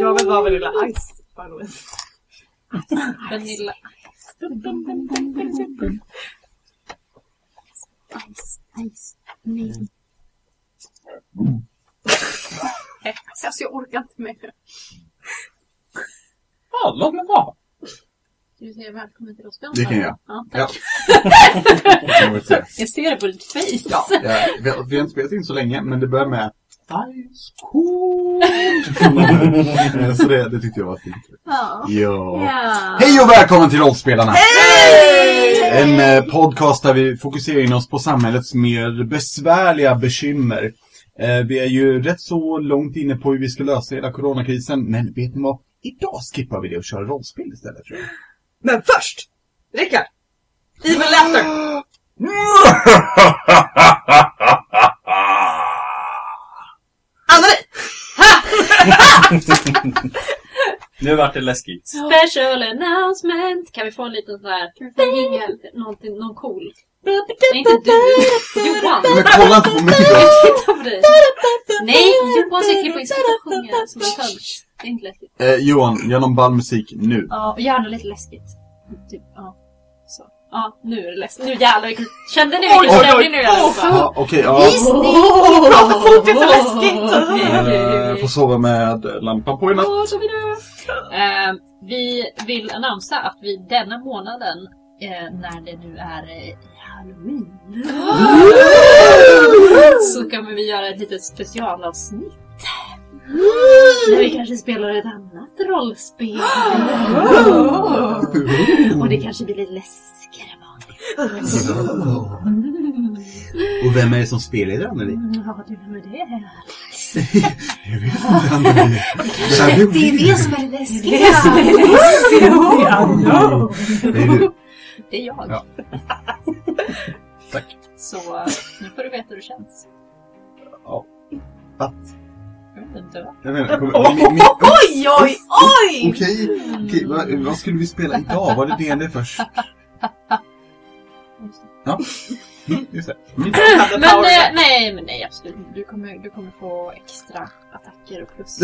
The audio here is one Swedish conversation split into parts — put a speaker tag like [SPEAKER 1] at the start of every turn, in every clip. [SPEAKER 1] Jag vill vara Vanilla Ice by the way.
[SPEAKER 2] Vanilla.
[SPEAKER 3] Ice, ice, nej.
[SPEAKER 1] Alltså jag orkar inte mer.
[SPEAKER 4] Ja, låt mig vara.
[SPEAKER 2] Ska vi säga välkommen till oss?
[SPEAKER 5] Det kan jag.
[SPEAKER 2] Ja.
[SPEAKER 5] Ja. Det kan vi säga.
[SPEAKER 2] Jag ser det på ditt face.
[SPEAKER 5] Ja, vi, har, vi har inte spelat in så länge, men det börjar med Ice cold. Så det, det tyckte jag var fint.
[SPEAKER 2] Ja.
[SPEAKER 5] Ja.
[SPEAKER 2] Ja.
[SPEAKER 5] Hej och välkommen till Rollspelarna! En eh, podcast där vi fokuserar in oss på samhällets mer besvärliga bekymmer. Eh, vi är ju rätt så långt inne på hur vi ska lösa hela coronakrisen, men vet ni vad? Idag skippar vi det och kör rollspel istället tror jag.
[SPEAKER 1] Men först! Rickard! Evil Laughter! Annelie!
[SPEAKER 4] Nu vart det läskigt.
[SPEAKER 2] Special announcement! Kan vi få en liten sån här...
[SPEAKER 3] Kan vi få en jingel?
[SPEAKER 2] Någonting, någon cool. Nej, inte du. Johan.
[SPEAKER 5] Men kolla inte på mig då!
[SPEAKER 2] Titta på dig. Nej, Johan ska klippa in sig och sjunga som en tönt. Det är inte läskigt.
[SPEAKER 5] Eh, Johan, gör någon ball musik nu.
[SPEAKER 2] Ja, och gärna lite läskigt. Typ, ja. Så. Ja, nu är det läskigt. Nu jävlar vilken... Kände ni vilken
[SPEAKER 5] Oj,
[SPEAKER 2] stämning nu är allihopa?
[SPEAKER 5] Ja, Okej, ja.
[SPEAKER 1] Åh, prata fort, det är så läskigt!
[SPEAKER 5] Eh, Får sova med lampan på i natt.
[SPEAKER 2] Åh, så vill jag. Eh, vi vill annonsa att vi denna månaden, eh, när det nu är eh, halloween, så kommer vi göra ett litet specialavsnitt. Där vi kanske spelar ett annat rollspel.
[SPEAKER 5] Mm.
[SPEAKER 2] Och det kanske blir lite läskigare än vanligt.
[SPEAKER 5] Mm. Och vem är det som spelar i den Anneli?
[SPEAKER 2] Mm, Vad har du med det?
[SPEAKER 5] Jag vet inte Anneli. Det här
[SPEAKER 3] Det är
[SPEAKER 5] blir
[SPEAKER 3] det som är det läskiga.
[SPEAKER 5] Det är du.
[SPEAKER 2] Det är jag.
[SPEAKER 5] Ja. Tack.
[SPEAKER 2] Så eh, nu får du veta hur det känns.
[SPEAKER 5] Ja. Va?
[SPEAKER 2] Jag vet inte vad.
[SPEAKER 5] Jag menar, kommer- min- min-
[SPEAKER 1] Oj, oj, oj!
[SPEAKER 5] oh, Okej, okej, vad, vad skulle vi spela idag? Var det D&D först? Ja, Mm, just det. Mm.
[SPEAKER 2] Men eh, nej, men nej absolut. Du kommer, du kommer få extra attacker och plus.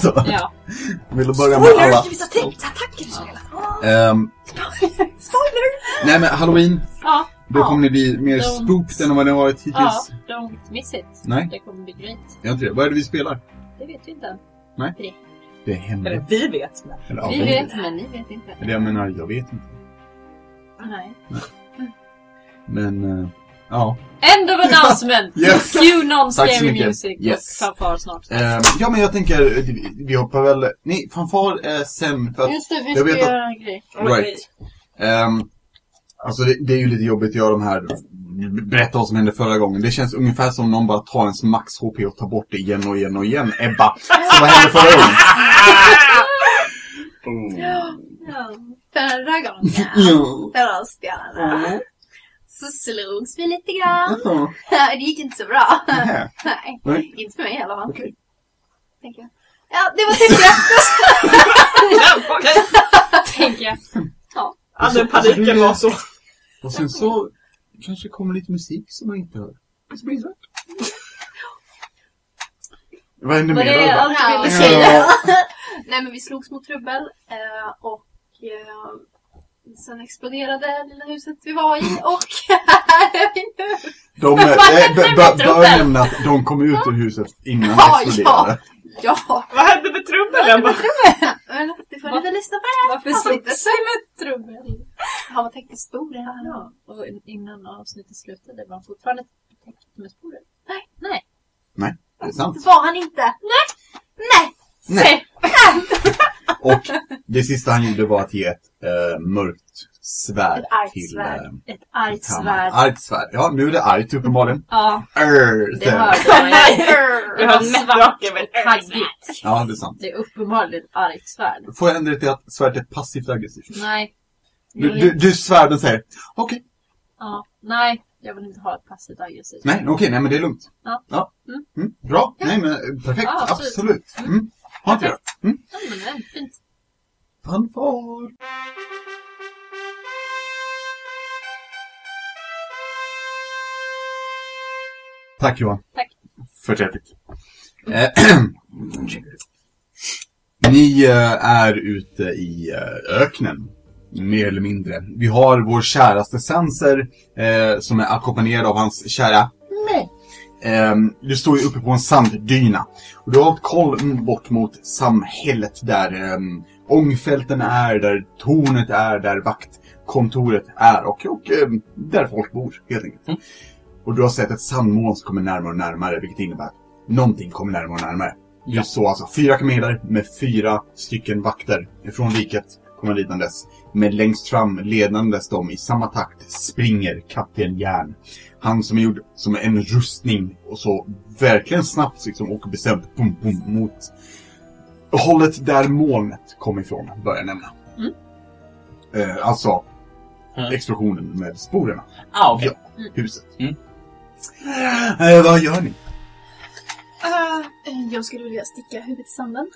[SPEAKER 5] Så,
[SPEAKER 2] ja.
[SPEAKER 5] vill du börja med
[SPEAKER 1] Spoiler!
[SPEAKER 5] alla? Mm.
[SPEAKER 1] Ska visa tips-attacker du spelar?
[SPEAKER 5] Ehm, nej men halloween,
[SPEAKER 2] ja.
[SPEAKER 5] då kommer ni bli mer
[SPEAKER 2] Don't-
[SPEAKER 5] spooked än vad ni har varit hittills.
[SPEAKER 2] Ja, don't miss it.
[SPEAKER 5] Nej.
[SPEAKER 2] Det kommer bli great.
[SPEAKER 5] Jag inte det. Vad är det vi spelar?
[SPEAKER 2] Det vet vi inte än.
[SPEAKER 5] Det är hemligt.
[SPEAKER 1] Eller vi vet, men...
[SPEAKER 5] Eller, ja,
[SPEAKER 2] Vi vet, men ni vet inte.
[SPEAKER 5] Eller jag menar, jag vet inte.
[SPEAKER 2] Nej.
[SPEAKER 5] Men, eh, ja.
[SPEAKER 2] End of announcement!
[SPEAKER 5] Yes.
[SPEAKER 2] Cue non-scary
[SPEAKER 5] mycket.
[SPEAKER 2] music
[SPEAKER 5] Yes.
[SPEAKER 2] och fanfar snart.
[SPEAKER 5] Eh, ja men jag tänker, vi- vi hoppar väl... Nej, fanfar är sen för att...
[SPEAKER 2] Just det, vi
[SPEAKER 5] jag
[SPEAKER 2] ska
[SPEAKER 5] vet att-
[SPEAKER 2] göra en grej.
[SPEAKER 3] Mm.
[SPEAKER 5] Right. Ehm, alltså det, det är ju lite jobbigt att göra de här, berätta vad som hände förra gången. Det känns ungefär som någon bara tar ens max HP och tar bort det igen och igen och igen. Ebba, så vad hände förra gången?
[SPEAKER 4] Mm.
[SPEAKER 3] Ja. Förra gången,
[SPEAKER 5] Jo.
[SPEAKER 3] förra
[SPEAKER 1] Mm.
[SPEAKER 3] spelaren, så slogs vi lite grann.
[SPEAKER 5] Jaha.
[SPEAKER 3] Det gick inte så bra.
[SPEAKER 5] Nähä.
[SPEAKER 3] Nej,
[SPEAKER 5] Nej.
[SPEAKER 3] inte för mig i alla fall.
[SPEAKER 5] Okej.
[SPEAKER 3] Tänker jag. Ja, det var typ det.
[SPEAKER 2] Tänker jag.
[SPEAKER 1] Ja, den paniken var så...
[SPEAKER 5] Och sen så kanske kommer lite musik som man inte hör. Så blir det svart. Vad hände
[SPEAKER 2] Var
[SPEAKER 5] mer
[SPEAKER 2] det
[SPEAKER 5] Ebba?
[SPEAKER 2] allt du ville
[SPEAKER 3] Ja.
[SPEAKER 2] säga?
[SPEAKER 3] Nej, men vi slogs mot trubbel eh, och eh, sen exploderade lilla huset vi var i och här är vi nu.
[SPEAKER 5] De, eh, b- b- bör nämna att de kom ut ur huset innan det
[SPEAKER 3] Ja,
[SPEAKER 5] exploderade.
[SPEAKER 3] Ja,
[SPEAKER 1] Vad hände med trubbelen?
[SPEAKER 3] men det får
[SPEAKER 2] Va?
[SPEAKER 3] ni väl lyssna på det här.
[SPEAKER 2] Varför
[SPEAKER 3] Alltså,
[SPEAKER 2] slogs
[SPEAKER 3] inte så-
[SPEAKER 2] vi med trubbel?
[SPEAKER 3] Har man täckt i sporer?
[SPEAKER 2] Ja, och innan avsnittet slutade var han fortfarande täckt med sporer.
[SPEAKER 3] Nej.
[SPEAKER 2] Nej.
[SPEAKER 5] Det är sant.
[SPEAKER 3] Det var han inte. Nej.
[SPEAKER 5] Nej. Och det sista han gjorde var att ge ett eh, mörkt svärd
[SPEAKER 3] Ett argt
[SPEAKER 5] till
[SPEAKER 3] svärd.
[SPEAKER 5] eh,
[SPEAKER 2] Ett argt
[SPEAKER 5] kammaren.
[SPEAKER 2] svärd.
[SPEAKER 5] Argt svärd. Ja, nu är det argt uppenbarligen.
[SPEAKER 2] Ja,
[SPEAKER 5] Arr,
[SPEAKER 2] det
[SPEAKER 5] sen.
[SPEAKER 2] hörde jag.
[SPEAKER 1] Nej! Vi har en mätdrake med ett
[SPEAKER 2] Taggigt.
[SPEAKER 5] Ja, det är sant.
[SPEAKER 2] Det är uppenbarligen ett argt svärd.
[SPEAKER 5] Får jag ändra det till att svärdet är passivt aggressivt?
[SPEAKER 2] Nej.
[SPEAKER 5] Du, du, du svärden säger okej,
[SPEAKER 2] Ja, nej, jag vill inte ha ett passivt aggressivt.
[SPEAKER 5] nej, okej, nej men det är lugnt.
[SPEAKER 2] Ja.
[SPEAKER 5] Mm.
[SPEAKER 2] Mm.
[SPEAKER 5] Bra, nej men eh, perfekt,
[SPEAKER 2] Ja, absolut.
[SPEAKER 5] absolut. Mm. Har inte jag. Mm.
[SPEAKER 2] Ja, men det är fint.
[SPEAKER 5] Fanfar. Tack Johan.
[SPEAKER 2] Tack.
[SPEAKER 5] Förträffligt. Eh, Ni eh, är ute i eh, öknen. Mer eller mindre. Vi har vår käraste Sanser eh, som är ackompanjerad av hans kära Ehm, Du står ju uppe på en sanddyna. Och du har hållit koll mm, bort mot samhället där um, ångfälten är, där tornet är, där vaktkontoret är och, och ehm, där folk bor helt enkelt.
[SPEAKER 4] Mm.
[SPEAKER 5] Och du har sett ett sandmoln som kommer närmare och närmare vilket innebär att någonting kommer närmare och närmare.
[SPEAKER 4] Ja.
[SPEAKER 5] Du såg alltså fyra kameler med fyra stycken vakter från riket kommer lidandes. Men längst fram ledandes de i samma takt springer kapten Järn. Han som är gjord som en rustning och så verkligen snabbt liksom åker bestämt boom, boom, mot hållet där molnet kom ifrån, bör jag nämna.
[SPEAKER 2] Mm.
[SPEAKER 5] Eh, alltså
[SPEAKER 4] Mm.
[SPEAKER 5] explosionen med sporerna,
[SPEAKER 4] Ah, okej.
[SPEAKER 5] huset.
[SPEAKER 4] Mm.
[SPEAKER 5] Eh, vad gör ni?
[SPEAKER 3] jag skulle vilja sticka huvudet i sanden.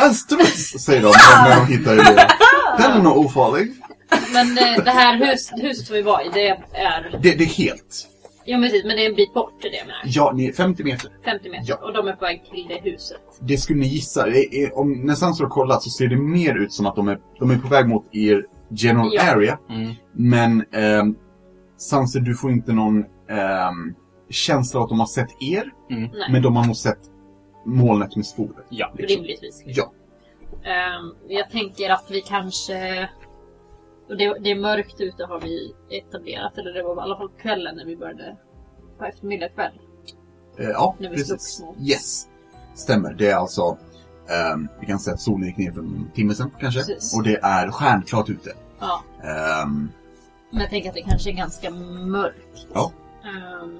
[SPEAKER 5] En struts, säger de när de hittar det. Den är nog ofarlig.
[SPEAKER 2] Men eh, det här hus, huset som vi var i, det är...
[SPEAKER 5] Det, det är helt.
[SPEAKER 2] Jo men precis, men det är en bit bort det är det jag menar.
[SPEAKER 5] Ja, ni är 50 meter.
[SPEAKER 2] 50 meter.
[SPEAKER 5] Ja.
[SPEAKER 2] Och de är på väg till det huset.
[SPEAKER 5] Det skulle ni gissa. Det är, om nästan så har kollat så ser det mer ut som att de är, de är på väg mot er general
[SPEAKER 2] Ja.
[SPEAKER 5] area.
[SPEAKER 4] Mm.
[SPEAKER 5] Men ehm, Sanser, du får inte någon ehm, känsla av att de har sett er.
[SPEAKER 4] Mm.
[SPEAKER 2] Nej.
[SPEAKER 5] Men de har nog sett molnet med sporer.
[SPEAKER 4] Ja.
[SPEAKER 2] Rimligtvis.
[SPEAKER 5] Ja.
[SPEAKER 2] Ehm, jag tänker att vi kanske... och Det, det är mörkt ute har vi etablerat, eller det var i alla fall kvällen när vi började. På eftermiddag kväll.
[SPEAKER 5] Eh, ja,
[SPEAKER 2] När vi
[SPEAKER 5] precis.
[SPEAKER 2] slogs mot-
[SPEAKER 5] Yes. Stämmer. Det är alltså... ehm, vi kan säga att solen gick ner för en timme sedan kanske.
[SPEAKER 2] Precis.
[SPEAKER 5] Och det är stjärnklart ute.
[SPEAKER 2] Ja.
[SPEAKER 5] Ehm,
[SPEAKER 2] Men jag tänker att det kanske är ganska mörkt.
[SPEAKER 5] Ja.
[SPEAKER 2] Ehm,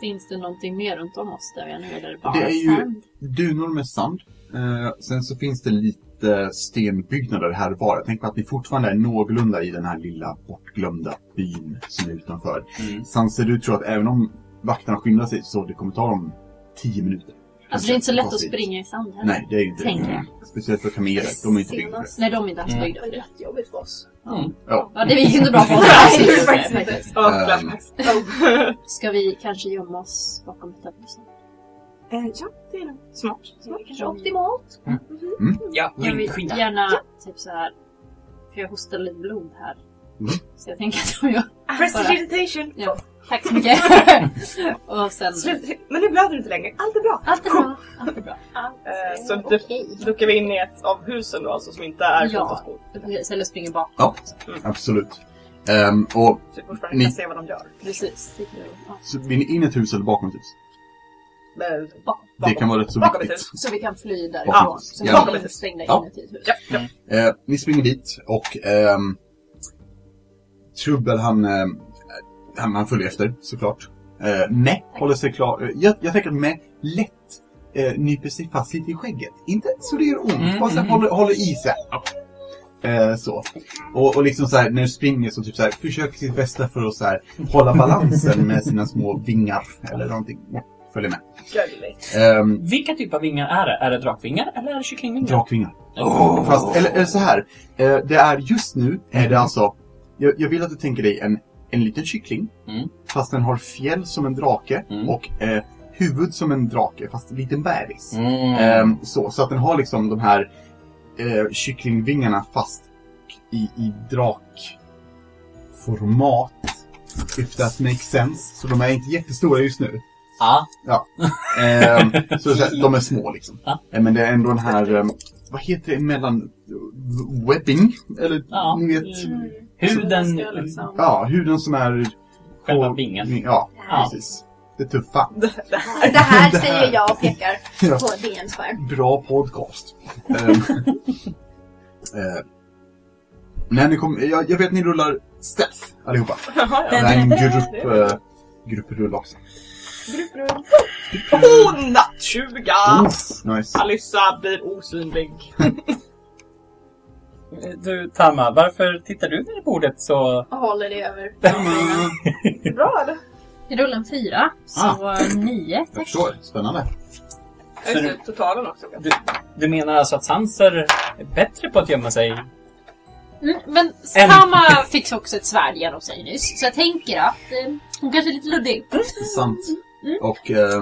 [SPEAKER 2] finns det någonting mer runt om oss där vi är nu? Eller bara
[SPEAKER 5] Det är ju-
[SPEAKER 2] sand?
[SPEAKER 5] dunor med sand. Eh, sen så finns det lite stenbyggnader här och var. Jag tänker på att ni fortfarande är någorlunda i den här lilla bortglömda byn som är utanför.
[SPEAKER 4] Mm.
[SPEAKER 5] Sanser, du tror att även om vakterna skyndar sig så det kommer ta dem 10 minuter.
[SPEAKER 2] Alltså det är inte så lätt
[SPEAKER 5] Kanske
[SPEAKER 2] att
[SPEAKER 5] dit.
[SPEAKER 2] springa i sand heller.
[SPEAKER 5] Nej, det är ju inte
[SPEAKER 2] Tänker
[SPEAKER 5] det. Speciellt för kameler, de är inte byggda för det.
[SPEAKER 3] Senast-
[SPEAKER 2] Nej, de är inte alls
[SPEAKER 4] Mm.
[SPEAKER 2] byggda
[SPEAKER 3] Det
[SPEAKER 2] för
[SPEAKER 3] var
[SPEAKER 2] det.
[SPEAKER 3] jättejobbigt för oss.
[SPEAKER 4] Mm.
[SPEAKER 5] Ja.
[SPEAKER 2] Ja, det gick inte bra för oss.
[SPEAKER 1] Nej,
[SPEAKER 3] det gjorde det faktiskt inte.
[SPEAKER 1] Ja,
[SPEAKER 5] Ehm.
[SPEAKER 1] flashbacks.
[SPEAKER 2] Ska vi kanske gömma oss bakom ett överhusen?
[SPEAKER 1] Eh, ja, det är nog smart.
[SPEAKER 3] Det var kanske optimalt.
[SPEAKER 4] Ja,
[SPEAKER 2] Jag vill
[SPEAKER 4] skynda.
[SPEAKER 2] gärna typ så här. För jag hostar lite blod här.
[SPEAKER 5] Mm.
[SPEAKER 2] Så jag tänker att om jag...
[SPEAKER 1] Ah, Prestidigitation!
[SPEAKER 2] Tack så mycket! Och sen...
[SPEAKER 1] Slut. Men nu blöder du inte längre. Allt är bra.
[SPEAKER 2] Allt är bra. Allt är bra.
[SPEAKER 1] Eh, så du,
[SPEAKER 2] Okej.
[SPEAKER 1] duckar vi in i ett av husen då, alltså som inte är
[SPEAKER 2] Ja.
[SPEAKER 1] kontorsbord.
[SPEAKER 2] Precis, Eller springer bakom.
[SPEAKER 5] Ja. Absolut. Ehm, och
[SPEAKER 1] Så vi Typ fortfarande
[SPEAKER 5] Ni-
[SPEAKER 1] kan se vad de gör.
[SPEAKER 2] Precis. Det kan- ja.
[SPEAKER 5] så vill ni in i ett hus eller bakom ett hus?
[SPEAKER 1] Men,
[SPEAKER 2] Bakom.
[SPEAKER 5] Det kan vara rätt så
[SPEAKER 1] Bakom ett
[SPEAKER 5] viktigt.
[SPEAKER 1] hus.
[SPEAKER 2] Så vi kan fly därifrån.
[SPEAKER 5] Ja.
[SPEAKER 2] Så
[SPEAKER 5] Ja.
[SPEAKER 2] vi är inte stängda
[SPEAKER 5] Ja.
[SPEAKER 2] inuti ett hus.
[SPEAKER 1] ja, ja.
[SPEAKER 5] Eh, ni springer dit och ehm, Trubbel han, eh, han, han följer efter såklart. Eh, Meh håller sig klar. Eh, Jag, jag tänker att Meh lätt eh, nyper sig fast lite i skägget. Inte så det gör ont,
[SPEAKER 4] Mm,
[SPEAKER 5] bara så här,
[SPEAKER 4] mm,
[SPEAKER 5] håller, håller i sig. Eh, så. Och, och liksom så här, när du springer så typ så här, försöker sitt bästa för att så här, hålla balansen med sina små vingar eller någonting. Ja, Följer med.
[SPEAKER 1] Gulligt.
[SPEAKER 5] Ehm,
[SPEAKER 4] Vilka typ av vingar är det? Är det drakvingar eller är det kycklingvingar?
[SPEAKER 5] Drakvingar.
[SPEAKER 4] Oh.
[SPEAKER 5] Fast, eller, eller så här. Eh, det är just nu, är
[SPEAKER 4] Mm.
[SPEAKER 5] det alltså... Jag, jag vill att du tänker dig en, en liten kyckling.
[SPEAKER 4] Mm.
[SPEAKER 5] Fast den har fjäll som en drake.
[SPEAKER 4] Mm.
[SPEAKER 5] Och eh, huvud som en drake, fast en liten bebis.
[SPEAKER 4] Mm.
[SPEAKER 5] Ehm, så, så att den har liksom de här eh, kycklingvingarna fast i, i drakformat. If that makes sense. Så de är inte jättestora just nu.
[SPEAKER 4] Ah.
[SPEAKER 5] Ehm, så, så här, de är små liksom.
[SPEAKER 4] Ja.
[SPEAKER 5] Eh, Men det är ändå den här, ehm, vad heter det mellan eh, webbing? Eller
[SPEAKER 4] Ja.
[SPEAKER 5] ni vet.
[SPEAKER 3] Mm.
[SPEAKER 4] Huden...
[SPEAKER 3] Ska liksom-
[SPEAKER 5] Ja, huden som är...
[SPEAKER 4] Själva vingen.
[SPEAKER 5] Ja,
[SPEAKER 4] Ja.
[SPEAKER 5] precis. Det tuffa.
[SPEAKER 3] Det här
[SPEAKER 5] Det här.
[SPEAKER 3] säger jag och pekar
[SPEAKER 5] Ja.
[SPEAKER 3] på DNs skärm.
[SPEAKER 5] Bra podcast. Ehm, eh, när ni kom, jag, jag vet att ni rullar Stealth allihopa.
[SPEAKER 1] Jaha,
[SPEAKER 5] Det
[SPEAKER 1] ja.
[SPEAKER 5] är en grupp, eh, grupprull också.
[SPEAKER 1] Grupprum. Oh, nattjuga!
[SPEAKER 5] Nice.
[SPEAKER 1] Alyssa blir osynlig.
[SPEAKER 4] Eh, Du Tama, varför tittar du ner i bordet så...
[SPEAKER 3] Och håller det över.
[SPEAKER 1] Bra eller?
[SPEAKER 2] Vi rullar en fyra. Så nio.
[SPEAKER 5] Ah. Jag förstår, spännande.
[SPEAKER 1] Ja, just det, totalen också.
[SPEAKER 4] Du, du menar alltså att Sanser är bättre på att gömma sig?
[SPEAKER 2] Mm, Men
[SPEAKER 4] En.
[SPEAKER 2] Tama fick också ett svärd genom sig nyss. Så jag tänker att eh, hon kanske är lite luddig.
[SPEAKER 5] Sant. Och... ehm,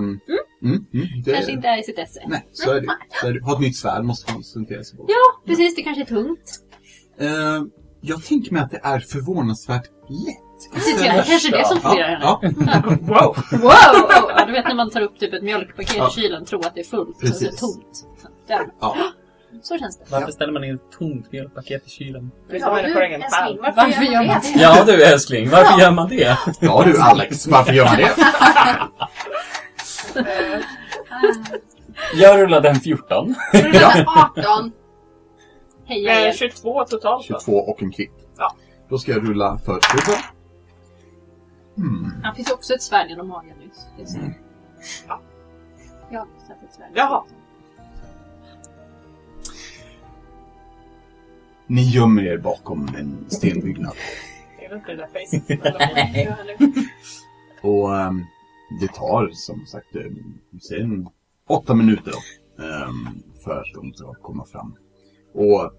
[SPEAKER 5] mm, mm, det,
[SPEAKER 2] Kanske inte är i sitt esse.
[SPEAKER 5] Nej, så är det. Så är det. Ha ett nytt svärd måste koncentrera sig på.
[SPEAKER 2] Ja, precis. Det kanske är tungt.
[SPEAKER 5] Eh, jag tänker mig att det är förvånansvärt lätt.
[SPEAKER 2] Det tycker jag. Kanske det som
[SPEAKER 5] Ja,
[SPEAKER 2] förvirrar henne.
[SPEAKER 5] ja.
[SPEAKER 4] Wow!
[SPEAKER 2] Wow! Ja, du vet när man tar upp typ ett mjölkpaket
[SPEAKER 5] Ja.
[SPEAKER 2] i kylen tror att det är fullt och så är det
[SPEAKER 5] Precis.
[SPEAKER 2] tomt. Där.
[SPEAKER 5] Ja.
[SPEAKER 2] Så känns det.
[SPEAKER 4] Varför ställer man in ett tomt mjölkpaket i kylen?
[SPEAKER 1] Vi som människor har ingen fall.
[SPEAKER 2] Varför gör man det?
[SPEAKER 4] Ja du älskling, varför gör man det?
[SPEAKER 5] Ja du Alex, varför gör man det?
[SPEAKER 4] Jag rullade en 14.
[SPEAKER 3] Ja. 18.
[SPEAKER 2] Heja
[SPEAKER 1] Eh,
[SPEAKER 2] er.
[SPEAKER 1] 22 totalt då.
[SPEAKER 5] 22 och en kvitt.
[SPEAKER 1] Ja.
[SPEAKER 5] Då ska jag rulla för tusen.
[SPEAKER 2] Han fick ju också ett svärd genom magen nyss. Det är så.
[SPEAKER 6] Mm.
[SPEAKER 1] Ja.
[SPEAKER 2] Jag har sett ett svärd.
[SPEAKER 1] Jaha.
[SPEAKER 5] Ni gömmer er bakom en stenbyggnad.
[SPEAKER 1] Det är väl inte det där facet.
[SPEAKER 5] Och ehm, det tar som sagt eh, sen åtta minuter då, ehm, för att de ska komma fram. Och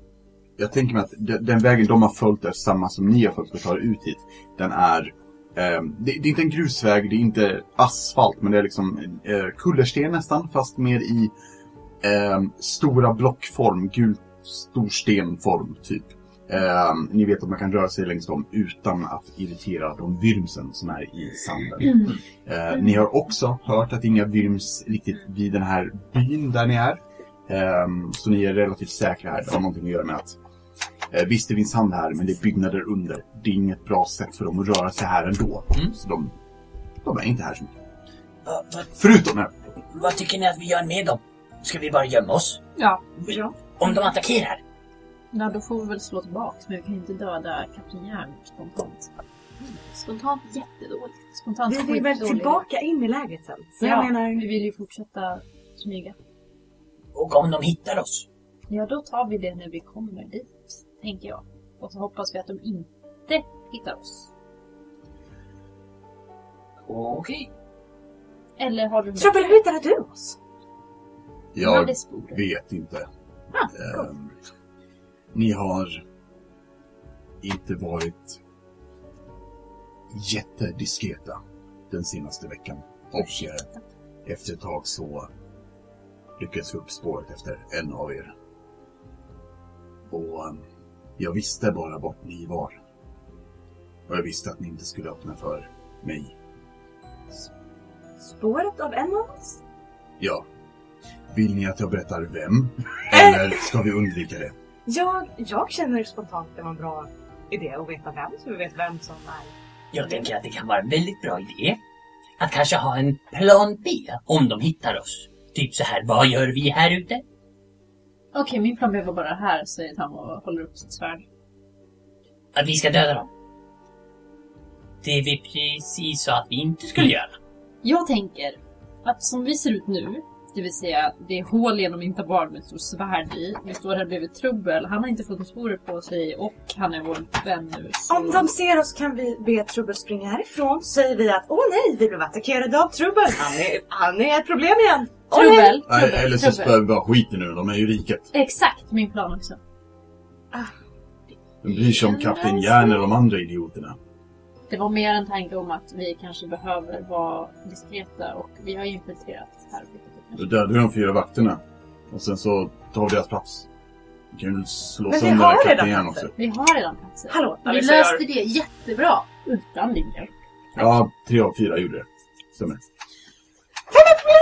[SPEAKER 5] jag tänker mig att de- den vägen de har följt är samma som ni har följt för att ta er ut hit. Den är ehm, det, det är inte en grusväg, det är inte asfalt, men det är liksom eh, kullersten nästan, fast mer i ehm, stora blockform, gul stor stenform typ. Ehm, ni vet att man kan röra sig längs dem utan att irritera de vyrmsen som är i sanden. Eh, ni har också hört att inga vyrms riktigt vid den här byn där ni är. Ehm, så ni är relativt säkra här. Det har någonting att göra med att eh, visst det finns sand här men det är byggnader under. Det är inget bra sätt för dem att röra sig här ändå.
[SPEAKER 4] Mm.
[SPEAKER 5] Så de, de är inte här så mycket.
[SPEAKER 7] Ja, vad,
[SPEAKER 5] Förutom här.
[SPEAKER 7] vad tycker ni att vi gör med dem? Ska vi bara gömma oss?
[SPEAKER 2] Ja.
[SPEAKER 1] Ja.
[SPEAKER 7] Om de attackerar?
[SPEAKER 2] ja, då får vi väl slå tillbaka. Men vi kan ju inte döda Kapten Järn spontant. Spontant jättedåligt. Spontant
[SPEAKER 6] Mm. Vi vill väl
[SPEAKER 2] skitdåligt.
[SPEAKER 6] tillbaka in i lägret sen. Så
[SPEAKER 2] Ja,
[SPEAKER 6] jag menar...
[SPEAKER 2] Vi vill ju fortsätta smyga.
[SPEAKER 7] Och om de hittar oss?
[SPEAKER 2] Ja, då tar vi det när vi kommer dit, tänker jag. Och så hoppas vi att de inte hittar oss.
[SPEAKER 7] Okej.
[SPEAKER 2] Eller har du något?
[SPEAKER 6] Trubbel, hur hittade du oss?
[SPEAKER 2] Ja,
[SPEAKER 5] Jag
[SPEAKER 2] det sporer.
[SPEAKER 5] vet inte. Ehm, ni har inte varit jättediskreta den senaste veckan. Och eh, efter ett tag så lyckades vi upp spåret efter en av er. Och eh, jag visste bara vart ni var. Och jag visste att ni inte skulle öppna för mig.
[SPEAKER 6] Spåret av en av oss?
[SPEAKER 5] Ja. Vill ni att jag berättar vem? Eller ska vi undvika det?
[SPEAKER 6] Jag, jag känner spontant att det var en bra idé att veta vem, så vi vet vem som är...
[SPEAKER 7] Jag tänker att det kan vara en väldigt bra idé att kanske ha en plan B om de hittar oss. Typ så här, vad gör vi här ute?
[SPEAKER 2] Okej, min plan B var bara här, säger han och håller upp sitt svärd.
[SPEAKER 7] Att vi ska döda dem. Det vi precis sa att vi inte skulle göra.
[SPEAKER 2] Jag tänker att som vi ser ut nu, det vill säga det är hål genom inte barn med ett stort svärd i. Vi står här bredvid Trubbel, han har inte fått något sporer på sig och han är vår vän nu. Så...
[SPEAKER 6] Om de ser oss kan vi be Trubbel springa härifrån, så säger vi att åh nej, vi blev attackerade av Trubbel. Han är, han är ett problem igen. Åh, nej.
[SPEAKER 2] Trubbel!
[SPEAKER 5] Nej,
[SPEAKER 2] Trubbel,
[SPEAKER 5] eller så
[SPEAKER 2] Trubbel.
[SPEAKER 5] spöar vi bara skiten nu De är ju riket.
[SPEAKER 2] Exakt min plan också.
[SPEAKER 5] De bryr sig om Kapten Järn eller de
[SPEAKER 6] alltså-
[SPEAKER 5] andra idioterna.
[SPEAKER 2] Det var mer en tanke om att vi kanske behöver vara diskreta och vi har infiltrerat här. vilket vi
[SPEAKER 5] Då
[SPEAKER 2] kanske-
[SPEAKER 5] dödar vi de fyra vakterna. Och sen så tar vi deras plats. Vi kan ju slå
[SPEAKER 6] Men vi
[SPEAKER 5] sönder
[SPEAKER 6] har
[SPEAKER 5] Kapten
[SPEAKER 6] redan
[SPEAKER 5] Järn
[SPEAKER 6] platser.
[SPEAKER 5] också.
[SPEAKER 2] Vi har redan platser.
[SPEAKER 6] Hallå,
[SPEAKER 1] Ja,
[SPEAKER 2] Vi
[SPEAKER 1] vi ser-
[SPEAKER 2] löste det jättebra. Utan din hjälp.
[SPEAKER 5] Ja, tre av fyra gjorde det. Stämmer.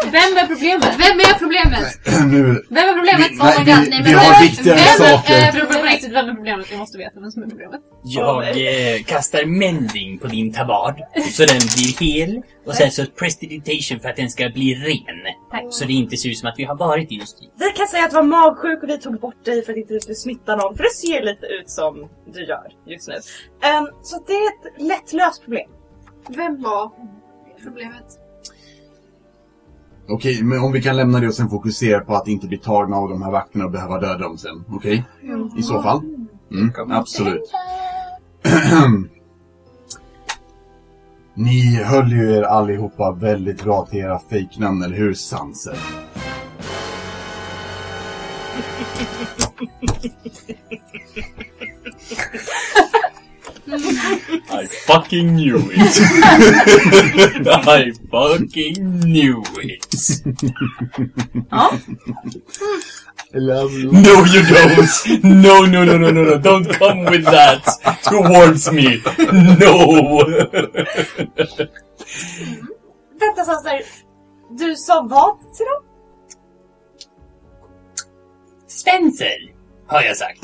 [SPEAKER 2] Vem är problemet?
[SPEAKER 3] Vem är problemet?
[SPEAKER 5] nu...
[SPEAKER 2] Vem är problemet?
[SPEAKER 5] Vi,
[SPEAKER 2] Oh my
[SPEAKER 5] nej,
[SPEAKER 2] god,
[SPEAKER 5] vi,
[SPEAKER 2] men
[SPEAKER 5] vi har
[SPEAKER 2] vem-
[SPEAKER 5] viktigare
[SPEAKER 2] vem är-
[SPEAKER 5] saker.
[SPEAKER 2] eh, Trubbel, på riktigt, vem är problemet? Jag måste veta vem som är problemet.
[SPEAKER 1] Ja,
[SPEAKER 7] Mm. Jag eh, kastar mending på din tabard så den blir hel och sen så prestidigitation för att den ska bli ren.
[SPEAKER 2] Tack.
[SPEAKER 7] Så det inte ser ut som att vi har varit i en strid.
[SPEAKER 6] Vi kan säga att du var magsjuk och vi tog bort dig för att inte du skulle smitta någon. För det ser lite ut som du gör just nu. Ehm, så att det är ett lättlöst problem.
[SPEAKER 3] Vem var problemet?
[SPEAKER 5] Okej, men om vi kan lämna det och sen fokusera på att inte bli tagna av de här vakterna och behöva döda dem sen. Okej? I så fall. Mm, absolut. Ni höll ju er allihopa väldigt bra till era fejknamn, eller hur Sanser?
[SPEAKER 7] I fucking knew it. I fucking knew it.
[SPEAKER 5] Love you.
[SPEAKER 7] No, you don't. No, no, no, no, no, no. Don't come with that towards me. No.
[SPEAKER 6] Vänta Sanser, du sa vad till dem?
[SPEAKER 7] Spencer, har jag sagt.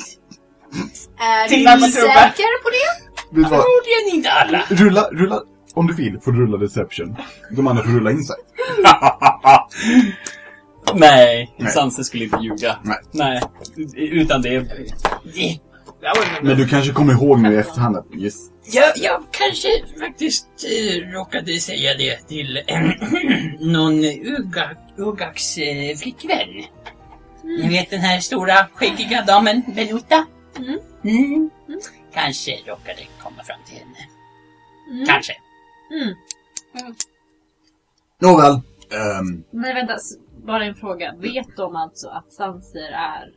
[SPEAKER 3] Är
[SPEAKER 6] Tittar
[SPEAKER 3] du
[SPEAKER 6] på trubben.
[SPEAKER 3] säker på det?
[SPEAKER 5] Vet du vad?
[SPEAKER 7] Förmodligen inte alla.
[SPEAKER 5] Rulla, rulla. Om du vill får du rulla deception. De andra får rulla insight.
[SPEAKER 7] Nej,
[SPEAKER 5] Nej.
[SPEAKER 7] Sanse skulle inte ljuga.
[SPEAKER 5] Nej.
[SPEAKER 7] Nej. Utan det...
[SPEAKER 5] Men du kanske kommer ihåg nu i efterhand att yes.
[SPEAKER 7] Jag, jag kanske faktiskt eh, råkade säga det till eh, någon Ugak, Ugaks eh, flickvän. Ni vet den här stora skäggiga damen, Beluta?
[SPEAKER 2] Mm.
[SPEAKER 7] Mm. Kanske råkade komma fram till henne. Kanske.
[SPEAKER 5] Nåväl. Ehm,
[SPEAKER 2] Nej vänta, s- bara en fråga. Vet de alltså att Sanser är...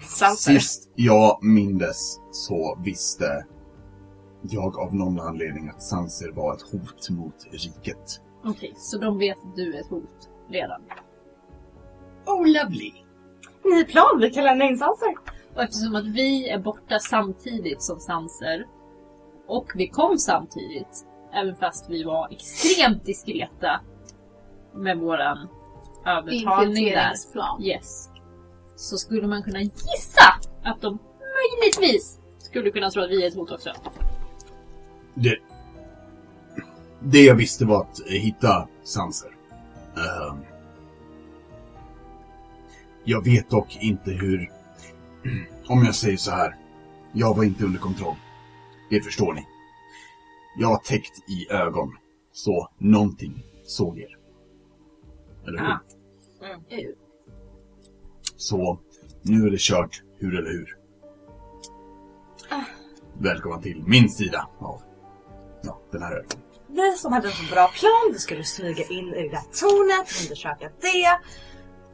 [SPEAKER 6] Sanser.
[SPEAKER 5] sist jag mindes så visste jag av någon anledning att Sanser var ett hot mot riket.
[SPEAKER 2] Okej, så de vet att du är ett hot redan?
[SPEAKER 7] Oh, lovely.
[SPEAKER 6] Ny plan, vi kan lämna in Sanser.
[SPEAKER 2] Och eftersom att vi är borta samtidigt som Sanser och vi kom samtidigt, även fast vi var extremt diskreta med våran övertalning där.
[SPEAKER 3] Infiltreringsplan.
[SPEAKER 2] Yes. Så skulle man kunna gissa att de möjligtvis skulle kunna tro att vi är ett hot också.
[SPEAKER 5] Det, det jag visste var att hitta Sanser. Ehm, jag vet dock inte hur... Om jag säger så här. Jag var inte under kontroll. Det förstår ni. Jag var täckt i ögon. Så någonting såg er. Eller hur? Mm.
[SPEAKER 2] Ah.
[SPEAKER 3] Eh,
[SPEAKER 5] Så nu är det kört, hur eller hur? Välkomna till min sida av ja, den här ögonen.
[SPEAKER 6] Vi som hade en så bra plan, vi skulle smyga in i det här tornet, undersöka det.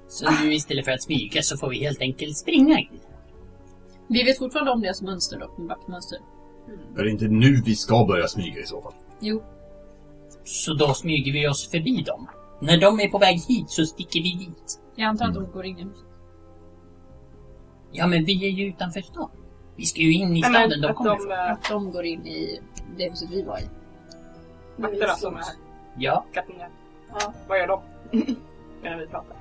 [SPEAKER 7] Så nu istället för att smyga så får vi helt enkelt springa in.
[SPEAKER 2] Vi vet fortfarande om deras mönster dock, med vaktmönster.
[SPEAKER 5] Är det inte nu vi ska börja smyga i så fall?
[SPEAKER 2] Jo,
[SPEAKER 7] Så då smyger vi oss förbi dem. När de är på väg hit så sticker vi dit.
[SPEAKER 2] jag antar att
[SPEAKER 5] Mm.
[SPEAKER 2] de går in i huset.
[SPEAKER 7] Ja, men vi är ju utanför stan. Vi ska ju in i
[SPEAKER 6] Nej, men
[SPEAKER 7] staden de
[SPEAKER 6] att
[SPEAKER 7] kommer ifrån.
[SPEAKER 6] de, eh,
[SPEAKER 2] Att de går in i det huset vi var i.
[SPEAKER 6] vakterna som är här,
[SPEAKER 7] Ja,
[SPEAKER 6] kattungar.
[SPEAKER 3] Ja.
[SPEAKER 6] Vad gör de? Medan vi pratar.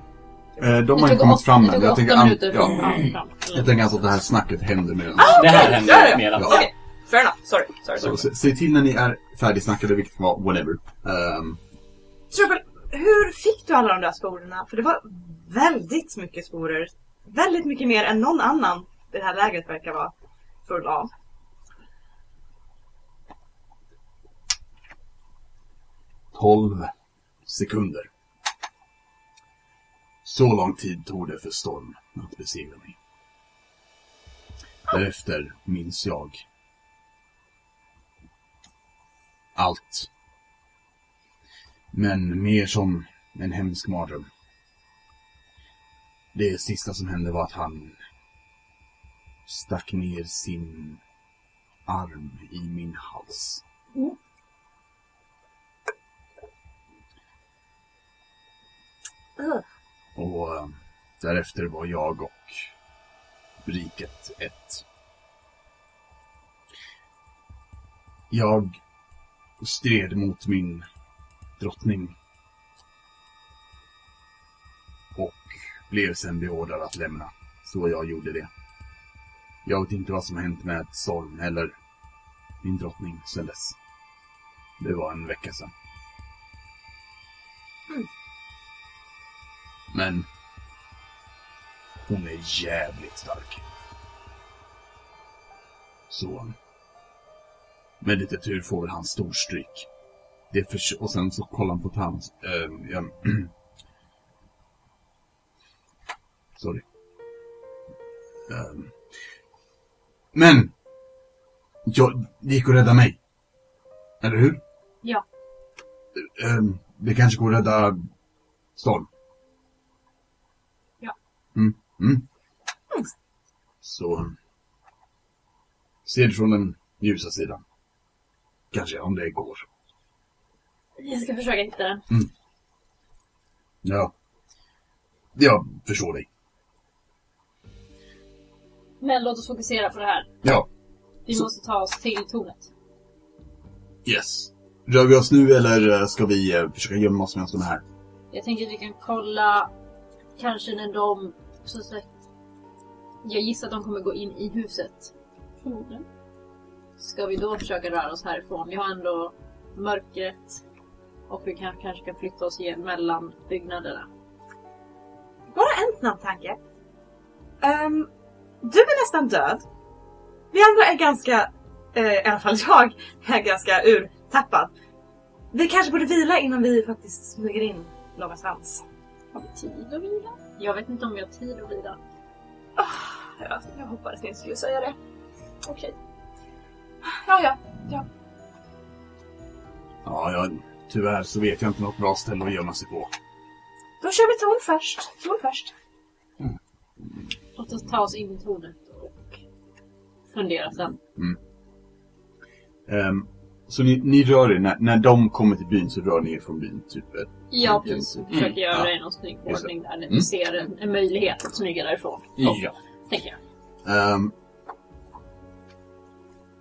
[SPEAKER 5] Eh, de
[SPEAKER 2] Det
[SPEAKER 5] har
[SPEAKER 2] tog
[SPEAKER 5] inte kommit
[SPEAKER 2] åt-
[SPEAKER 5] fram
[SPEAKER 2] det
[SPEAKER 5] än.
[SPEAKER 2] tog
[SPEAKER 5] Jag
[SPEAKER 2] åtta
[SPEAKER 5] tänker, an,
[SPEAKER 2] minuter Ah! från-
[SPEAKER 5] ja,
[SPEAKER 2] fram.
[SPEAKER 5] jag tänker alltså att det här snacket händer medan.
[SPEAKER 7] det här
[SPEAKER 6] ja, ja.
[SPEAKER 7] händer medan...
[SPEAKER 5] Ja.
[SPEAKER 6] Okej, fair enough. Sorry, sorry.
[SPEAKER 5] Så, se,
[SPEAKER 6] sorry.
[SPEAKER 5] se till när ni är färdigsnackade, vilket kan vara whatever. Ehm,
[SPEAKER 6] Trubbel, hur fick du alla de där sporerna? För det var väldigt mycket sporer. Väldigt mycket mer än någon annan det här lägret verkar vara full av.
[SPEAKER 5] Tolv sekunder. Så lång tid tog det för Storm att besegra mig. Därefter minns jag allt. Men mer som en hemsk mardröm. Det sista som hände var att han stack ner sin arm i min hals. Och eh, därefter var jag och riket ett. Jag stred mot min drottning. Och blev sen beordrad att lämna. Så jag gjorde det. Jag vet inte vad som hänt med Solm eller min drottning sedan dess. Det var en vecka sedan. Men hon är jävligt stark. Så med lite tur får väl han storstryk. Det förs- och sen så kollar han på Tans. ehm, ja, Sorry. Ehm, men! Jag, det gick att rädda mig. Eller hur?
[SPEAKER 2] Ja.
[SPEAKER 5] Ehm, det kanske går att rädda Storm. Så ser det från den ljusa sidan. Kanske, om det går.
[SPEAKER 3] Jag ska försöka hitta den.
[SPEAKER 5] Ja. Jag förstår dig.
[SPEAKER 2] Men låt oss fokusera på det här.
[SPEAKER 5] Ja.
[SPEAKER 2] Vi
[SPEAKER 5] Så-
[SPEAKER 2] måste ta oss till tornet.
[SPEAKER 5] Yes. Rör vi oss nu eller eh, ska vi eh, försöka gömma oss medan de är här?
[SPEAKER 2] Jag tänker att vi kan kolla kanske när de... Så sagt, jag gissar att de kommer gå in i huset. Ska vi då försöka röra oss härifrån? Vi har ändå mörkret och vi kan, kanske kan flytta oss igen mellan byggnaderna.
[SPEAKER 6] Bara en snabb tanke. Ehm, du är nästan död. Vi andra är ganska, eh, i alla fall jag, är ganska urtappad. Vi kanske borde vila innan vi faktiskt smyger in Långa Svans.
[SPEAKER 2] Har vi tid att vila? Jag vet inte om vi har tid att vila.
[SPEAKER 6] Ja, jag hoppades ni skulle säga det. Okej.
[SPEAKER 3] Ja, ja.
[SPEAKER 5] Ja, jag, tyvärr så vet jag inte något bra ställe att gömma sig på.
[SPEAKER 6] Då kör vi ton först. Ton först.
[SPEAKER 2] Låt oss ta oss in i tornet och fundera sen.
[SPEAKER 5] Ehm, så ni, ni rör er, när, när de kommer till byn så rör ni er från byn, typ. eh,
[SPEAKER 2] Ja,
[SPEAKER 5] Mm.
[SPEAKER 2] precis. Vi försöker göra
[SPEAKER 5] Ja.
[SPEAKER 2] det i någon snygg
[SPEAKER 5] Just det.
[SPEAKER 2] ordning där när vi
[SPEAKER 5] Mm.
[SPEAKER 2] ser en, en möjlighet att smyga därifrån.
[SPEAKER 4] Ja.
[SPEAKER 2] Tänker jag.
[SPEAKER 5] Ehm,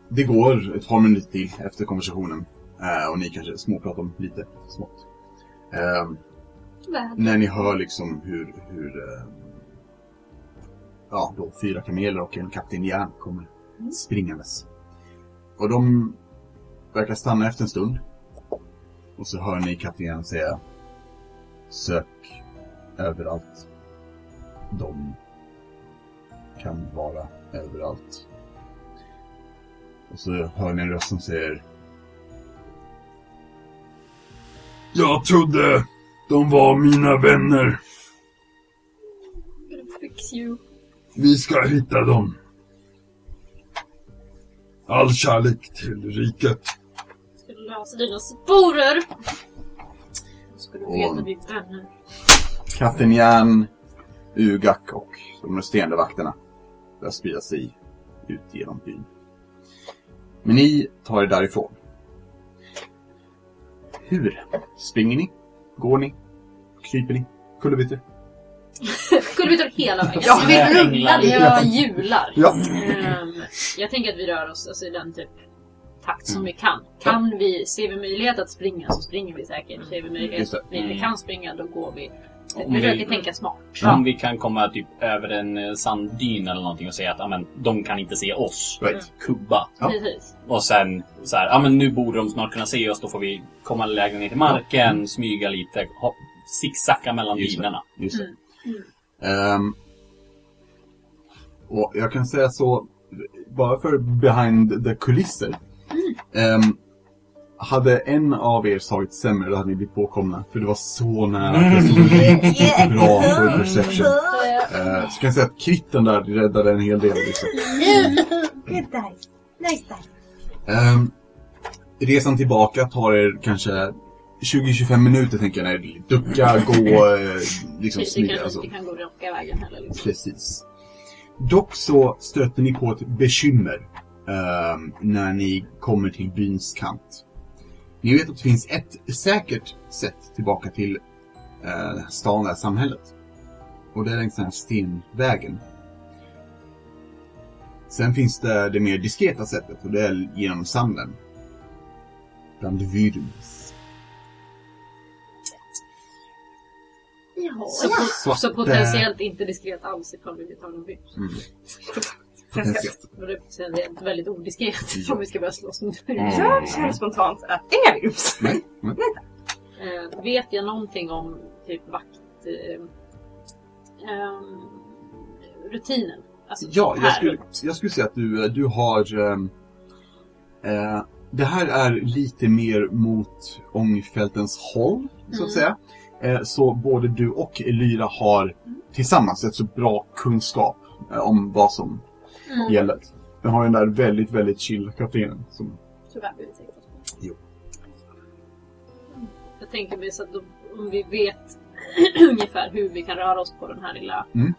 [SPEAKER 5] det går ett par minuter till efter konversationen. eh, och ni kanske småpratar om lite smått. Ehm, när ni hör liksom hur, hur ehm, ja, då fyra kameler och en kapten Järn kommer springandes. Och de verkar stanna efter en stund. Och så hör ni kapten Järn säga Sök överallt. De kan vara överallt. Och så hör ni en röst som säger Jag trodde de var mina vänner.
[SPEAKER 2] Fix you.
[SPEAKER 5] Vi ska hitta dem. All kärlek till riket.
[SPEAKER 2] Ska du lösa dina sporer? Då ska du veta
[SPEAKER 5] Och-
[SPEAKER 2] att vi är vänner.
[SPEAKER 5] Katten Järn, Ugak och de resterande vakterna börjar sprida sig ut genom byn. Men ni tar er därifrån. Hur? Springer ni? Går ni? Kryper ni? Kullerbyttor?
[SPEAKER 2] Kullerbyttor hela vägen.
[SPEAKER 7] Ja,
[SPEAKER 2] vi
[SPEAKER 7] jag
[SPEAKER 2] rullar,
[SPEAKER 7] änglar.
[SPEAKER 2] jag hjular.
[SPEAKER 5] Ja.
[SPEAKER 2] Ehm, jag tänker att vi rör oss alltså, i den typ takt som vi kan. Kan vi, ser vi möjlighet att springa så springer vi säkert. Ser vi möjlighet
[SPEAKER 5] Just det.
[SPEAKER 2] att vi inte kan springa då går vi.
[SPEAKER 4] Om
[SPEAKER 2] Vi försöker
[SPEAKER 4] vi-
[SPEAKER 2] tänka smart.
[SPEAKER 4] Om vi kan komma typ över en eh, sanddyn eller någonting och säga att amen, de kan inte se oss.
[SPEAKER 5] Right.
[SPEAKER 4] Kubba.
[SPEAKER 5] Ja.
[SPEAKER 2] Precis.
[SPEAKER 4] Och sen så här, ja men nu borde de snart kunna se oss. Då får vi komma lägre ner till marken, smyga lite, hopp, zigzacka mellan
[SPEAKER 5] Just det.
[SPEAKER 4] dynorna.
[SPEAKER 5] Just det. Ehm, och jag kan säga så, bara för behind the kulisser. Ehm, hade en av er tagit sämre, då hade ni blivit påkomna. För det var så nära. att Det stod riktigt bra på perception. Ehm, så kan jag säga att kritten där räddade en hel del. Liksom.
[SPEAKER 6] Good dice. Nice dice.
[SPEAKER 5] Ehm, resan tillbaka tar er kanske 20-25 minuter, tänker jag. När ducka, gå, eh, liksom
[SPEAKER 2] Vi, vi,
[SPEAKER 5] smyga.
[SPEAKER 2] kanske
[SPEAKER 5] Alltså.
[SPEAKER 2] inte kan gå raka vägen heller. Liksom.
[SPEAKER 5] Precis. Dock så stöter ni på ett bekymmer ehm, när ni kommer till byns kant. Ni vet att det finns ett säkert sätt tillbaka till uh, stan, det här samhället. Och det är längs den här stenvägen. Sen finns det det mer diskreta sättet och det är genom sanden. Bland vyrms.
[SPEAKER 2] Jaha, så, po-
[SPEAKER 5] Svart-
[SPEAKER 2] så potentiellt inte diskret alls ifall vi blir tagna av virus.
[SPEAKER 5] Mm.
[SPEAKER 6] Potentiellt.
[SPEAKER 2] Och det är potentiellt väldigt odiskret
[SPEAKER 5] Ja.
[SPEAKER 2] om vi ska börja slåss mot virus.
[SPEAKER 6] Jag känner spontant att inga virus.
[SPEAKER 5] Nej, nej.
[SPEAKER 2] Eh, vet jag någonting om typ vakt... Eh, ehm, rutinen? Alltså,
[SPEAKER 5] Ja,
[SPEAKER 2] här
[SPEAKER 5] jag skulle,
[SPEAKER 2] runt.
[SPEAKER 5] jag skulle säga att du, eh, du har... ehm, eh, det här är lite mer mot ångfältens håll, så
[SPEAKER 2] Mm.
[SPEAKER 5] att säga. Eh, så både du och Lyra har tillsammans ett så bra kunskap eh, om vad som
[SPEAKER 2] Mm.
[SPEAKER 5] gäller. Den har ju den där väldigt, väldigt chill kaptenen. Som,
[SPEAKER 3] Tyvärr blir det säkert.
[SPEAKER 2] Jag tänker mig så att om- om vi vet ungefär hur vi kan röra oss på den här lilla
[SPEAKER 5] Mm.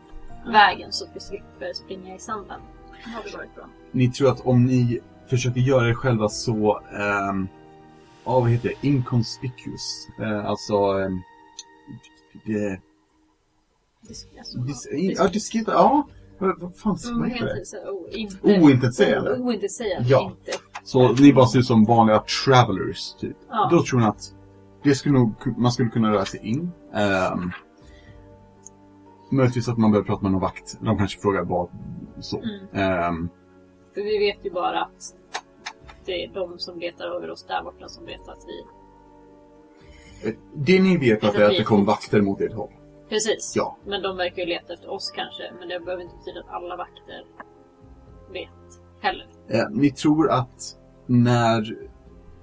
[SPEAKER 2] vägen så att vi slipper springa i sanden.
[SPEAKER 3] Det hade varit bra.
[SPEAKER 5] ni tror att om ni försöker göra er själva så, ehm, ja, vad heter det, inconspicuous. Eh, alltså, ehm, eh, det,
[SPEAKER 2] Alltså,
[SPEAKER 5] dis, i- ja, diskret, ja, vad, vad
[SPEAKER 2] Mm,
[SPEAKER 5] fan, vad heter
[SPEAKER 2] typ.
[SPEAKER 5] det?
[SPEAKER 2] oh,
[SPEAKER 5] Ointetsägande.
[SPEAKER 2] Ointetsägande.
[SPEAKER 5] Ja.
[SPEAKER 2] oh, Inte.
[SPEAKER 5] Så ni bara ser ut som vanliga travelers, typ.
[SPEAKER 2] Ja.
[SPEAKER 5] Då tror jag att det skulle nog, man skulle kunna röra sig in. Um, möjligtvis att man behöver prata med någon vakt. De kanske frågar vad så.
[SPEAKER 2] Mm.
[SPEAKER 5] Ehm,
[SPEAKER 2] För vi vet ju bara att det är de som letar över oss där borta som vet att vi...
[SPEAKER 5] det ni vet att är att det kom vakter mot ert håll.
[SPEAKER 2] Precis.
[SPEAKER 5] Ja.
[SPEAKER 2] Men de verkar ju leta efter oss kanske. Men det behöver inte betyda att alla vakter vet heller.
[SPEAKER 5] Eh, ni tror att när,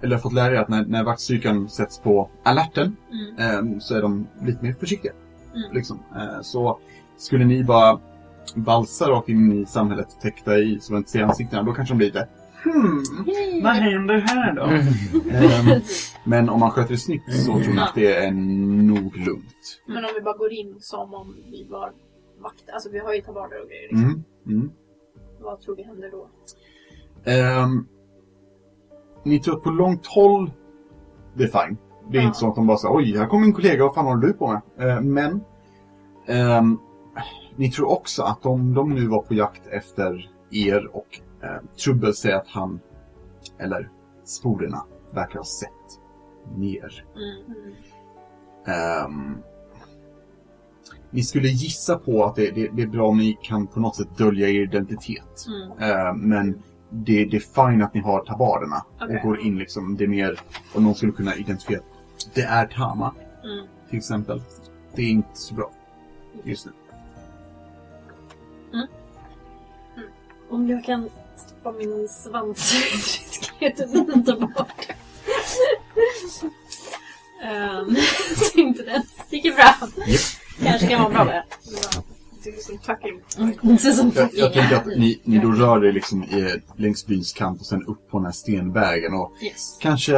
[SPEAKER 5] eller har fått lära er att när, när vaktstyrkan sätts på alerten
[SPEAKER 2] Mm.
[SPEAKER 5] ehm, så är de lite mer försiktiga.
[SPEAKER 2] Mm.
[SPEAKER 5] Liksom. Eh, så skulle ni bara valsa rakt in i samhället, täckta i så man inte ser ansiktena, då kanske de blir lite hmm, vad händer här då? Ehm, men om man sköter det snyggt så tror jag att det är nog lugnt.
[SPEAKER 3] Men om vi bara går in som om vi var vakt. Alltså vi har ju tabarder och grejer. Liksom.
[SPEAKER 5] Mm. Mm.
[SPEAKER 3] Vad tror vi händer då?
[SPEAKER 5] Ehm, ni tror att på långt håll, det är fine. Det är
[SPEAKER 3] Ja.
[SPEAKER 5] inte så att de bara säger oj, här kommer en kollega, vad fan håller du på med? Ehm, men, ehm, ni tror också att om de nu var på jakt efter er och uh, Trubbel säger att han, eller sporerna, verkar ha sett ner.
[SPEAKER 2] Mm.
[SPEAKER 5] Ehm, ni skulle gissa på att det, det, det är bra om ni kan på något sätt dölja er identitet.
[SPEAKER 2] Mm.
[SPEAKER 5] Eh, men det, det är fine att ni har tabarerna
[SPEAKER 2] Okej.
[SPEAKER 5] och går in liksom. Det är mer om någon skulle kunna identifiera. Det är Tama
[SPEAKER 2] Mm.
[SPEAKER 5] till exempel. Det är inte så bra just nu.
[SPEAKER 2] Om jag kan stoppa min svans så riskerar jag att inte bort um, Så inte den sticker fram.
[SPEAKER 5] Japp.
[SPEAKER 2] Kanske kan vara bra med.
[SPEAKER 3] Det är liksom tackling.
[SPEAKER 2] Inte som
[SPEAKER 5] Jag, jag tänker att ni, ni
[SPEAKER 2] Mm.
[SPEAKER 5] då rör er liksom i, längs byns kant och sen upp på den här stenvägen. Och
[SPEAKER 2] Yes.
[SPEAKER 5] kanske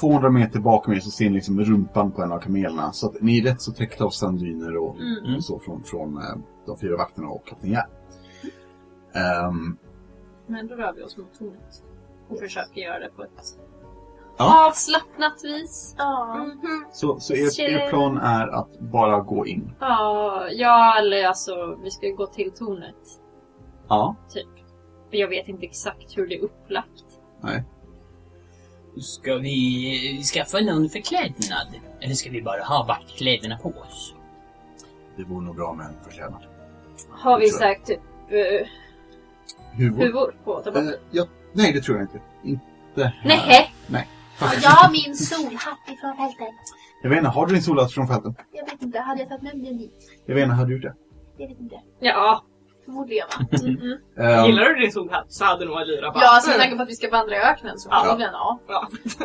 [SPEAKER 5] 200 meter bakom er så ser ni liksom rumpan på en av kamelerna. Så att ni är rätt så täckta av sanddyner och
[SPEAKER 2] Mm.
[SPEAKER 5] och så från, från eh, de fyra vakterna och kapten Gerd. Ehm,
[SPEAKER 2] Men då rör vi oss mot tornet. Och försöker göra det på ett
[SPEAKER 5] Ja.
[SPEAKER 2] avslappnat vis.
[SPEAKER 3] Ja.
[SPEAKER 5] så så er, er
[SPEAKER 2] Tjena.
[SPEAKER 5] plan är att bara gå in?
[SPEAKER 2] Ja, ja, eller alltså vi ska ju gå till tornet.
[SPEAKER 5] Ja.
[SPEAKER 2] Men jag vet inte exakt hur det är upplagt.
[SPEAKER 7] Ska vi eh, skaffa någon förklädnad? Eller ska vi bara ha vaktkläderna på oss?
[SPEAKER 5] Det vore nog bra med en förklädnad.
[SPEAKER 2] Har vi
[SPEAKER 5] Tror jag.
[SPEAKER 2] sagt typ eh,
[SPEAKER 5] Huvud?
[SPEAKER 2] huvor på tabellen?
[SPEAKER 5] Eh, ja, nej, det tror jag inte. Inte här.
[SPEAKER 2] Nej.
[SPEAKER 5] Faktiskt.
[SPEAKER 3] Jag har min solhatt ifrån fältet.
[SPEAKER 5] Jag vet inte, har du din solhatt från fälten?
[SPEAKER 3] Jag vet inte, hade jag tagit med mig den hit?
[SPEAKER 5] Jag vet inte, hade du gjort det?
[SPEAKER 3] Jag vet inte.
[SPEAKER 2] Ja.
[SPEAKER 3] Förmodligen va?
[SPEAKER 2] Mm-mm.
[SPEAKER 5] Ehm,
[SPEAKER 1] Gillar du din solhatt så hade nog Alira bara...
[SPEAKER 3] Ja, alltså med tanke på att vi ska vandra i öknen så
[SPEAKER 1] Ja.
[SPEAKER 3] förmodligen ja.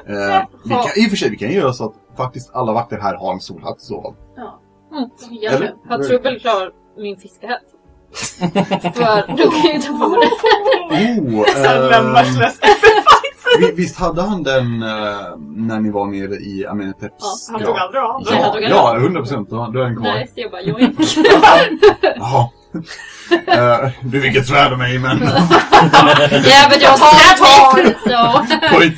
[SPEAKER 5] ehm, vi kan, I och för sig, vi kan ju göra så att faktiskt alla vakter här har en solhatt i så fall.
[SPEAKER 3] Hjälp.
[SPEAKER 2] Har Trubbel klar min fiskehatt? För då kan jag ta på mig
[SPEAKER 5] Oh,
[SPEAKER 1] Sen
[SPEAKER 5] ehm,
[SPEAKER 1] lämnar
[SPEAKER 5] vi, visst hade han den eh, när ni var nere i Ameneteps
[SPEAKER 1] Han tog aldrig av den.
[SPEAKER 2] Ja, han tog aldrig
[SPEAKER 5] Ja, ja, 100 procent. Du har en
[SPEAKER 2] den.
[SPEAKER 5] kvar.
[SPEAKER 2] Nej, så jag bara joink.
[SPEAKER 5] Jaha. Eh, du fick ett svärd av mig, men
[SPEAKER 2] Ja, men jag tar tag! Så.
[SPEAKER 5] pojk.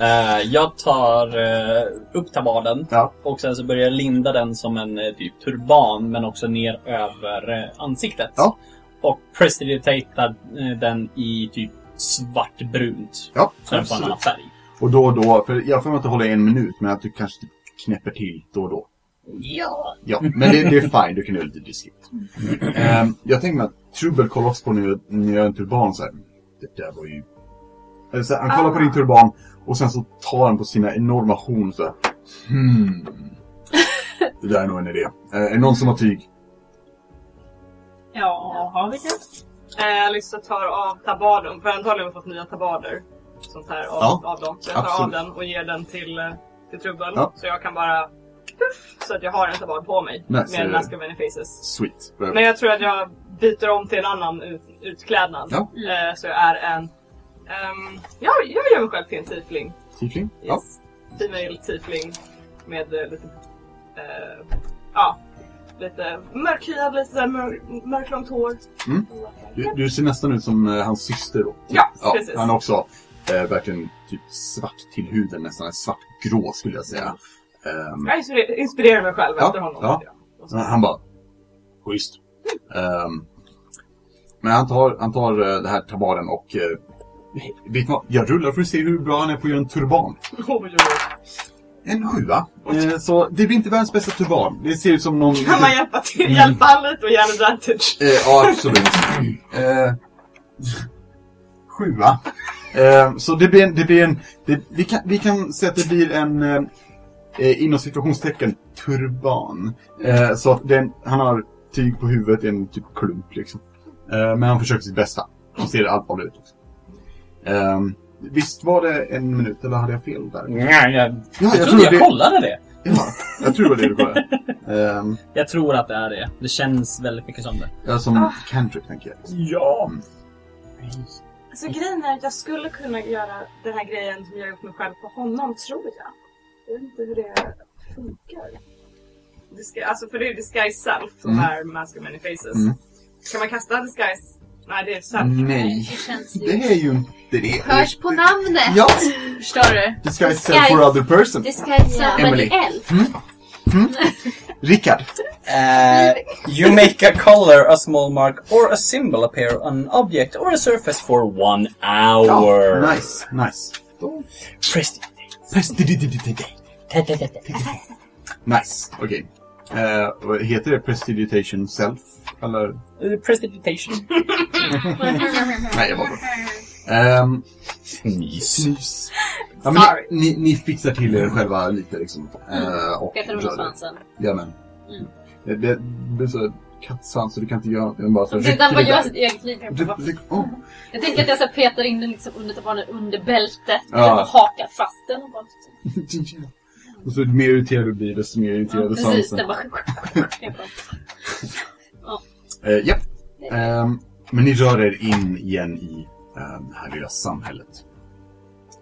[SPEAKER 4] Eh, jag tar eh, upp tabaden
[SPEAKER 5] Ja.
[SPEAKER 4] och sen så börjar jag linda den som en eh, typ turban men också ner över eh, ansiktet.
[SPEAKER 5] Ja.
[SPEAKER 4] Och prestidigitatar eh, den i typ svartbrunt.
[SPEAKER 5] Ja,
[SPEAKER 4] Så den får en annan färg.
[SPEAKER 5] Och då och då, för jag får inte hålla i en minut, men att du kanske typ knäpper till då och då.
[SPEAKER 7] Ja!
[SPEAKER 5] Ja, men det, det är fine. Du kan göra lite diskret. Ehm, jag tänker mig att Trubbel kollar också på när jag, när jag gör en turban så här. Det där var ju... Eller så här, han kollar på din turban och sen så tar han på sina enorma horn så här. Hmm. Det där är nog en idé. Eh, är det någon som har tyg?
[SPEAKER 1] Ja, har vi det? Eh, Alyssa tar av tabarden, för antagligen har vi fått nya tabarder. Sånt här av,
[SPEAKER 5] Ja,
[SPEAKER 1] av dem. Så jag tar
[SPEAKER 5] absolut.
[SPEAKER 1] av den och ger den till, eh, till Trubbel.
[SPEAKER 5] Ja.
[SPEAKER 1] Så jag kan bara... Puff, så att jag har en tabard på mig.
[SPEAKER 5] Nice.
[SPEAKER 1] Med en mask of many faces.
[SPEAKER 5] Sweet.
[SPEAKER 1] Men jag tror att jag byter om till en annan ut, utklädnad.
[SPEAKER 5] Ja.
[SPEAKER 1] Eh, så jag är en... ehm, ja, jag gör mig själv till en tiefling.
[SPEAKER 5] Tiefling? Ja.
[SPEAKER 1] Yes. Female tiefling med eh, lite... eh, ja. lite...
[SPEAKER 6] Mörkhyad, lite sådär mör- mörklångt hår.
[SPEAKER 5] Du, du ser nästan ut som eh, hans syster då.
[SPEAKER 6] Ja, precis.
[SPEAKER 5] Han är också eh, verkligen typ svart till huden, nästan svartgrå skulle jag säga. Ehm,
[SPEAKER 6] Jag inspirer- inspirerar mig själv
[SPEAKER 5] Ja,
[SPEAKER 6] efter honom.
[SPEAKER 5] ja.
[SPEAKER 6] lite grann. Och så-
[SPEAKER 5] han bara, schysst. Ehm, men han tar, han tar eh, det här tabaden och eh, Vet ni vad? Jag rullar för att se hur bra han är på att göra en turban.
[SPEAKER 6] Oj, oj, oj.
[SPEAKER 5] En sjua. Eh, så det blir inte världens bästa turban. Det ser ut som någon...
[SPEAKER 6] Kan man hjälpa till?
[SPEAKER 5] Mm.
[SPEAKER 6] Hjälpa han lite och ge henne advantage?
[SPEAKER 5] Eh, ja, absolut. Eh, sjua. Eh, så det blir en... Det blir en det, vi, kan, vi kan säga att det blir en... Eh, eh, inom situationstecken turban. Eh, så att den, han har tyg på huvudet, en typ klump liksom. Eh, men han försöker sitt bästa. Han ser allvarlig ut också. Eh, visst var det en minut, eller hade jag fel där?
[SPEAKER 4] Nej, jag,
[SPEAKER 5] Ja,
[SPEAKER 4] jag, trodde jag kollade det.
[SPEAKER 5] Ja, jag tror det var det du började. Ehm,
[SPEAKER 4] Jag tror att det är det. Det känns väldigt mycket som det.
[SPEAKER 5] ja, som Kendrick tänker jag.
[SPEAKER 4] Ah. Ja!
[SPEAKER 6] Alltså grejen är att jag skulle kunna göra den här grejen som jag gjort mig själv på honom, tror jag. Jag vet inte hur det funkar.
[SPEAKER 1] Disgu- alltså för det är ju disguise self, de
[SPEAKER 5] Mm.
[SPEAKER 1] här mask of many faces.
[SPEAKER 5] Mm.
[SPEAKER 1] Kan man kasta disguise? Nej, det är self.
[SPEAKER 5] Nej,
[SPEAKER 3] Det känns
[SPEAKER 5] det
[SPEAKER 3] ju...
[SPEAKER 5] är ju inte det.
[SPEAKER 3] Hörs på namnet!
[SPEAKER 5] Ja,
[SPEAKER 3] Förstår du?
[SPEAKER 5] det ska jag säga for other person.
[SPEAKER 3] Det ska heta yeah.
[SPEAKER 5] Emily.
[SPEAKER 3] elf.
[SPEAKER 5] Rickard.
[SPEAKER 7] Uh, you make a color, a small mark, or a symbol appear on an object or a surface for one hour.
[SPEAKER 5] Ja, nice, nice.
[SPEAKER 7] Presti-
[SPEAKER 5] Nice, okej. Eh, vad heter det prestidigitation self? Eller?
[SPEAKER 7] eh, Prestidigitation.
[SPEAKER 5] Nej, jag var bra. Ehm,
[SPEAKER 4] Fnys.
[SPEAKER 5] snus. Ja, men
[SPEAKER 2] Sorry.
[SPEAKER 5] ni, ni, ni fixar till er själva lite liksom. Eh, och
[SPEAKER 2] Petar under svansen.
[SPEAKER 5] Jajamän.
[SPEAKER 2] Mm.
[SPEAKER 5] Det, det, det är så kattsvans så du kan inte göra något. Den bara så
[SPEAKER 2] Sedan
[SPEAKER 5] rycker
[SPEAKER 2] bara
[SPEAKER 5] det
[SPEAKER 2] gör
[SPEAKER 5] där.
[SPEAKER 2] sitt eget liv. Jag bara,
[SPEAKER 5] Det- det- åh.
[SPEAKER 2] Jag tänker att jag så här petar in den liksom under tabanen under bältet
[SPEAKER 5] Ja.
[SPEAKER 2] och hakar fast den. Och bara,
[SPEAKER 5] Och så ju mer irriterad du blir desto mer
[SPEAKER 2] ja,
[SPEAKER 5] irriterad är
[SPEAKER 2] precis,
[SPEAKER 5] svansen.
[SPEAKER 2] den bara... Jag bara-
[SPEAKER 5] Eh, Japp. Ehm, men ni rör er in igen i eh, det här lilla samhället.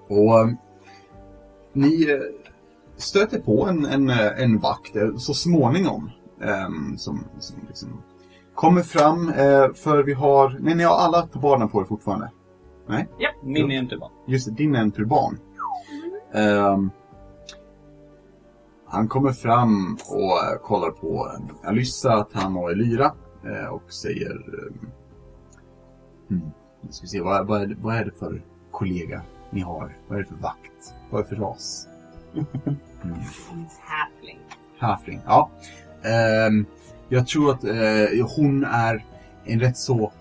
[SPEAKER 5] Och eh, ni eh, stöter på en, en, eh, en vakt eh, så småningom. ehm, som, som liksom kommer fram eh, för vi har... Nej, ni har alla tabarerna på er fortfarande.
[SPEAKER 4] Min är inte bra.
[SPEAKER 5] Just det, din är en turban. Ehm, han kommer fram och eh, kollar på eh, Alyssa, Tan och Elira eh, och säger... ehm, hmm, nu ska vi se, vad, vad, är det, vad är det för kollega ni har? Vad är det för vakt? Vad är det för ras? Mm.
[SPEAKER 1] Halfling.
[SPEAKER 5] Halfling, ja. Ehm, jag tror att eh, hon är en rätt så...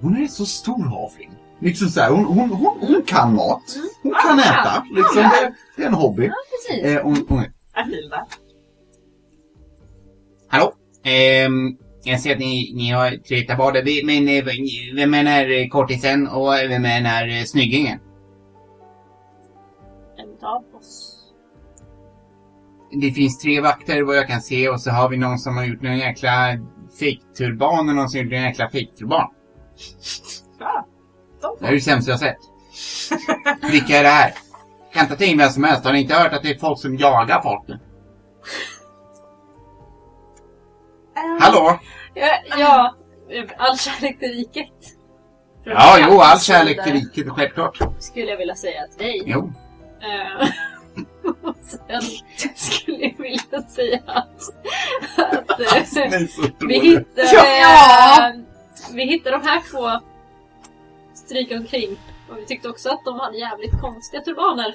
[SPEAKER 5] Hon är rätt så stor havling. Liksom så här, hon, hon, hon, hon kan mat. Hon kan äta. Liksom, det, det är en hobby.
[SPEAKER 2] precis.
[SPEAKER 5] Eh, hon, hon är...
[SPEAKER 1] I feel that.
[SPEAKER 8] Hallå? Ehm, jag ser att ni, ni har tre tabarder. Vi- Men eh, v- vem är den här kortisen och vem är den här eh, snyggingen?
[SPEAKER 2] En av oss.
[SPEAKER 8] Det finns tre vakter vad jag kan se och så har vi någon som har gjort någon jäkla fejkturban och någon som har gjort en jäkla fejkturban.
[SPEAKER 6] Ja, de
[SPEAKER 8] Det är det sämsta jag har sett. Vilka är det här? Kan inte ta in vem som helst. Har ni inte hört att det är folk som jagar folk nu?
[SPEAKER 2] Eh,
[SPEAKER 8] Hallå?
[SPEAKER 2] Ja, ja, all kärlek till riket. Från
[SPEAKER 8] Ja,
[SPEAKER 2] Kattens
[SPEAKER 8] jo, all kärlek till
[SPEAKER 2] sida
[SPEAKER 8] riket, självklart.
[SPEAKER 2] Skulle jag vilja säga till dig.
[SPEAKER 8] Jo.
[SPEAKER 2] Eh, och Sen skulle jag vilja säga att, att
[SPEAKER 8] Alltså,
[SPEAKER 2] eh,
[SPEAKER 5] Nej, så
[SPEAKER 2] vi
[SPEAKER 5] otroligt.
[SPEAKER 2] hittar
[SPEAKER 3] Ja.
[SPEAKER 2] eh, vi hittade de här två stryka omkring. Och vi tyckte också att de hade jävligt konstiga turbaner.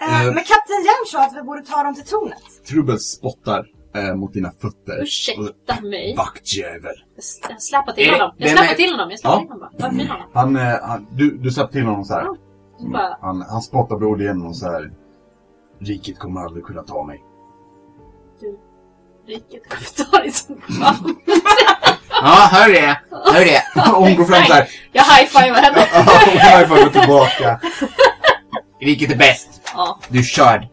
[SPEAKER 5] Eh,
[SPEAKER 6] men Kapten Järn sa att vi borde ta dem till tornet.
[SPEAKER 5] Trubbel spottar eh, mot dina fötter.
[SPEAKER 2] Ursäkta mig.
[SPEAKER 5] Vaktjävel.
[SPEAKER 2] Jag s- Jag släpar till
[SPEAKER 8] Eh,
[SPEAKER 2] honom. Jag
[SPEAKER 8] vem
[SPEAKER 2] släpar
[SPEAKER 8] är-
[SPEAKER 2] till honom. Jag släpar
[SPEAKER 5] Ja.
[SPEAKER 2] till honom. bara. Varför vill han?
[SPEAKER 5] Han, eh, han, du, du släppte till honom så här.
[SPEAKER 2] Och bara,
[SPEAKER 5] Han, han spottar blod igenom och så här. Riket kommer aldrig kunna ta mig.
[SPEAKER 2] riket kommer ta dig som fan.
[SPEAKER 8] Ja, hör det. Hör det.
[SPEAKER 5] Hon går fram så här.
[SPEAKER 2] Jag high-fivar henne.
[SPEAKER 5] Hon high-fivar tillbaka.
[SPEAKER 8] Vilket är bäst?
[SPEAKER 2] Ja.
[SPEAKER 8] Du är körd.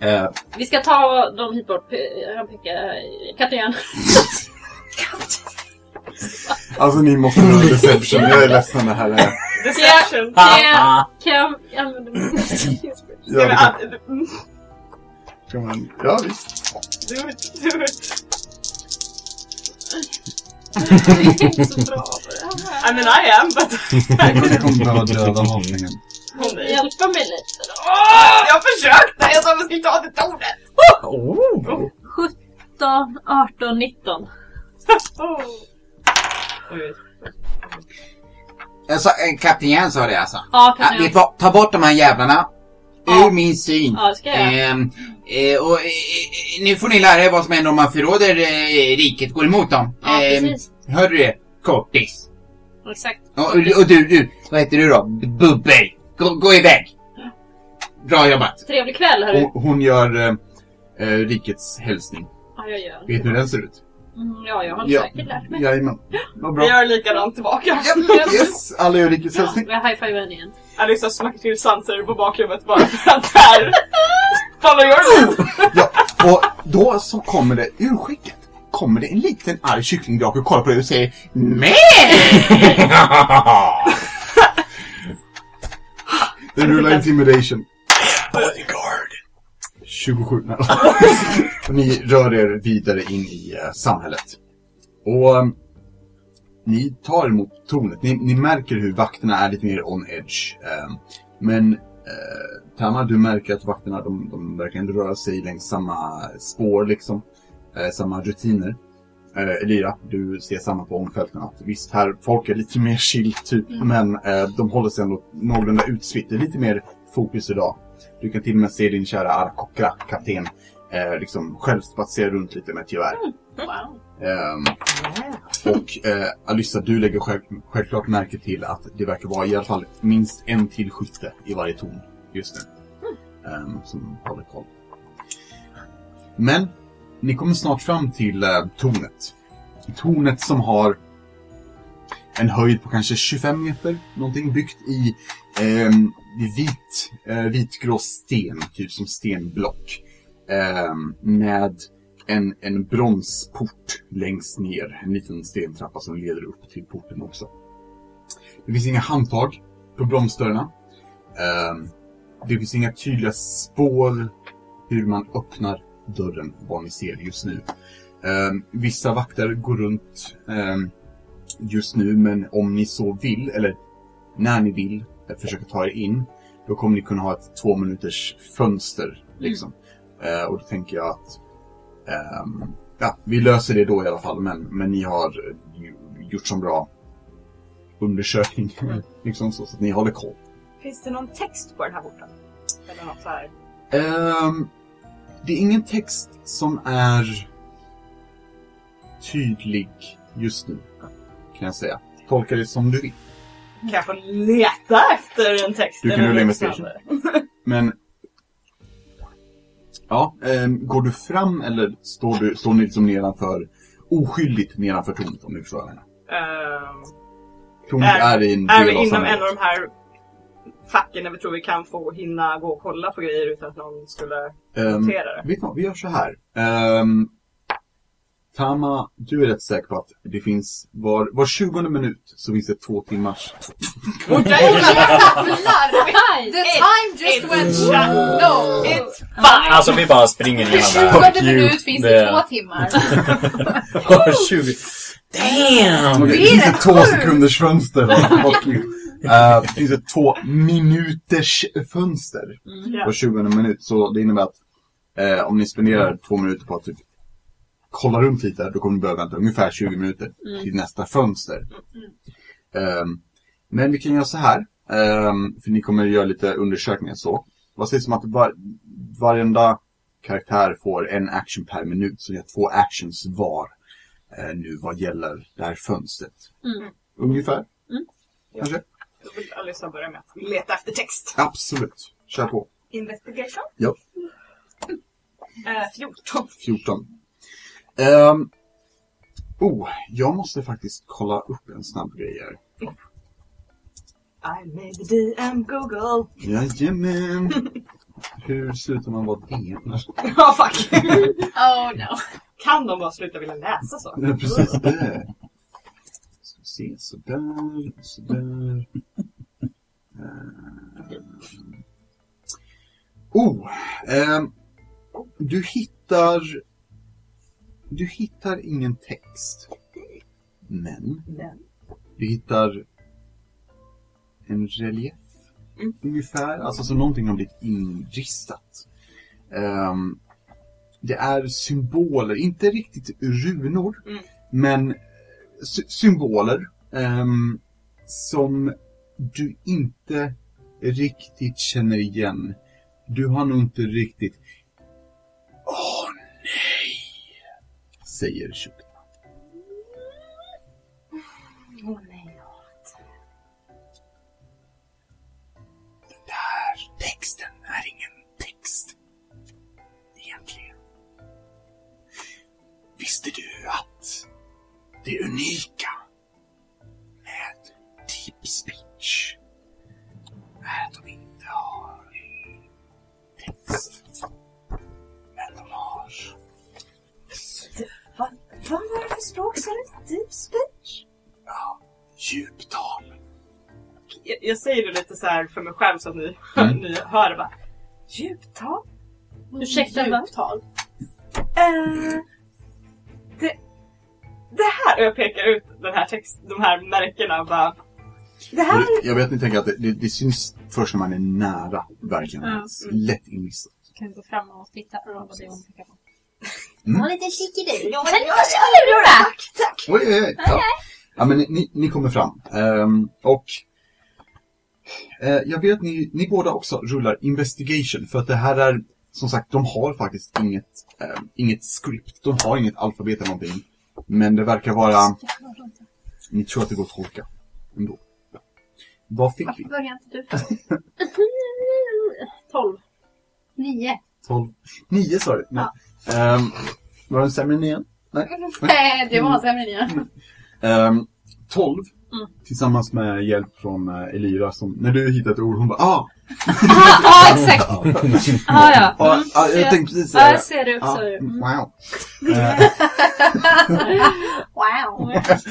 [SPEAKER 5] Eh,
[SPEAKER 2] Vi ska ta dem hit bort. Pe- Han pekar... Katten
[SPEAKER 5] Alltså ni måste ha deception, jag är ledsen det här är...
[SPEAKER 6] Deception.
[SPEAKER 2] Kan jag använda min
[SPEAKER 5] Ja, det kan,
[SPEAKER 6] Ska vi...
[SPEAKER 5] kan man, ja visst.
[SPEAKER 6] Do it, do it.
[SPEAKER 3] Jag är inte så bra på det här.
[SPEAKER 1] I mean I am but...
[SPEAKER 5] Det kommer behöva döda hållningen.
[SPEAKER 1] Åh, nej.
[SPEAKER 3] Hjälpa mig lite då.
[SPEAKER 1] jag försökte! Jag sa att vi skulle ta det tornet!
[SPEAKER 4] Oh.
[SPEAKER 2] 17, 18, 19.
[SPEAKER 1] Oh. Oj,
[SPEAKER 8] Jag sa, eh, kapten Jens sa det alltså.
[SPEAKER 2] Ja,
[SPEAKER 8] Ja,
[SPEAKER 2] kan
[SPEAKER 8] vet du
[SPEAKER 2] jag.
[SPEAKER 8] vad? Ta bort de här jävlarna.
[SPEAKER 2] Ja.
[SPEAKER 8] Ur min syn.
[SPEAKER 2] Ja, det ska jag göra.
[SPEAKER 8] Ehm, eh, och, eh, eh, nu får ni lära er vad som händer om man förråder eh, riket, går emot dem.
[SPEAKER 2] Ja,
[SPEAKER 8] Ehm,
[SPEAKER 2] precis.
[SPEAKER 8] hörde du det? Kortis.
[SPEAKER 2] Exakt.
[SPEAKER 8] Och, och du, du, vad heter du då? Bubbel. Gå, gå iväg. Bra jobbat.
[SPEAKER 2] Trevlig kväll hörru.
[SPEAKER 5] Och hon gör eh, eh, rikets hälsning.
[SPEAKER 2] Ja, jag gör.
[SPEAKER 5] Vet du hur den ser ut?
[SPEAKER 2] Mm, ja, jag har
[SPEAKER 5] Ja.
[SPEAKER 2] säkert lärt mig.
[SPEAKER 5] Jajamän. Vad
[SPEAKER 1] Vi
[SPEAKER 5] bra.
[SPEAKER 1] gör likadant tillbaka.
[SPEAKER 5] Yes, alla gör rikets hälsning.
[SPEAKER 2] Jag high-fivar henne igen.
[SPEAKER 1] Alyssa smackar till Sanser på bakhuvudet bara för att där... Follow your lead!
[SPEAKER 5] Ja, och då så kommer det ur skicket kommer det en liten arg kycklingdrake och kollar på dig och säger Nej! Det rullar intimidation. Bodyguard. 27. Nej. och ni rör er vidare in i eh, samhället. Och eh, ni tar emot tornet. Ni, ni märker hur vakterna är lite mer on edge. eh, men Eh, Tama, du märker att vakterna de, de verkar ändå röra sig längs samma spår liksom. Eh, samma rutiner. Eh, Elira, du ser samma på omfälten att visst här, folk är lite mer chill typ, men eh, de håller sig ändå någorlunda utspritt. Det är lite mer fokus idag. Du kan till och med se din kära Arkokra, kapten, eh, liksom själv spatsera runt lite med ett gevär.
[SPEAKER 2] Wow.
[SPEAKER 5] Ehm, och eh, Alyssa, du lägger själv, självklart märke till att det verkar vara i alla fall minst en till skytte i varje torn just nu. Ehm, som håller koll. Men, ni kommer snart fram till eh, tornet. Tornet som har en höjd på kanske 25 meter, någonting byggt i ehm, vit, eh, vitgrå sten, typ som stenblock. Ehm, med en, en bronsport längst ner. En liten stentrappa som leder upp till porten också. Det finns inga handtag på bromsdörrarna. Ehm, det finns inga tydliga spår hur man öppnar dörren, vad ni ser just nu. Ehm, vissa vakter går runt ehm, just nu, men om ni så vill, eller när ni vill, eh, försöka ta er in, då kommer ni kunna ha ett två minuters fönster. Liksom. Eh, och då tänker jag att Ehm, ja, vi löser det då i alla fall, men, men ni har eh, ju, gjort som bra undersökning. liksom så, så att ni håller koll.
[SPEAKER 6] Finns det någon text på den här borten? Eller något så här?
[SPEAKER 5] Ehm, det är ingen text som är tydlig just nu, kan jag säga. Tolka det som du vill.
[SPEAKER 6] Kan jag få leta efter en text?
[SPEAKER 5] Du kan
[SPEAKER 6] eller
[SPEAKER 5] rulla
[SPEAKER 6] liknande?
[SPEAKER 5] Men... Ja, ehm, går du fram eller står, du, står ni liksom nedanför, oskyldigt nedanför tornet om du förstår vad jag menar?
[SPEAKER 1] Ehm,
[SPEAKER 5] Tornet är,
[SPEAKER 1] Är-
[SPEAKER 5] i en
[SPEAKER 1] är
[SPEAKER 5] del av
[SPEAKER 1] vi inom
[SPEAKER 5] samhället.
[SPEAKER 1] en av de här facken där vi tror vi kan få hinna gå och kolla på grejer utan att någon skulle
[SPEAKER 5] Ehm,
[SPEAKER 1] notera det?
[SPEAKER 5] Vet du vad, vi gör så här. Ehm, Tama, du är rätt säker på att det finns var, var 20 minut så finns det två timmars.
[SPEAKER 2] Nice!
[SPEAKER 3] The time just went shut. No, it's
[SPEAKER 4] Alltså vi bara springer igenom det här.
[SPEAKER 3] 20 minut finns det två timmar.
[SPEAKER 4] 20. Damn!
[SPEAKER 5] det finns ett två sekunders fönster. Eh, det finns ett två minuters fönster
[SPEAKER 1] Ja.
[SPEAKER 5] på 20 minut. Så det innebär att eh, om ni spenderar två minuter på att typ kolla runt lite, då kommer ni behöva vänta ungefär 20 minuter till nästa fönster. Ehm, men vi kan göra så här, ehm, för ni kommer göra lite undersökningar så. Vad sägs om att var, varenda karaktär får en action per minut, så ni har två actions var eh, nu vad gäller det här fönstret.
[SPEAKER 2] Mm.
[SPEAKER 5] Ungefär? Kanske?
[SPEAKER 1] Då vill Alyssa börja med att leta efter text.
[SPEAKER 5] Absolut. Kör på.
[SPEAKER 6] Investigation?
[SPEAKER 5] Ja.
[SPEAKER 1] Eh, 14.
[SPEAKER 5] 14. Ehm, oh, jag måste faktiskt kolla upp en snabb grej här.
[SPEAKER 6] I made the DM Google.
[SPEAKER 5] Jajamän! Hur slutar man vara DM?
[SPEAKER 1] Ja, fuck.
[SPEAKER 3] Oh no.
[SPEAKER 1] Kan de bara sluta vilja läsa så?
[SPEAKER 5] Nej, precis. Där. Ska vi se, sådär, sådär. Ehm. Oh! ehm, du hittar... Du hittar ingen text. Men
[SPEAKER 6] Men.
[SPEAKER 5] du hittar en relief ungefär, alltså som någonting har blivit inristat. Ehm, det är symboler, inte riktigt runor,
[SPEAKER 6] Mm.
[SPEAKER 5] men eh, sy- symboler ehm, som du inte riktigt känner igen. Du har nog inte riktigt... Åh nej! Säger Shuk.
[SPEAKER 6] Åh nej.
[SPEAKER 5] Texten är ingen text. Egentligen. Visste du att det unika med deep speech är att de inte har text. Men de har...
[SPEAKER 6] Vad var det för språk sa du? Deep speech?
[SPEAKER 5] djuptal.
[SPEAKER 1] Jag, jag säger det lite så här för mig själv så att ni,
[SPEAKER 5] Mm.
[SPEAKER 1] ni hör det bara.
[SPEAKER 6] Djuptal?
[SPEAKER 2] Ursäkta, va?
[SPEAKER 3] Djuptal.
[SPEAKER 6] Eh,
[SPEAKER 1] Det här! Och jag pekar ut den här text, de här märkena och bara.
[SPEAKER 6] det här
[SPEAKER 5] Jag vet ni tänker att det, det, det syns först när man är nära verkligen.
[SPEAKER 2] Ja.
[SPEAKER 5] Lätt inristat.
[SPEAKER 2] Kan gå fram och titta på vad det är hon pekar på.
[SPEAKER 5] Oj, oj, oj. Ja. ja, men ni- ni, ni kommer fram. Ehm, och eh, jag vet att ni, ni båda också rullar investigation. För att det här är, som sagt, de har faktiskt inget, ehm, inget script. De har inget alfabet eller någonting. Men det verkar vara... Ni tror att det går att tolka ändå. Ja. Vad fick vi?
[SPEAKER 3] Varför börjar inte du?
[SPEAKER 2] 12.
[SPEAKER 3] Nio.
[SPEAKER 5] 12? 9 sa du? Nej. Ehm, var den sämre än 9?
[SPEAKER 3] Nej, det var sämre än nio.
[SPEAKER 5] Ehm, 12
[SPEAKER 2] Mm.
[SPEAKER 5] tillsammans med hjälp från eh, Elira som när du hittade ett ord hon bara ah!
[SPEAKER 2] Ja, exakt! Ah, ja.
[SPEAKER 5] ah, ah
[SPEAKER 2] Ja.
[SPEAKER 5] jag tänkte precis
[SPEAKER 2] Ja, jag
[SPEAKER 5] säga det.
[SPEAKER 2] ser det också.
[SPEAKER 5] Ah,
[SPEAKER 2] Mm.
[SPEAKER 5] wow. Eh,
[SPEAKER 3] Wow.